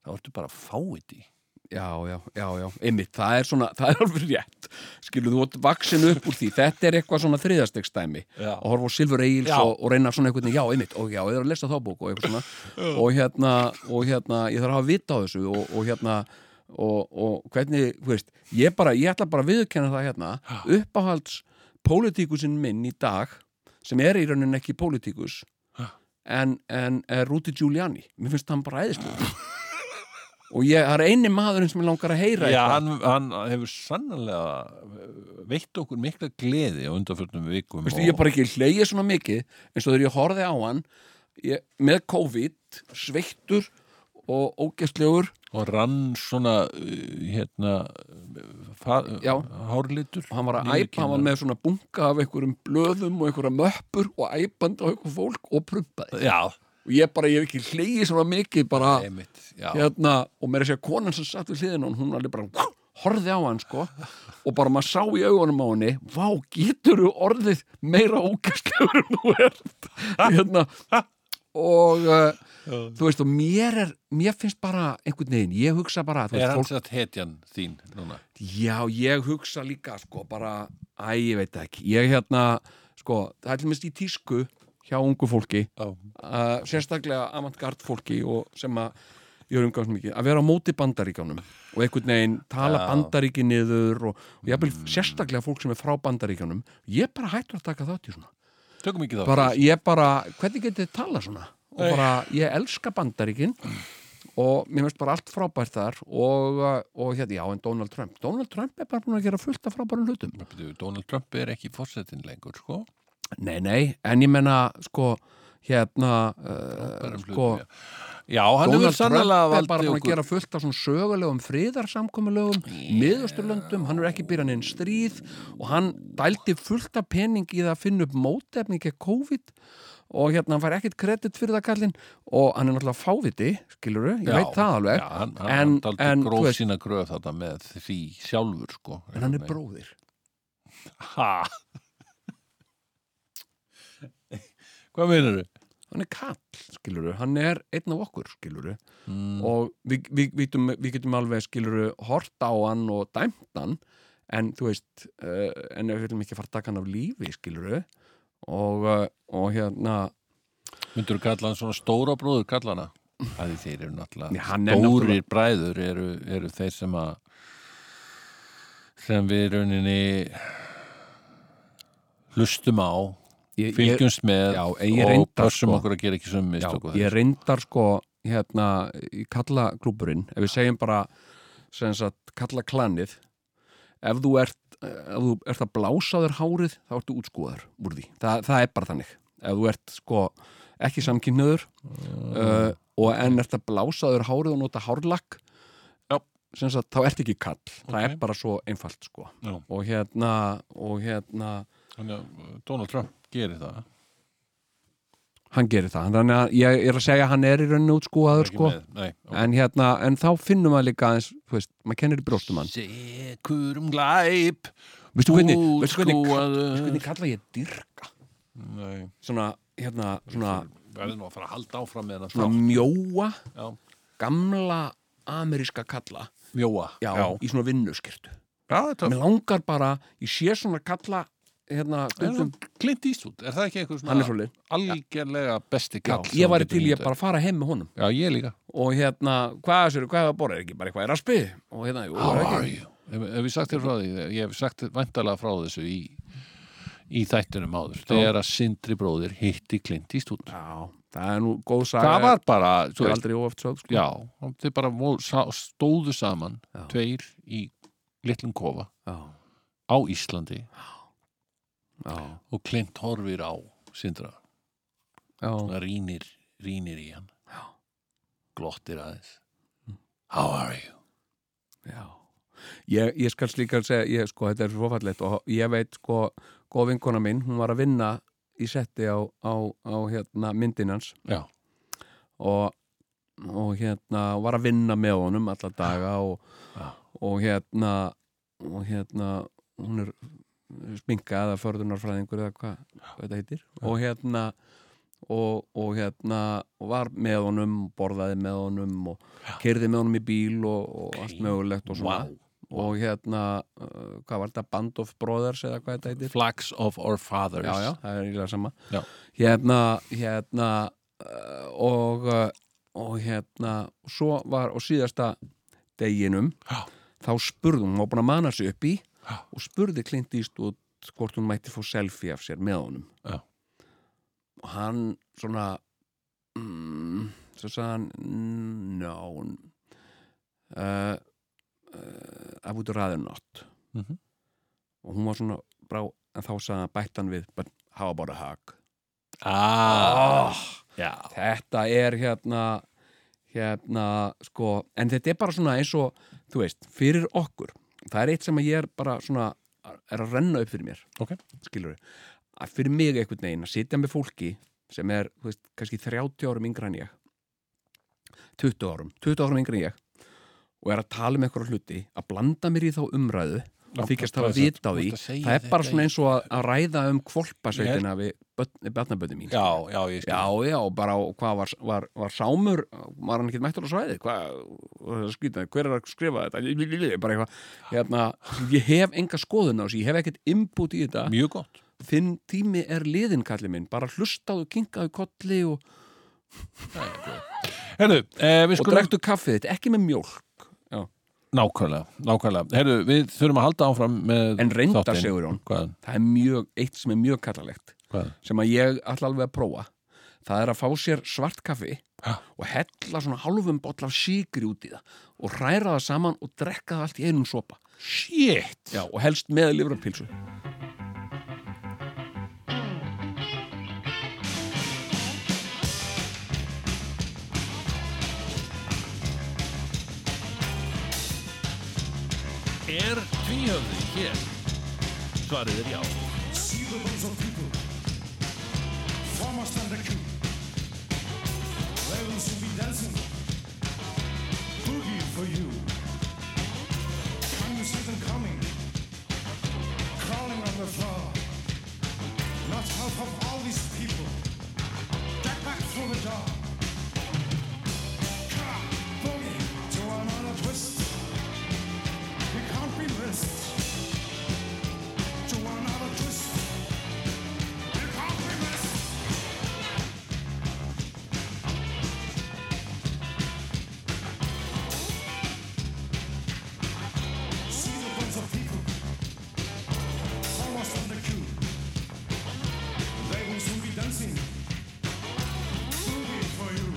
þá ertu bara fáið í Já, já, já, já, einmitt, það er svona það er alveg rétt, skilur þú ert vaksin upp úr því, þetta er eitthvað svona þriðastegstæmi Já. og horfa á Silfur Egils Já. og, og reyna svona einhvern veginn, já, einmitt, og já, ég er að lesa þá bók og eitthvað svona og hérna, og hérna, ég þarf að hafa vita á þessu og, og hérna og, og hvernig, þú veist, ég bara ég ætla bara að viðurkenna það hérna uppáhalds pólitíkusinn minn í dag sem er í rauninni ekki pólitíkus en, en er Rúti Giuliani mér finnst hann bara æðislega og ég, það er eini maðurinn sem ég langar að heyra Já, eitthvað. hann, hann hefur sannlega veitt okkur mikla gleði á undanfjörnum vikum Veistu, ég er bara ekki hleyið svona mikið eins og þegar ég horfði á hann ég, með COVID, sveittur og ógæstlegur og rann svona uh, hérna fa- Já. hárlitur og hann var að niður æpa, hann var kinnina. með svona bunga af einhverjum blöðum og einhverja möppur og æpandi á einhver fólk og prumpaði Já, og ég bara, ég hef ekki hleyið svona mikið bara, einmitt já. hérna, og mér er að segja konan sem satt við hliðin og hún alveg bara horfði á hann sko og bara maður sá í augunum á henni vá, getur þú orðið meira ógæstlegur en þú ert hérna og uh, þú veist og mér er mér finnst bara einhvern veginn ég hugsa bara, þú Er veist, hann fólk satt hetjan þín núna? Já, ég hugsa líka sko bara, æ, ég veit það ekki ég hérna, sko, það er til minnst í tísku hjá ungu fólki Já. uh, sérstaklega avantgard fólki og sem að ég er umgangst mikið, að vera á móti bandaríkjánum og einhvern veginn tala Já. Mm. bandaríki niður og, og jafnvel sérstaklega fólk sem er frá bandaríkjánum ég er bara hættur að taka þátt í svona Tökum ekki þá bara, ég bara, hvernig getið þið tala svona og Nei. bara, ég elska bandaríkin og mér finnst bara allt frábært þar og, uh, og hérna, já, en Donald Trump Donald Trump er bara búin að gera fullt af frábærum hlutum Bíddu, Donald Trump er ekki fórsetin lengur, sko nei, nei, en ég menna, sko hérna, uh, Bara um sko hlutum, Já, Já, hann Donald hefur Trump er sannlega bara valdið búin að okkur gera fullt af svona sögulegum friðarsamkomulögum, miðusturlöndum hann er ekki byrjan einn stríð og hann dældi fullt af pening í það að finna upp mótefni ekki COVID og hérna hann fær ekkit kredit fyrir það kallinn og hann er náttúrulega fáviti skiluru, ég Já, veit það alveg Já, hann, hann, En- hann taldi en, þú gróf veist- sína gröf þetta með því sjálfur, sko en hann er bróðir Ha Hvað meinar þau? hann er kall, skiluru, hann er einn af okkur, skiluru Mm. og við, við, vitum, við getum alveg skiluru hort á hann og dæmt hann en þú veist uh, en við viljum ekki fara að taka hann af lífi skiluru og, uh, og hérna Myndur þú kalla hann svona stóra bróður kalla hana? Það er þeir eru Já, náttúrulega hann er stórir bræður eru, eru þeir sem að sem við rauninni hlustum á ég, ég, fylgjumst með já, ég og reyndar, pössum sko. okkur að gera ekki já, sömu mistök og ég þess. reyndar sko hérna í kalla klúburinn ef við segjum bara sem sagt kalla klanið ef þú ert ef þú ert að blása á þér hárið þá ertu útskúðar úr því, Þa, það er bara þannig ef þú ert sko ekki samkynniður Ah. uh, og en ert að blása á þér hárið og nota hárlakk Já. sem sagt þá ert ekki kall það Ok. er bara svo einfalt sko Já. og hérna, og hérna Þannig að uh, Donald Trump gerir það hann gerir það, þannig að ég er að segja að hann er í rauninu útskúðaður Ekki sko með, nei, ok. en hérna, en þá finnum maður líka aðeins, þú veist, maður kennir í bróstum hann Sekur um glæp veistu hvernig, veistu hvernig, útskúfaður. veistu hvernig kalla ég dyrka Nei, svona, hérna, svona, verður nú að fara að halda áfram með svona þarna mjóa Já. gamla ameríska kalla Mjóa já, í svona vinnuskirtu Já, þetta mér langar bara, ég sé svona kalla hérna, stundum, Clint Eastwood, er það ekki eitthvað hann er svona svolítið algjörlega besti Já, kall sem ég þú var getur til ég ímyndað bara að fara heim með honum þér? Já, ég líka og hérna, hvað er þessu, hvað er að borða er ekki bara eitthvað er að spið og hérna, jú, er ekki you? Hef, hef ég sagt þér frá því, ég hef sagt væntalega frá þessu í, í þættunum áður þegar að Sindri bróðir hitti Clint Eastwood Já, það er nú góð saga Það var bara, Ég þú er veist, aldrei óaft sögð sko. já þeir bara vo- sá- stóðu saman Já. tveir í litlum kofa Já, á Íslandi já, og Clint horfir á Sindra já. svona rínir, rínir í hann glottir aðeins Mm. How are you? Já. Ég, ég skal slíka að segja, ég, sko, þetta er svo fallegt og ég veit, sko, góð vinkona mín, hún var að vinna í setti á, á, á hérna, myndin hans Já. og, og hérna, var að vinna með honum alla daga og, Já. og hérna, og hérna, hún er sminka eða förðunarfræðingur eða hvað hvað þetta heitir og hérna og, og hérna og var með honum, borðaði með honum og kerði með honum í bíl og, og allt mögulegt og svona Vá. og hérna, uh, hvað var þetta Band of Brothers eða hvað þetta heitir Flags of Our Fathers já, já, það er ílega sama Já. hérna, hérna uh, og, uh, og hérna og svo var á síðasta deginum Já. þá spurði hún, hún var búin að mana sig upp í Já. og spurði Clint Eastwood hvort hún mætti fá selfie af sér með honum Já. og hann svona mm, svo sagði hann mm, no uh, uh, I would rather not Mhm. og hún var svona brá en þá sagði hann bættan við but how about a hug ah, já. þetta er hérna hérna sko en þetta er bara svona eins og þú veist, fyrir okkur það er eitt sem að ég er bara svona er að renna upp fyrir mér Ok. skilur að fyrir mig einhvern veginn að sitja með fólki sem er, þú veist, kannski 30 árum yngra en ég 20 árum, 20 árum yngra en ég og er að tala um einhverja hluti að blanda mér í þá umræðu og þykjast hafa vita á því það er bara svona eins og að, að ræða um kvolpasveitina við batnaböndi mín já, já, ég skil Já, já, bara á- hvað var, var, var sámur, var hann ekki mættur á svæðið, hvað, skýtnaði, hver er að skrifa þetta, Lililili, bara eitthvað, hérna, ég hef enga skoðun á þessu, ég hef ekkert inbútt í þetta, mjög gott þinn tími er liðin, kallið minn, bara hlustaðu, kinkaðu kolli og, Herðu, eh, við og skulum drektu kaffið þitt, ekki með mjólk, já, Nákvæmlega, nákvæmlega Herðu, við þurfum að halda áfram með en reynda, þáttinn. segur hún, Hvað, það er mjög, eitt sem er mjög kallalegt, hvað? sem að ég ætla alveg að prófa, það er að fá sér svart kaffi Ha? og hella svona hálfum boll af síkri út í það og hræra það saman og drekka það allt í einum sopa Shit Já, og helst með lifrarpilsu Er tvíhöfði hér? Svarið er já See the ways of people, farmers and the king. They will soon be dancing, boogie for you. Can you see them coming, crawling on the floor? Not half of all these people. Get back through the door. Car, boogie to another twist. We can't be missed to another twist. You can't be missed. See the bunch of people, almost on the queue. They will soon be dancing, boogie for you.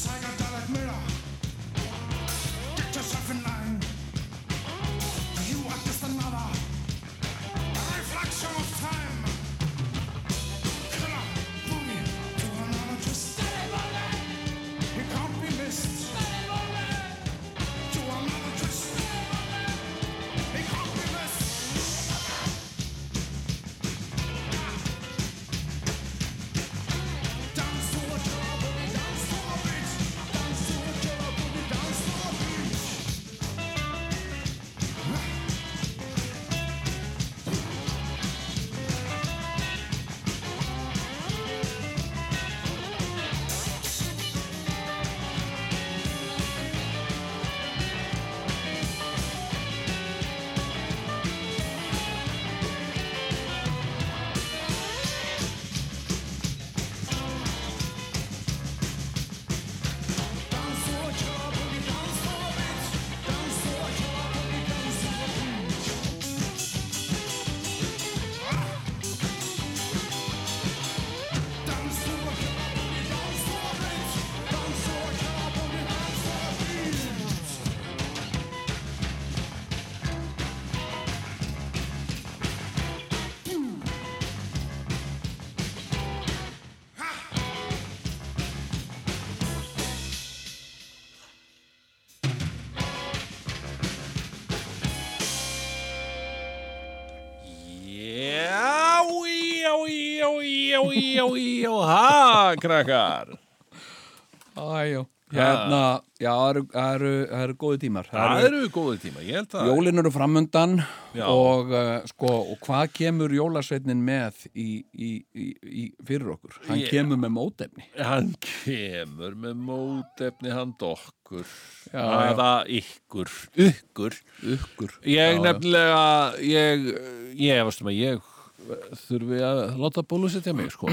Psychedelic mirror, get yourself in line. You are just another reflection of time. Killer, boogie, to another twist. You can't be missed. To another twist. You can't be missed. Dance to a killer, boogie, dance to a beat. Dance to a killer, boogie, dance to a beat. Já, já, já, já, já, já, ha, krakkar Æjó Hérna, já, það eru, það eru, það eru góði tímar Það eru góðu tíma, ég held að Jólin eru framundan Já. og, uh, sko, og hvað kemur jólasveitnin með í, í, í, í fyrir okkur? Hann Ég- kemur með mótefni. Hann kemur með mótefni hand okkur Já, aða ykkur ykkur Ukkur. Já, Ég já. nefnilega ég, ég efast um að ég þurfi að láta bólusetja mig sko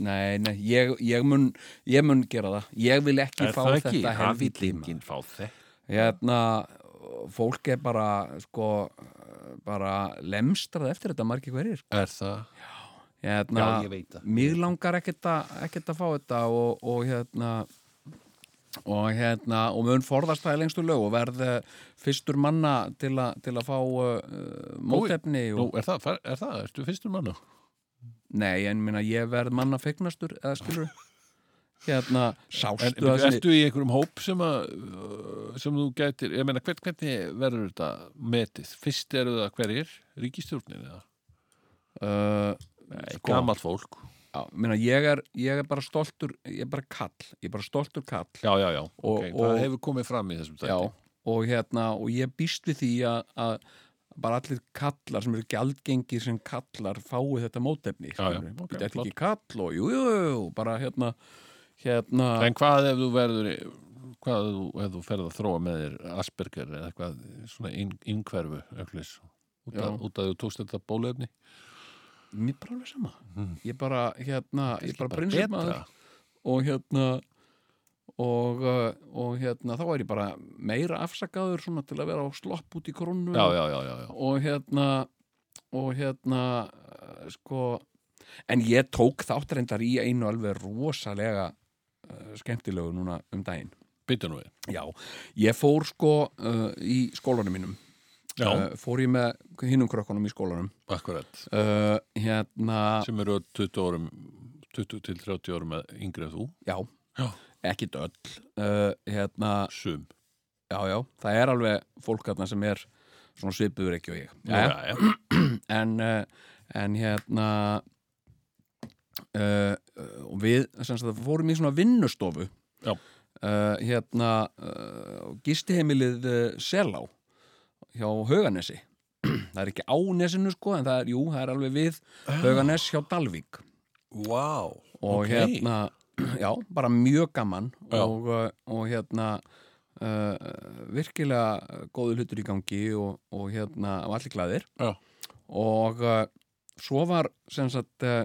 Nei, nei, ég, ég, mun, ég mun gera það. Ég vil ekki fá þetta Hann helvi vill tíma. enginn fá þetta Hérna, fólk er bara, sko, bara lemstrað eftir þetta margir hverjir. Er það? Hérna, Já, ég veit það. Mér langar ekkert að, ekkert að fá þetta og, og hérna, og hérna, og mun forðast það í lengstu lög og verð eh, fyrstur manna til, a, til að fá uh, mótefni Nú, og, er það, fer- er það, ertu fyrstur mann nei, en minna, ég verð manna fegnastur, eða skilur hérna, En sástu byrju, að ertu í einhverjum hóp sem að uh, sem þú gætir, ég meina hvern, hvernig verður þetta metið? Fyrst eru það hverjir? Ríkistjórnin eða? uh, Sko. Gamalt fólk já, meina, ég, er, ég er bara stoltur ég er bara kall, ég er bara stoltur kall Já, já, já, Og- ok, og- það hefur komið fram í þessum já, tætti og hérna og ég býst við því að, að bara allir kallar sem eru gjaldgengir sem kallar fái þetta mótefni Já, já, skilurðu. ok, þetta er ekki kall og jú, jú, jú bara hérna, hérna En hvað ef þú verður hvað ef þú, ef þú ferð að þróa með þér Asperger eða eitthvað svona inn, innkverfu öklis út, Já. að- út að þú tókst þetta bólefni mér bara alveg sama Hmm. ég bara, hérna, ég bara prinsip maður betra og hérna og, uh, og hérna þá er ég bara meira afsakaður svona til að vera á slopp út í krónu Já, já, já, já, já og hérna og hérna eh, sko en ég tók þátt reyndar í einu alveg rosalega uh, skemmtilegu núna um daginn Byttu nú við já, ég fór sko uh, í skólanum mínum Já, Eh, fór ég með hinnum krökkunum í skólanum akkurat uh, hérna, sem eru 20 árum 20 til 30 árum með yngri en þú já, Já, ekkit öll uh, hérna, sum já, já, það er alveg fólk þarna sem er svona svipuður ekki og ég Jæja. já, já. en, eh, en hérna uh, og við sem sagt, fórum í svona vinnustofu Já. Eh, hérna uh, gistiheimilið uh, Selá hjá Hauganesi það er ekki á nesinu sko en það er, jú, það er alveg við Hauganes hjá Dalvík Wow, og Ah. ok. hérna, já, bara mjög gaman Já. og, uh, og hérna uh, virkilega góðu hlutur í gangi og, og hérna, og allir glæðir Já, og uh, svo var sem sagt uh,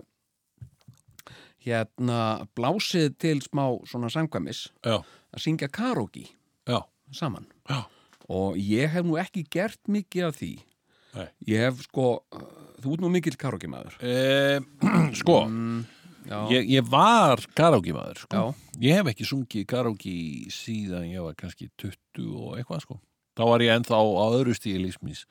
hérna blásið til smá svona samkvæmis já, að syngja karaoke já, saman já og ég hef nú ekki gert mikið af því Nei. ég hef sko uh, þú ert nú mikill karaoke maður Eh, sko, Mm, já, ég, ég var karaoke maður sko. Já. ég hef ekki sungið karaoke síðan ég var kannski 20 og eitthvað sko. þá var ég ennþá á öðru stíði lífsmís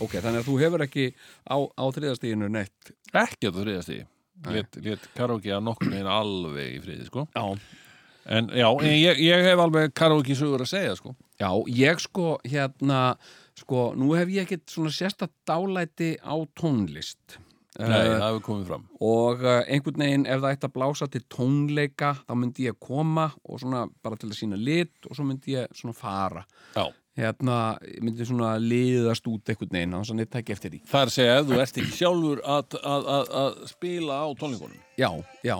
ok, þannig að þú hefur ekki á, á þriðastíðinu neitt ekki á þriða stíði lét, lét karaoke að nokkur einn alveg í friði sko. já, en já, en ég, ég hef alveg karaoke sögur að segja sko. já ég sko hérna sko, nú hef ég ekkit svona sérsta dálæti á tónlist Eh, Nei, það hefur komið fram og eh, einhvern veginn ef það ætti að blása til tónleika þá myndi ég koma og svona bara til að sína lit og svo myndi ég svona fara já. hérna ég myndi svona liðast út einhvern veginn þannig að ég tæki eftir því það er að segja ef þú ert ekki sjálfur að, að, að, að spila á tónleikunum já, já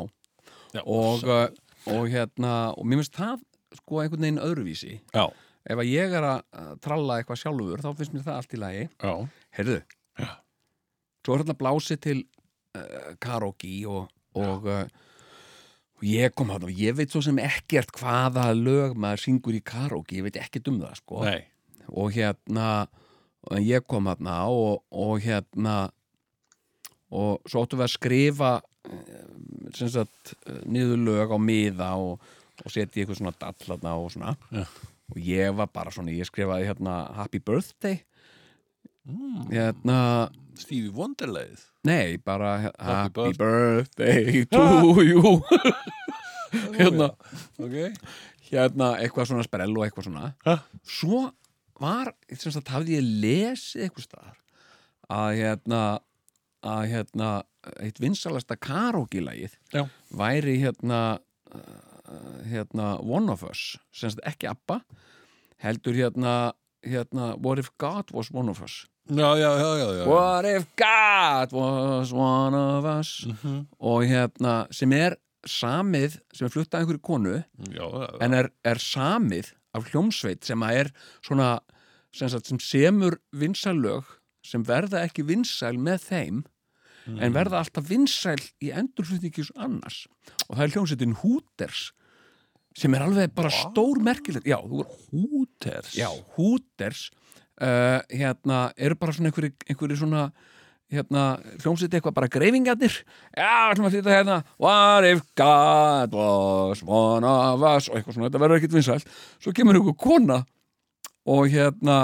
já, og, eh, og hérna og mér finnst það sko einhvern veginn öðruvísi já, ef að ég er að eh, tralla eitthvað sjálfur þá finnst mér það allt í lagi já, heyrðu svo er hérna blásið til uh, karaoke og, og uh, og ég kom hann og ég veit svo sem ekkert hvaða lög maður syngur í karaoke, ég veit ekkert um það sko. nei og hérna en ég kom hann og, og hérna og svo áttum við að skrifa eh, sem sagt eh, niður lög á miða og, og setja í eitthvað svona dall þarna og svona Já. og ég var bara svona, ég skrifaði hérna Happy Birthday mm, hérna Stevie Wonderleið Nei, bara he- Happy Happy birthday to you Hérna, Oh, ok hérna eitthvað svona sprell og eitthvað svona Ha? Svo var, sem sagt, hafði ég lesið eitthvað staðar að hérna að hérna, eitt vinsalasta karókilægið Já. væri hérna uh, hérna One of Us, sem sagt ekki Abba heldur hérna, hérna What if God was one of us já, já, já, já, já. What if God was one of us Mhm. og hérna sem er samið, sem er flutt af einhverju konu já, já, en er, er samið af hljómsveit sem að er svona sem, sagt, sem semur vinsallög sem verða ekki vinsæl með þeim en verða alltaf vinsæl í endurflutningis annars og það er hljómsveitin Hooters sem er alveg bara stór merkilegt já, þú er Hooters já, Hooters uh, hérna, eru bara svona einhverju, einhverju svona hérna, hljómsveit eitthvað bara greifingarnir já, ætlum að flytta hérna what if God was one of us og eitthvað svona, þetta verður ekkit vinsælt svo kemur einhver kona og hérna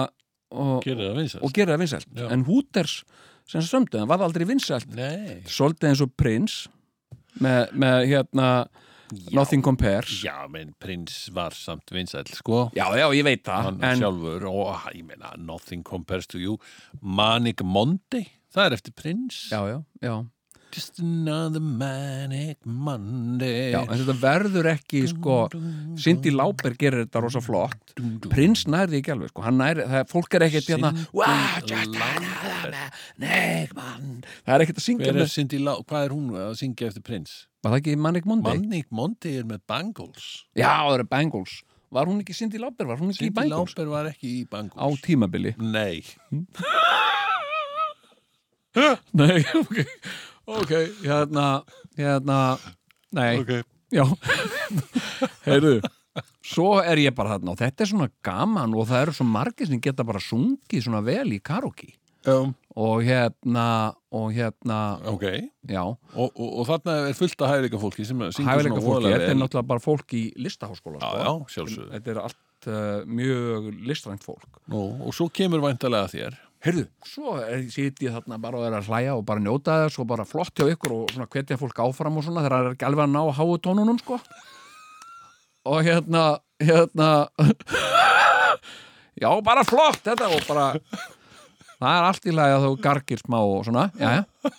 og, Gerir það vinsast og gerir það vinsælt Já. en Hooters sem sömdu, það var aldrei vinsælt Nei svolítið eins og Prince með, með hérna Nothing Compares Já, menn prins var samt vinsæll, sko já, já, ég veit það Hann sjálfur og, ah, ég meina, nothing compares to you Manic Monday, það er eftir prins já, já, já Just another manic Monday Já, en þetta verður ekki sko, Cindy Lauper gerir þetta rosa flott Prins nærði ekki alveg sko, hann nærði, það, er- fólk er ekkert hérna Cyndi "Wow, just Lauper." another man, Nei, mann Það er ekkert að syngja Hver með er Cindy Lá, hvað er hún að syngja eftir prins? Var það ekki Manic Monday? Manic Monday er með Bangles Já, það eru Bangles Var hún ekki Cindy Lauper? Var hún ekki í Cindy Bangles? Lauper var ekki í Á Bangles tímabili Nei Nei, ok Ok, hérna, hérna Nei, já Heyrðu Svo er ég bara þarna og þetta er svona gaman og það eru svo margir sem geta bara sungið svona vel í karaoke um, og hérna og hérna, Ok já og, og, og þarna er fullt af hæfileika fólki sem syngur hæfileika svona fólki, voðalega þetta er vel. náttúrulega bara fólk í listaháskóla Já, sko. já, sjálfsögðu þetta er allt uh, mjög listrænt fólk Nú, og svo kemur væntalega þér heyrðu, svo er- sit ég þarna bara og er að hlæja og bara njóta þess og bara flott hjá ykkur og svona hvetja fólk áfram og svona þegar það er ekki alveg að ná háu tónunum sko og hérna hérna já, bara flott þetta og bara það er allt í lagi að þú gargir smá og svona, já, já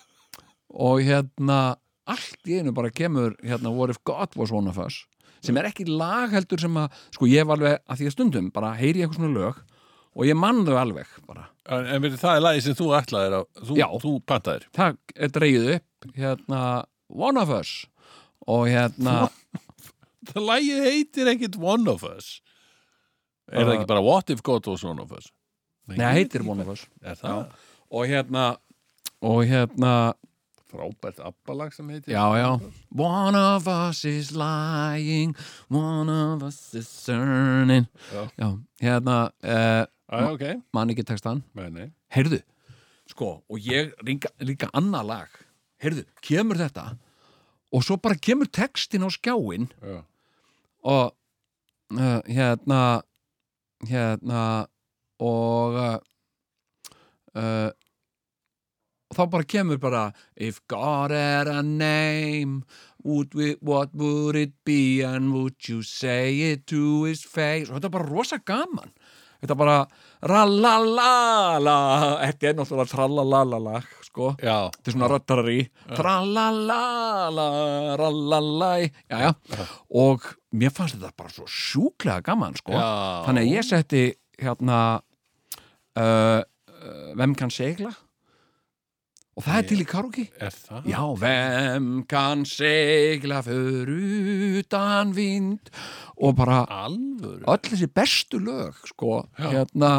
og hérna, allt í einu bara kemur hérna, What if God was one of us sem er ekki lag heldur sem að sko, ég var alveg að því að stundum bara heyri ég eitthvað svona lög og ég mann þau alveg bara, En, en veitir, það er lagið sem þú ætlaðir að, þú, Já. þú pantaðir. það er dreigið upp hérna, one of us og hérna, Það lagið heitir ekkit One of Us. Er það Uh, ekki bara What if God was One of Us? nei, það heitir one of us Er það og hérna og hérna frábært abbalag sem heitir? Já, já. One of us is lying, one of us is turning. Já. hérna, uh, Æ, ok. mann ekki textan. Nei, nei. Heyrðu, sko, og ég ringa, líka annað lag. Heyrðu, kemur þetta og svo bara kemur textin á skjáin Já. og uh, hérna, hérna, og uh, uh, þá bara kemur bara If God had a name would we, What would it be And would you say it to his face Og þetta er bara rosa gaman Þetta er bara Rallalala Þetta er náttúrulega trallalalala Sko Já. Þetta er svona röttarari Tralalala Ralalai Jæja Og mér fannst þetta bara svo sjúklega gaman sko Já. Þannig að ég setti hérna uh, uh, Vem kann segla og það er til í karaoke Er það? Já, vem kann segla fyrir utan vind og bara Alvöru. öll þessi bestu lög sko, Já. hérna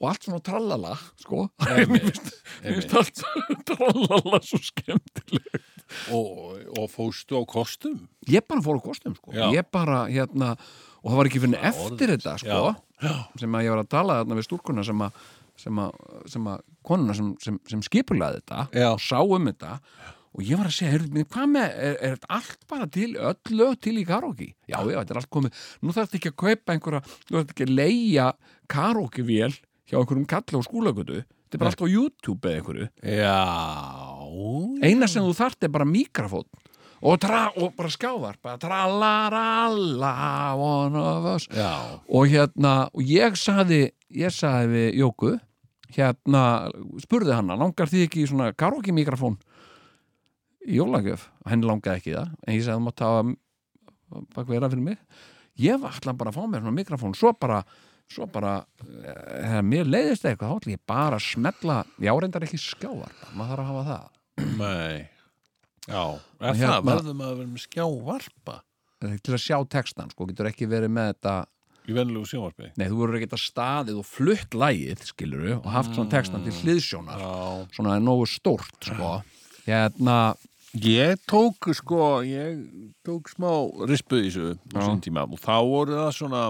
og allt svona trallala sko. Mér finnst- mér finnst allt trallala svo skemmtileg Og, og fóstu á kostum? Ég bara fór á kostum sko. Já. ég bara hérna og það var ekki fyrir eftir orðið. þetta sko, sem að ég var að tala þarna við stúrkuna sem að, sem að, sem að konuna sem, sem, sem skipulaði þetta Já. og sá um þetta og ég var að segja, heyrðu, mér, hvað með er, er þetta allt bara til, öll lög til í karaoke já, já, þetta er allt komið, nú þarf þetta ekki að kaupa einhverja, nú þarf þetta ekki að leia karaokevél hjá einhverjum kalla og skúlagötu, þetta er bara allt á YouTube eða einhverju, Já. eina sem þú þarft er bara mikrofón og, tra, og bara skávar bara tralaralla one of us Já. og hérna, og ég saði ég saði við Jóku hérna, spurði hana, langar þið ekki í svona karaoke mikrofón í jólagjöf, henni langaði ekki í það en ég sagði, þú mátt hafa bak vera fyrir mig ég var allan bara að fá mér svona mikrofón svo bara, svo bara eh, þegar mér leiðist eitthvað, þá ætla ég bara að smetla, já reyndar ekki skjávar maður þarf að hafa það, Nei Já, er Og það hérna- verðum að vera með skjávarpa Eh, til að sjá textan sko, getur ekki verið með þetta í venlegu sjónvarpi Nei, þú verður ekki að staðið og flutt lægið, skiluru, og haft svona textan til hliðsjónar, Já svona nógu stórt, sko. Hérna, Ég tók sko ég tók smá rispu í þessu á Já. sín tíma og þá voru það svona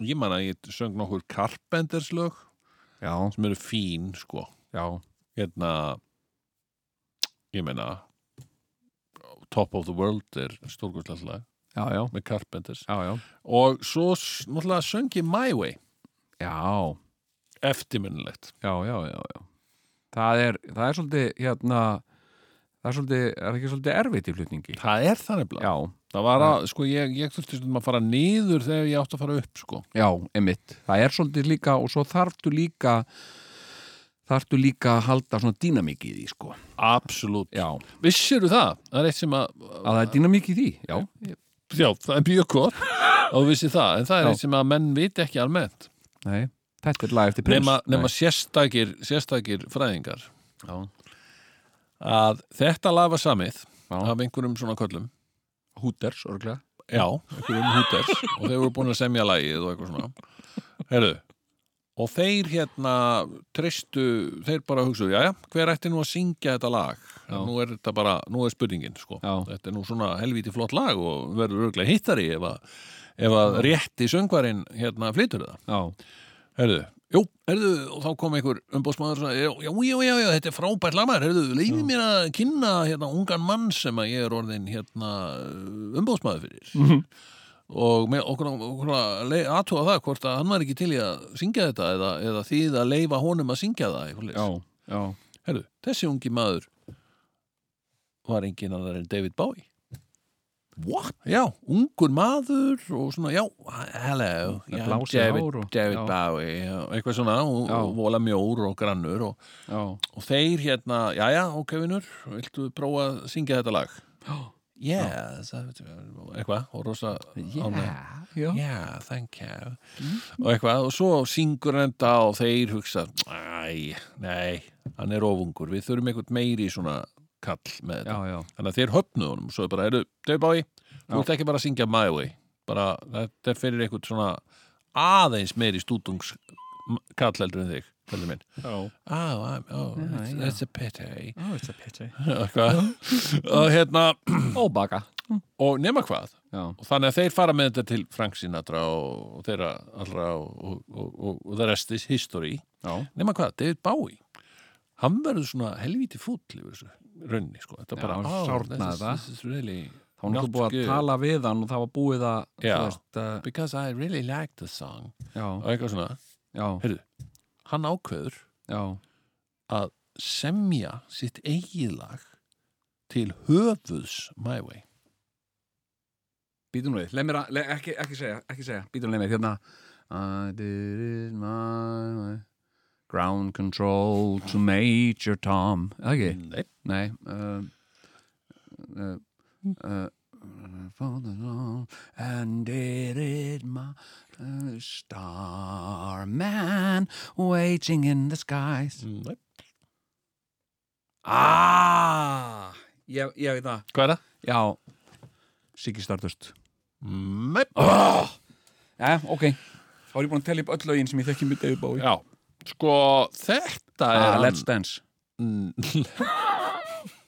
ég man að ég söng nokkur Carpenters lög já, sem eru fín sko já, hérna ég meina Top of the World er stórkostlega já, já, með Carpenters já, já, og svo s- náttúrulega söng ég My Way já, eftirminnilegt já, já, já, já. Það er, það er svolítið, hérna, það er svolítið, er ekki svolítið erfitt í flutningi? það er það nefnilega Já, það var að, sko, ég, ég þurfti stundum að fara niður þegar ég átti að fara upp, sko já, emitt. Það er svolítið líka, og svo þarftu líka, þarftu líka að halda svona dýnamík í því, sko. absolutt, Já, vissiru það það er eitt sem að, að það er dýnamík í því, já, já, það er mjög gott og þú vissir það, en það er Já. eitt sem að menn viti ekki almennt, nei. Þetta er lag eftir prins. nema, nema sérstakir sérstakir fræðingar Nei, já. að þetta lafa samið Já. af einhverjum svona köllum Hooters, örglega Já, einhverjum húters og þeir voru búin að semja lagið og eitthvað svona Herðu, og þeir hérna treystu, þeir bara hugsuðu jæja, hver ætti nú að syngja þetta lag Já. nú er þetta bara, nú er spurningin sko. Já. þetta er nú svona helvíti flott lag og verður örglega hittari ef að, ef að rétti söngvarinn hérna flytur það Já, Herðu, jú, herðu, og þá kom einhver umbóðsmaður og sagði, já, já, já, já, já, þetta er frábært lagmaður, herðu, leiði mér að kynna hérna ungan mann sem að ég er orðin hérna umbóðsmaður fyrir. Og með okkur, okkur að lei- athuga það hvort að hann var ekki til í að syngja þetta eða, eða þið að leifa honum að syngja það, eitthvað leys. já, já Herðu, þessi ungi maður var engin annar en David Bowie. What? Já, ungur maður og svona, já, hello, Með já, blásið David, hár og- David já. Bowie, já, eitthvað svona, og, Já. og vola mjór og grannur og, Já, og þeir hérna, já, já, ok, vinnur, viltu prófa að syngja þetta lag? Yes, eitthvað, og rosa ánægður. já, Yeah, thank you Og eitthvað, og svo syngur hann þetta og þeir hugsa Æ, nei, hann er ofungur Við þurfum eitthvað meiri svona kall með þetta já, já, Þannig að þeir höfnuðu honum Svo er bara, eru, David Bowie, þú ert ekki bara að syngja My Way Bara, þetta er fyrir eitthvað svona aðeins meiri stúdungs kall heldur en þig, heldur minn já. Oh, I'm, oh, it's, it's a pity Oh, it's a pity Eitthvað Og hérna, Óbaka og nema hvað Já, og þannig að þeir fara með þetta til Frank Sinatra og, og þeirra allra og, og, og, og the rest is history já, nema hvað, David Bowie hann verður svona helvíti fúll yfir þessu raunni sko, þetta er Já, bara hann "Oh, sárnaði this is- það. this is really þá var not náttúrulega búið good, að tala við hann og það var búið að Já. þú veist, uh, because I really like the song já, og eitthvað svona, já, heyrðu hann ákveður já að semja sitt eigið lag til höfuðs My Way Býtum nú við, leið mér að, leið, ekki, ekki segja, ekki segja Býtum leið mér, hérna I did it my way Ground control to Major Tom Eða ekki? Nei. Nei uh, uh, uh, for the long And did it my uh, Starman Waiting in the skies Nei. Ah Ég, ég veit það Hvað er það? Já Siggi Stardust Nei. oh! Já, ok Þá er ég búin að tella upp öll lögin sem ég þekki mjög David Bowie Já, ehm, sko þetta er ah, hann- Let's Dance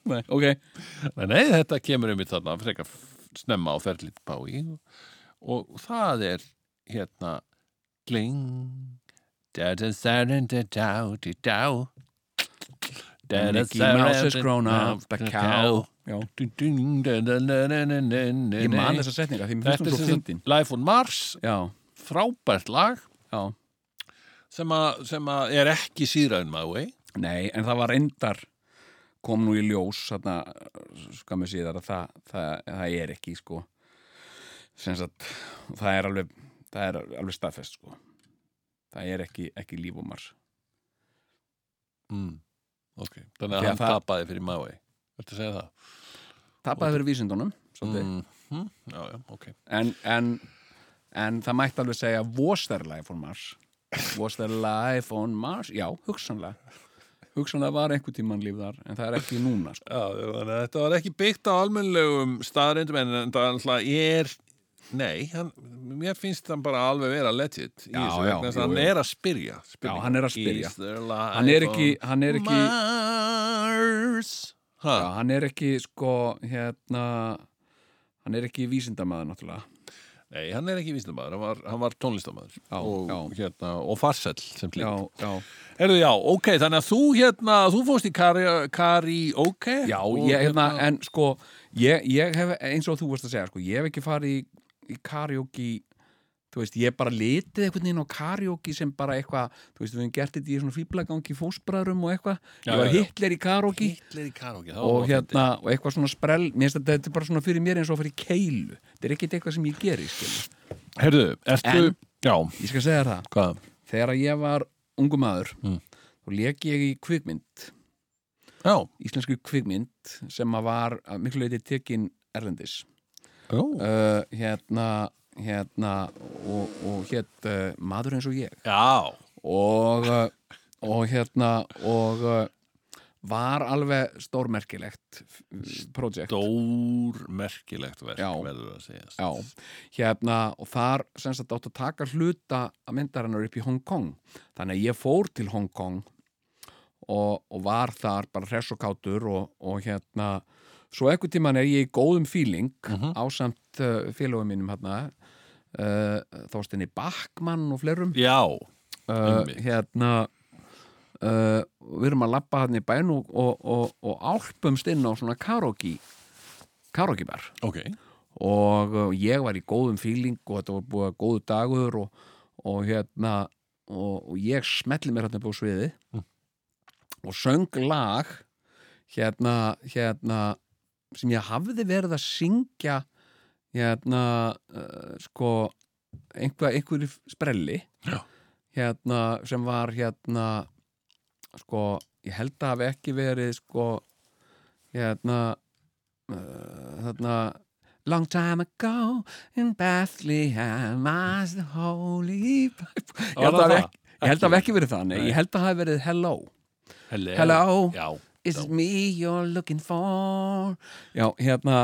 Nei, ok Nei, nei, þetta kemur um í þarna frekar f- snemma á ferlið bái og það er hérna gling da da da da da da da da Mickey Mouse has grown up, the cow Já. Ég Ég man þessa setninga því mér Þetta finnst hún svo er sem sagt fyndin Life on Mars, Já, frábært lag já sem að sem að er ekki síðræðin maður Nei, en það var reyndar kom nú í ljós þarna, skamu síðar að það, það, það er ekki sko sem sagt, það er alveg það er alveg staðfest sko það er ekki, ekki líf og mars mm. Ok, þannig Því að að hann það- tapaði fyrir maður Þetta segja það tapaði fyrir vísindunum mm. mm. Já, já, Mhm, ok en, en en það mætti alveg segja was their life on Mars was their life on Mars já, hugsanlega hugsanlega var einhver tíman líf þar en það er ekki núna sko. Já, þannig að þetta var ekki byggt á almennlegum staðrindum en þetta alltaf er nei, hann, mér finnst hann bara alveg vera legit í Já, þessu, já, vegna jú, þess að jú. hann er að spyrja, spyrja. Já, hann er að spyrja. Is there life Hann er ekki- on hann er ekki- Mars ha, já, hann er ekki sko hérna hann er ekki vísindamaður náttúrulega Nei, hann er ekki vísnamaður, hann var, hann var tónlistamæður Já, og, já. Hérna, og farsell sem slíkt já, já Herðu, já, ok, þannig að þú hérna, þú fórst í kari, kari ok? Já, Og ég, hérna, en sko ég, ég hef, eins og þú varst að segja sko, ég hef ekki farið í, í karaoke þú veist, ég hef bara litið einhvern veginn á karaoke sem bara eitthvað þú veist, við hefum gert þetta í svona fýblagangi fósbræðrum og eitthvað, Já, ég var já, já. hitler í karaoke Hitler í karaoke, þá og var hérna, og eitthvað svona sprell mér finnst að þetta er bara svona fyrir mér eins og fyrir keilu þetta er ekkit eitthvað sem ég geri, skil fyndið. Herðu, ertu, En- já, ég skal segja þér það, hvað? þegar að ég var ungu maður, Mm. þá lék ég í kvikmynd Já, íslenski kvikmynd sem að var að miklu leiti tekin erlendis já, uh, hérna hérna og, og hétt uh, maður eins og ég já, og, uh, og hérna og uh, var alveg stórmerkilegt projekt stór merkilegt verk, Já. verður að segja. Já, hérna og þar sem sagt átt að taka hluta að myndarinnar upp í Hong Kong þannig að ég fór til Hong Kong og, og var þar bara hress og kátur og, og hérna svo ekkur tíman er ég í góðum fíling Mhm. ásamt uh, félögum mínum hérna uh, Þorstinni Backmann og flerum Já, uh, einmitt. hérna uh, við erum að labba hérna í bæn og, og, og, og álpumst inn á svona karaoke karaoke bar ok, og uh, ég var í góðum fíling og þetta var búið að góðu dagur og, og hérna og, og ég smetli mér hérna upp á sviði og söng lag hérna, hérna sem ég hafði verið að syngja hérna uh, sko einhver, einhverju sprelli Já. hérna sem var hérna sko ég held að hafi ekki verið sko hérna uh, þarna Long time ago in Bethlehem as the holy Ég held Var að það hafi það? ekki- ég held að hafi ekki verið það, nei, Nei. ég held að hafi verið hello hello. Hello. Já, Is Já. it me you're looking for Já, hérna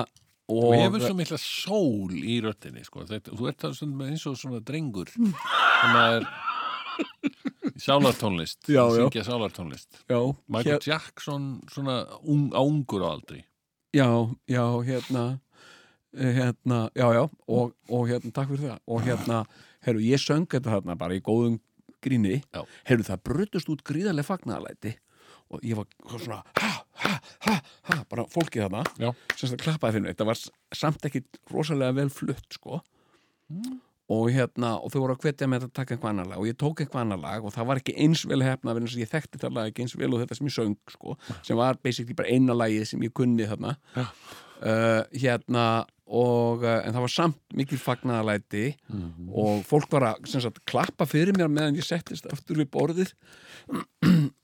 þú og, hefur svo mikla sól í röttinni, sko, þetta, þú ert það stundum eins og svona drengur, þannig að er sálartónlist, Já, já. syngja sálartónlist. já, Michael Jackson svona un, á ungur á aldri Já, já, hérna eh, hérna, já, já og, og hérna, takk fyrir það og hérna, herru, ég söng þetta þarna bara í góðum gríni, Já. herru, það brutust út gríðarlega fagnaðalæti og ég var svona ha, ha, ha, ha, bara fólkið þarna Já. sem þetta klappaði fyrir mig, þetta var s- samt ekkit rosalega vel flutt, sko og hérna, og þau voru að hvetja með að taka einhvað annar lag og ég tók einhvað annar lag og það var ekki eins vel hefna verið eins og ég þekkti þetta lag ekki eins vel og þetta sem ég söng sko, sem var basically bara eina lagið sem ég kunni þarna uh, hérna og uh, en það var samt mikil fagnaðalæti og fólk var að sem sagt, klappa fyrir mér meðan ég settist aftur við borðið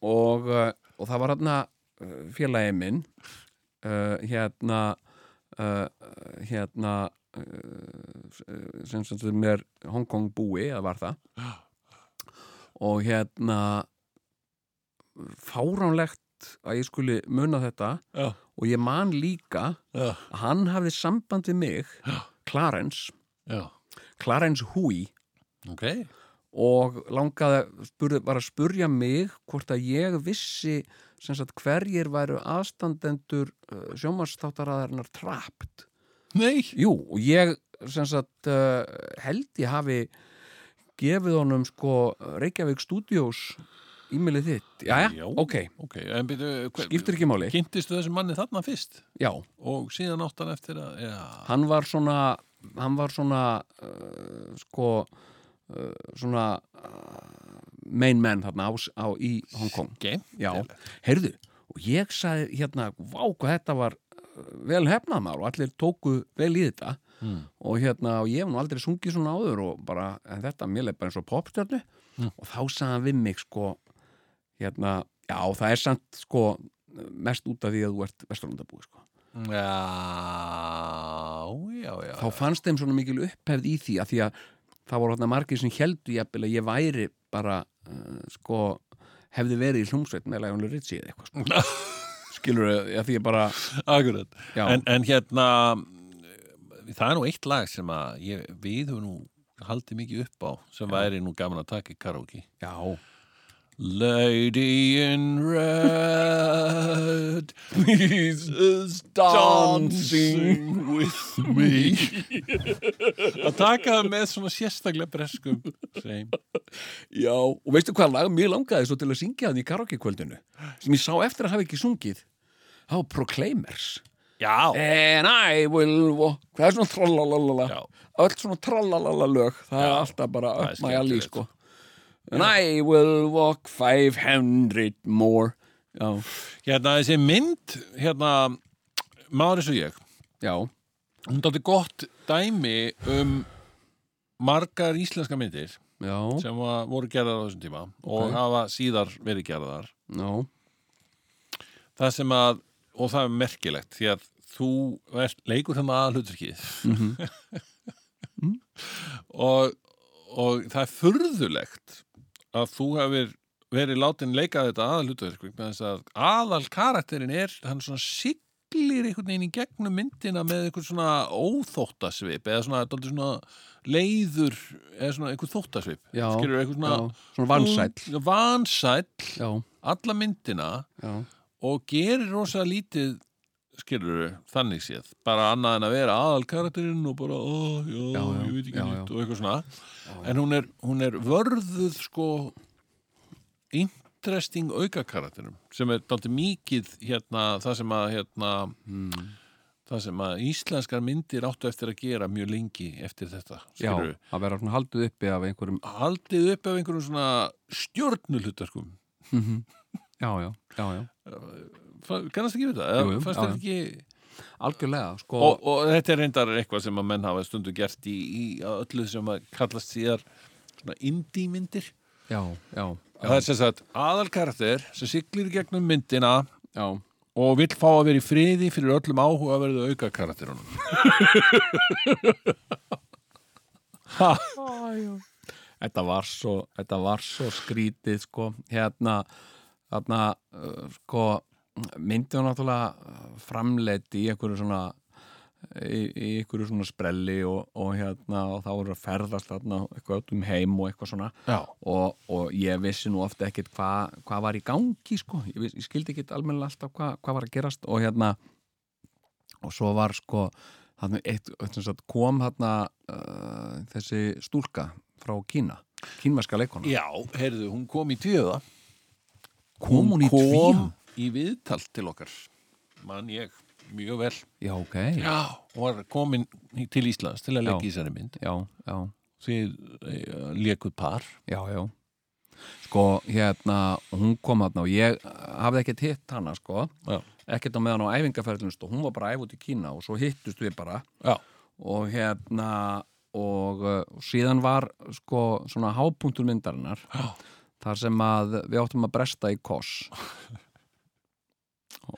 og, uh, og það var hérna uh, félagið minn uh, hérna uh, hérna uh, sem sem sem er Hong Kong búi, eða var það og hérna fáránlegt að ég skuli muna þetta Já. og ég man líka Já, að hann hafði samband við mig Clarence, já, Clarence Hui ok og langaði að spurði, var að spurja mig hvort að ég vissi sem sagt hverjir væru aðstandendur uh, sjómanstáttarraðarinnar trapt Nei, Jú, og ég sem sagt uh, held ég hafi gefið honum sko Reykjavík Studios e-mailið þitt. Jæja, Já. ok, ok, en byrju hver- skiptir ekki máli. Kynntistu þessu manni þarna fyrst Já, og síðan áttan eftir að Já, hann var svona, hann var svona uh, sko uh, svona uh, main man þarna á, á, í Hong Kong. ok Já, heyrðu, og ég sagði hérna, vá hvað þetta var uh, vel hefnað maður og allir tóku vel í þetta Mm. og hérna, og ég hef nú aldrei sungið svona áður og bara, en þetta mér leið bara eins og popstjörnu og þá sagði hann við mig sko, hérna já, það er samt sko mest út af því að þú ert vesturlandabúi sko. Já, já, já þá fannst þeim svona mikil upphefð í því að því að það voru hérna margir sem heldu jafnvel að ég væri bara uh, sko hefði verið í hljómsveit með Lionel Richie eða eitthvað sko. skilur þau, því ég bara Akkurat. Já. En, en hérna, það er nú eitt lag sem að ég, við höfum nú haldið mikið upp á sem væri nú gaman að taka í karaoke. já, Lady in red, please is dancing with me. Að taka það með svona sérstaklega breskum. Sveim. já og veistu hvað lag mér langaði svo til að syngja þannig í karaoke kvöldinu sem ég sá eftir að hafa ekki sungið þá Proclaimers Já. And I will walk Það er svona trallalalala Já. Öll svona tralalala lög Það er alltaf bara það er upp mæja lí skemmtilegt. sko And I will walk 500 more Já, Hérna þessi mynd, hérna, Máris og ég, já, hún dátti gott dæmi um margar íslenska myndir já, sem var, voru gerðar á þessum tíma og hafa síðar verið gerðar já það sem að, og það er merkilegt því að þú er, leikur þannig að hlutverkið Mhm. og, og það er furðulegt að þú hefur verið látin leika þetta aðalhutverk með þess að aðal karakterin er hann svona siglir einhvern veginn í gegnum myndina með einhvern svona óþóttasvip eða svona, dálítið svona leiður eða svona einhvern þóttasvip Já, skilur einhvern svona Mm. já, svona vansæll. Já, vansæll Já, alla myndina já, og gerir rosa lítið skilur þannig séð bara annað en að vera aðal karakterinn og bara, ó, já, Já, já, ég veit ekki já, nýtt og eitthvað svona en hún er, hún er vörðuð sko interesting auka karakterum sem er dálítið mikið hérna, það sem að hérna, Hmm. það sem að íslenskar myndir áttu eftir að gera mjög lengi eftir þetta já skilurðu. Að vera svona haldið uppi af einhverjum haldið upp af einhverjum svona stjórnulhutarkum Já, já, já, já kannast ekki við það? Jú, jú, já, Fannst þetta já. ekki Algjörlega, sko og, og þetta er reyndar eitthvað sem að menn hafa stundu gert í, í öllu sem að kallast síðar svona indie myndir Já, já, það er sem sagt aðalkarakter sem siglir í gegnum myndina já og vill fá að vera í friði fyrir öllum áhuga að verða auka karakterunum Þetta var svo, þetta var svo skrítið sko, hérna þarna, uh, sko myndið var náttúrulega uh, framleitt í einhverju svona í, í einhverju svona sprelli og, og hérna, og þá voru að ferðast þarna eitthvað út um heim og eitthvað svona Já. og, og ég vissi nú ofta ekkit hvað hva var í gangi sko ég, viss, ég skildi ekkit almennilega alltaf hvað hva var að gerast og hérna og svo var sko þarna, eitt, eitt, eitt, kom hérna uh, þessi stúlka frá Kína kínverska leikona já, heyrðu, hún kom í tvíða kom hún í tvíum? í viðtal til okkar mann ég, mjög vel já, ok, já, já, hún var komin í- til Íslands til að leggja í þessari mynd já, já, þið lekuð par já, sko, hérna hún kom hérna og ég hafði ekkert hitt hana sko, já, ekkert á meðan á æfingarferðlunst og hún var bara æf út í Kína og svo hittust við bara já, og hérna og uh, síðan var sko svona hápunktur myndarinnar já. þar sem að við áttum að bresta í koss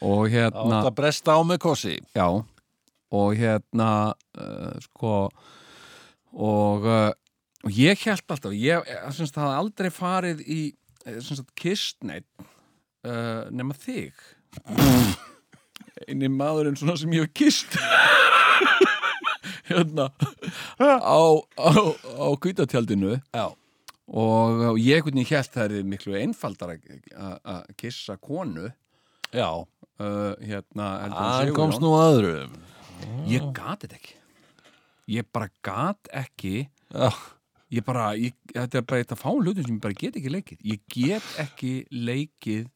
og hérna átt að bresta á með kossi já og hérna uh, sko og, uh, og ég held alltaf ég eh, sem sagt, hafði aldrei farið í eh, sem sagt kistneitt uh, nema þig eini maðurinn svona sem ég hef kist hérna á, á, á kvítatjaldinu já, og, og ég einhvern veginn held það er miklu einfaldar að kissa konu já uh, hérna heldur en hann Sigurjón. komst nú að öðrum ég gat þetta ekki ég bara gat ekki já, ég bara, ég, þetta er bara eitt að fá hlutum sem ég bara get ekki leikið ég get ekki leikið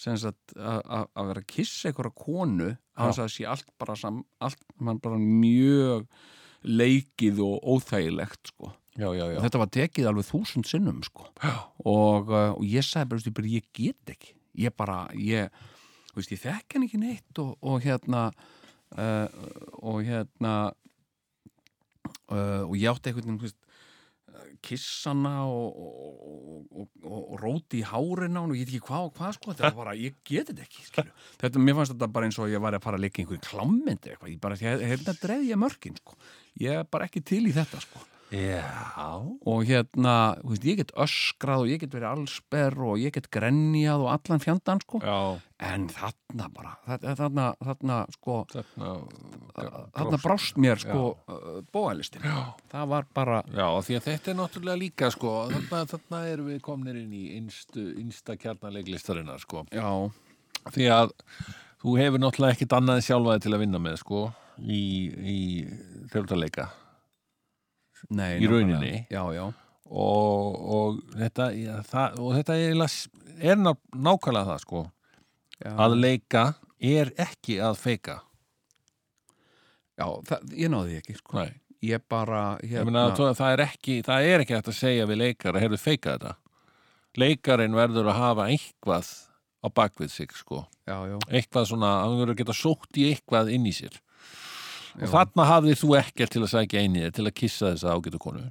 sem sagt að- að að vera að kissa einhverja konu hans að það sé allt bara sam, allt mann bara mjög leikið og óþægilegt sko. já, já, já. þetta var tekið alveg þúsund sinnum sko. og, uh, og ég sagði bara, veistu, bara ég get ekki ég bara, ég þú veist, ég þekk hann ekki neitt og, og hérna uh, og hérna uh, og ég átti einhvern veginn þú veist, kissana og, og, og, og, og róti í hárin á hann og ég veit ekki hvað og hvað sko þetta var bara, ég geti þetta ekki skilju. þetta, mér fannst þetta bara eins og ég var að fara að leika í einhverju klammynd eða eitthvað, ég bara, hérna dreði ég mörkin sko. ég er bara ekki til í þetta sko Já. og hérna, þú veist, ég get öskrað og ég get verið allsber og ég get grenjað og allan fjandan, sko Já, en þarna bara, þarna, þarna, þarna sko, þarna, þarna brást mér sko bóalistin, það var bara Já, því að þetta er náttúrulega líka sko, þarna, þarna erum við komnir inn í innstu, innsta kjarnarleiklistarinnar sko. já, Því að þú hefur náttúrulega ekkit annað en sjálfaði til að vinna með sko í, í þrjóttarleika nei, Í nákvæmlega. rauninni? já, já, og, og þetta, ja, það, og þetta eiginlega er ná, nákvæmlega það sko já, að leika er ekki að feika. já það, ég náði því ekki sko, Nei. ég bara Ég meina, hérna, það, það, er ekki, það er ekki hægt að segja við leikara, heyrðu feika þetta. Leikarinn verður að hafa eitthvað á bakvið sig, sko. já, já, Eitthvað svona, hann verður að geta sótt í eitthvað inn í sér. Og þarna hafðir þú ekkert til að sækja inn í þér, til að kissa þessa ágætu konu.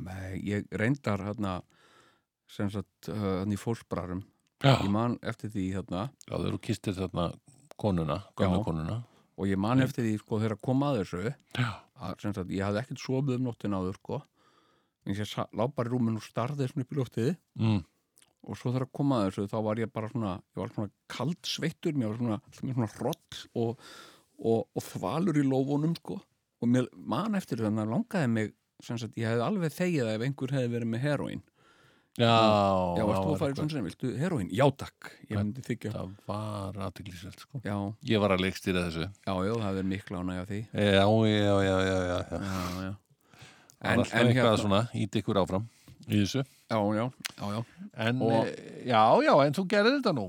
nei, ég reyndar hérna, sem sagt uh, hérna í fólkbrarum, Já. ég man eftir því hérna, Já, þegar þú kistir þarna konuna, gamla Já. konuna. og ég Mm. man eftir því sko þegar að koma að þessu Já. að, sem sagt, ég hafði ekkert sofið um nóttin áður sko, en ég sa- lá bara í rúmin og starði svona upp í ljóttið Mm. og svo þegar að koma að þessu þá var ég bara svona, ég var svona kaldsveittur mér var svona, mér svona hrott og, og, og þvalur í lófunum sko. og mér man eftir þannig að langaði mig sem sagt, ég hefði alveg þegið það ef einhver hefði verið með heroín Já, já, varst þú var að fara í eitthvað. svona sem viltu heroín? Já, takk, ég myndi þykja já, Það var aðtiklisveld, sko. já, Ég var að leikstýra þessu. já, það hefði verið mikla ánægja því Já, já, já, já, já, já. já. já, já En, en, alltaf en eitthvað hérna, svona, ít ykkur áfram í já, þessu. já, já, já En, Og- e, já, já, en þú gerir þetta nú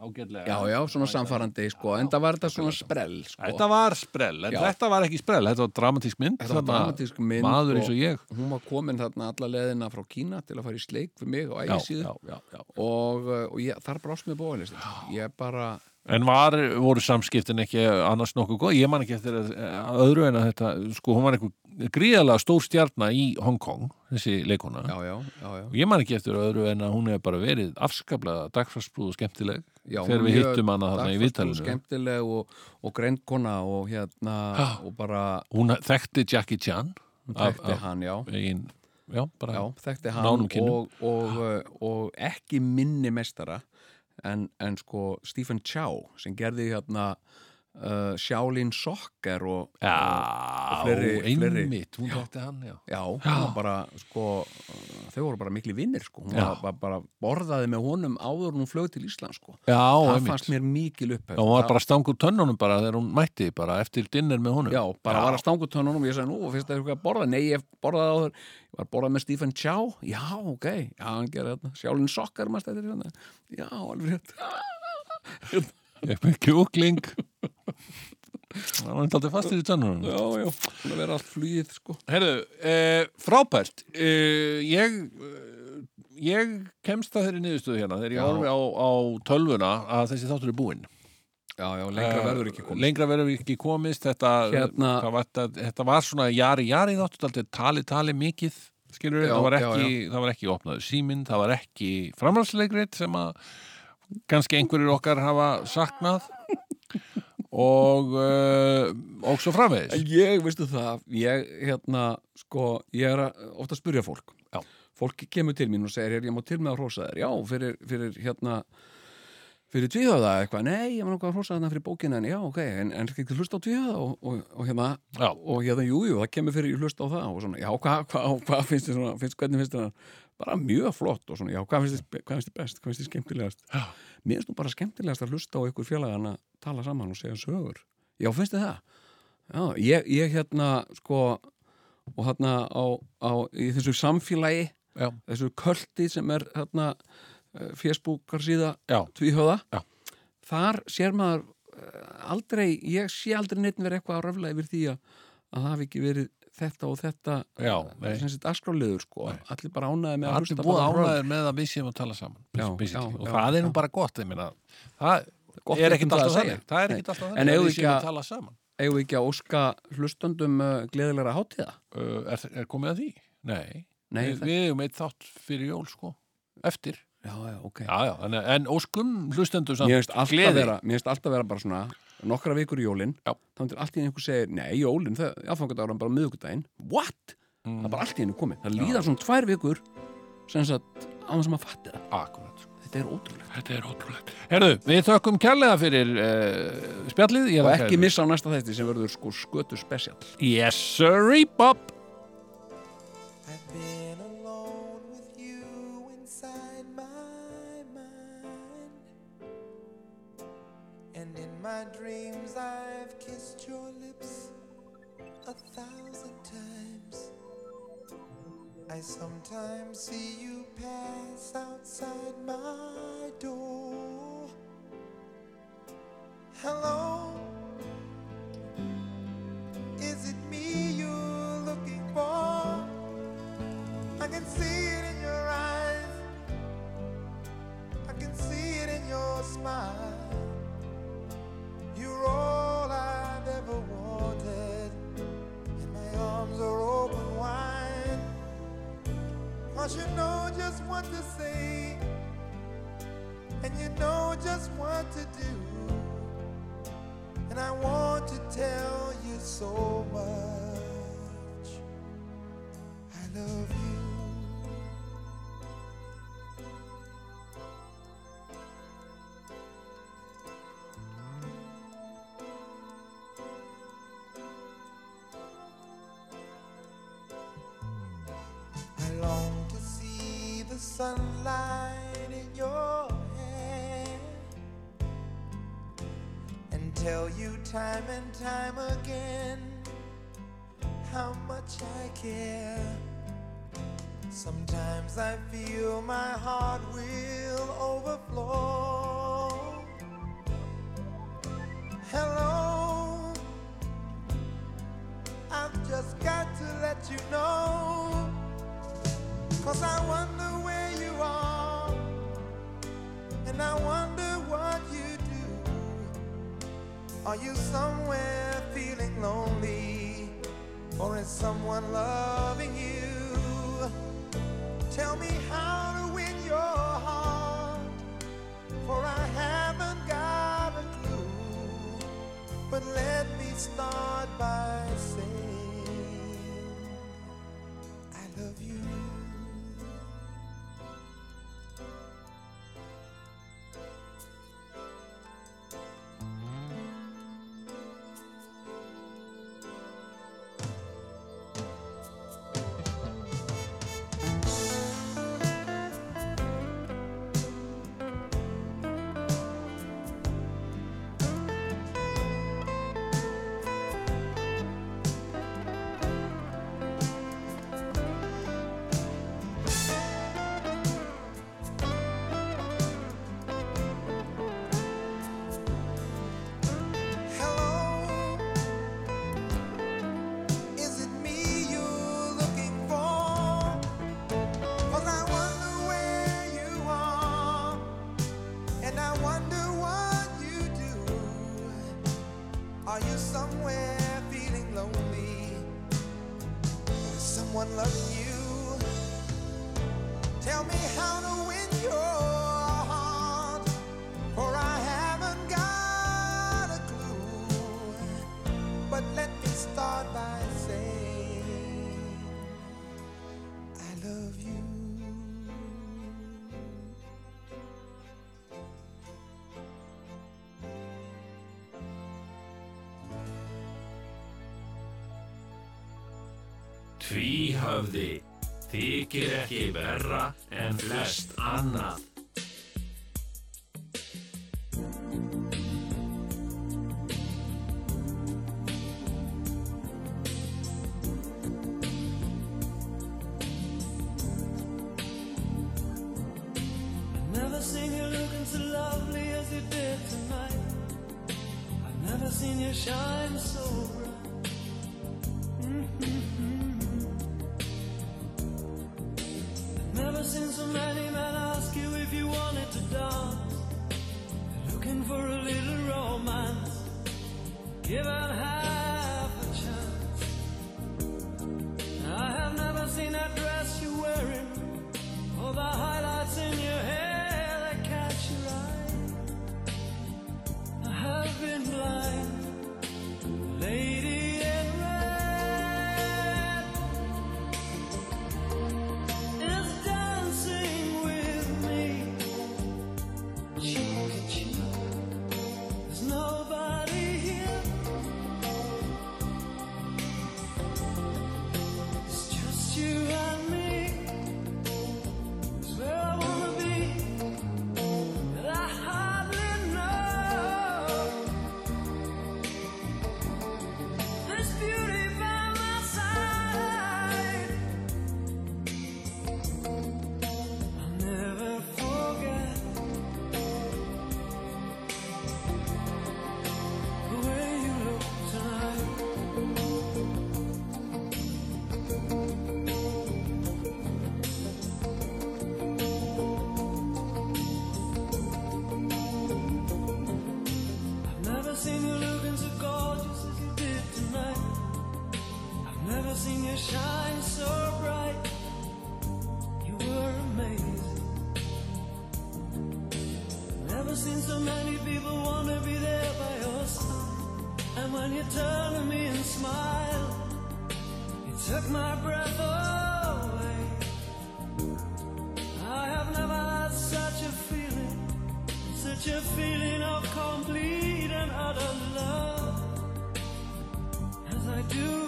ágætlega. já, já, svona samfarandi sko, en það var þetta svona sprell sko. Þetta var sprell, en Já. þetta var ekki sprell, þetta var dramatísk mynd. Þetta var þarna dramatísk mynd Maður eins og- og ég. hún var komin þarna alla leðina frá Kína til að fara í sleik við mig á ægisíðu já, já. og, uh, og ég, þar brást mér bóðalistin ég bara, En var, voru samskiptin ekki annars nokkuð góð? Ég man ekki eftir að, að öðru en að þetta, sko, hún var eitthvað gríðalega stór stjarna í Hong Kong, þessi leikona. já, já, já, já. Og Ég man ekki eftir öðru en að hún hefur bara verið afskaplega dagfarsbrúð og skemmtileg já þegar við mjög hittum hana þarna dagföst í og viðtalinu. skemmtileg og, og greind kona og hérna Já. og bara Hún þekkti Jackie Chan af- þekkti af- hann, já eigin, já, bara já, þekkti hann Nánum kynnum. og, og, uh, og ekki minni mestara en, en sko Stephen Chow sem gerði hérna uh, Shaolin Soccer og, Já, og fleiri- fleiri. einmitt, hún þekkti hann, já. Já, hún var bara, sko, uh, þau voru bara mikli vinnir, sko, hún Já. var bara, bara borðaði með honum áður en hún flög til Ísland, sko. Já, það einmitt. fannst mér mikil upphefð. Já, hún var Það- bara stangur tönnunum bara þegar hún mætti, bara eftir dinner með honum. Já, bara var að stangu tönnunum og ég sagði, nú, finnst það eitthvað að borða? Nei, ég borðaði áður, ég var að borða með Stephen Chow, já, ok, já, hann gerði þetta, sjálfinn sokkar, maður stættir hérna, já, alveg rétt. Ég með kjúkling. Það var alltaf fastir í tönnunum. Já, já, hún að vera allt flýð, sko. Herðu, e, frábært e, ég eh, ég kemst að þeirri niðurstöðu hérna þegar ég Já. horfi á, á tölvuna að þessi þáttur er búinn Já, já, lengra Eh, verður ekki komið. Lengra verður ekki komist þetta, Hérna- hvað var, þetta, þetta var svona jari jari þáttur, þetta tali tali mikið skilur Já, það var já, ekki, það var ekki opnaður síminn, það var ekki framhalsleikrit sem að kannski einhverjir okkar hafa saknað og uh, og svo framvegis En ég, veistu það, ég, hérna, sko, ég er að, ofta að spurja fólk. Já. Fólk kemur til mín og segir, "Heyrðu, ég má til með að hrósa þér. Já, fyrir, fyrir hérna, fyrir tvíhöða eitthvað. Nei, ég má nokkuð að hrósa þarna fyrir bókina, en já, ok, en, en skal ekki hlusta á tvíhöða og, og, og hérna, Já. og hérna, jú, jú, það kemur fyrir ég hlusta á það og svona, já, hvað, hvað, hvað finnst þér svona, finnst, hvernig finnst þér það? Bara mjög flott og svona, já, hvað finnst þér, hvað finnst þér best, hvað finnst þér skemmtilegast? Já. Mér finnst nú bara skemmtilegast að hlusta á ykkur félagana tala saman og segja sögur. Já, finnst þér það? Já, ég, ég hérna, sko, og hérna á, á, í þessu samfélagi, Já. þessu költi sem er hérna eh, Facebookar síða Já. tvíhöða Já. þar sér maður eh, aldrei, ég sé aldrei neitt verið eitthvað að röfla yfir því að, að það hafi ekki verið þetta og þetta Já, nei. sem sitt askráliður sko allir bara ánaði með allir hlusta búið bara á röfl. ánæður með að við séum að tala saman Já, basically. já, og já, það er nú já. bara gott ég meina, það Gott er ekki ekkert um það alltaf að segja. þannig það er Nei. ekkert alltaf En þannig að eigum við við séum ekki að að- tala saman eigum við ekki að óska hlustandum uh, gleðilegra hátíða uh, er, er komið að því? Nei, Nei, við, það- við hefum eitt þátt fyrir jól sko eftir já, já, ok já, já, en, en óskum hlustendur samt mér finnst alltaf, gleði. vera- mér finnst alltaf vera bara svona nokkra vikur í jólin Já. þá myndir allt í einu einhver segir, nei, jólin, það aðfangat ára bara miðugudaginn, what? það er bara allt í hennu komið það líða svona tvær vikur sem sagt á það sem að fatta það Akkurat. þetta er ótrúlegt Þetta er ótrúlegt. Herðu, við þökkum kærlega fyrir uh, spjallið. Ég og þakka ekki þér. missa á næsta þætti sem verður sko skötu spesial Yes, sirree, bop. I've been alone with you inside my mind. And in my dreams, I've kissed your lips a thousand times. I sometimes see you pass outside my door. Hello, is it me you're looking for? I can see it in your eyes. I can see it in your smile. You're all I've ever wanted. And my arms are open wide. Cause you know just what to say. And you know just what to do. And I want to tell you so much. I love you. I long to see the sunlight in your hair and tell you time and time again how much I care. Sometimes I feel my heart will overflow. Hello, I've just got to let you know. Cause I wonder where you are, and I wonder what you do. Are you somewhere feeling lonely, or is someone loving you? Tell me how to win your heart, for I haven't got a clue. But let me start by saying, I love you. Hello, is it me you're looking for? 'Cause I wonder where you are, and I wonder what you do. Are you somewhere feeling lonely? Or is someone loving you? Tell me how to win your heart. For I haven't got a clue. But let me start by saying, I love you. Tvíhöfði þykir ekki verra en flest annað. I've never seen you looking so lovely as you did tonight. I've never seen you shine so bright. Mm-hmm. I've never seen so many men ask you if you wanted to dance. They're looking for a little romance. Give it half a chance. I have never seen that dress you're wearing. All Oh, the highlights in your hair that catch your eye. I have been blind, lady in red. when you turn to me and smile. You took my breath away. I have never had such a feeling, such a feeling of complete and utter love as I do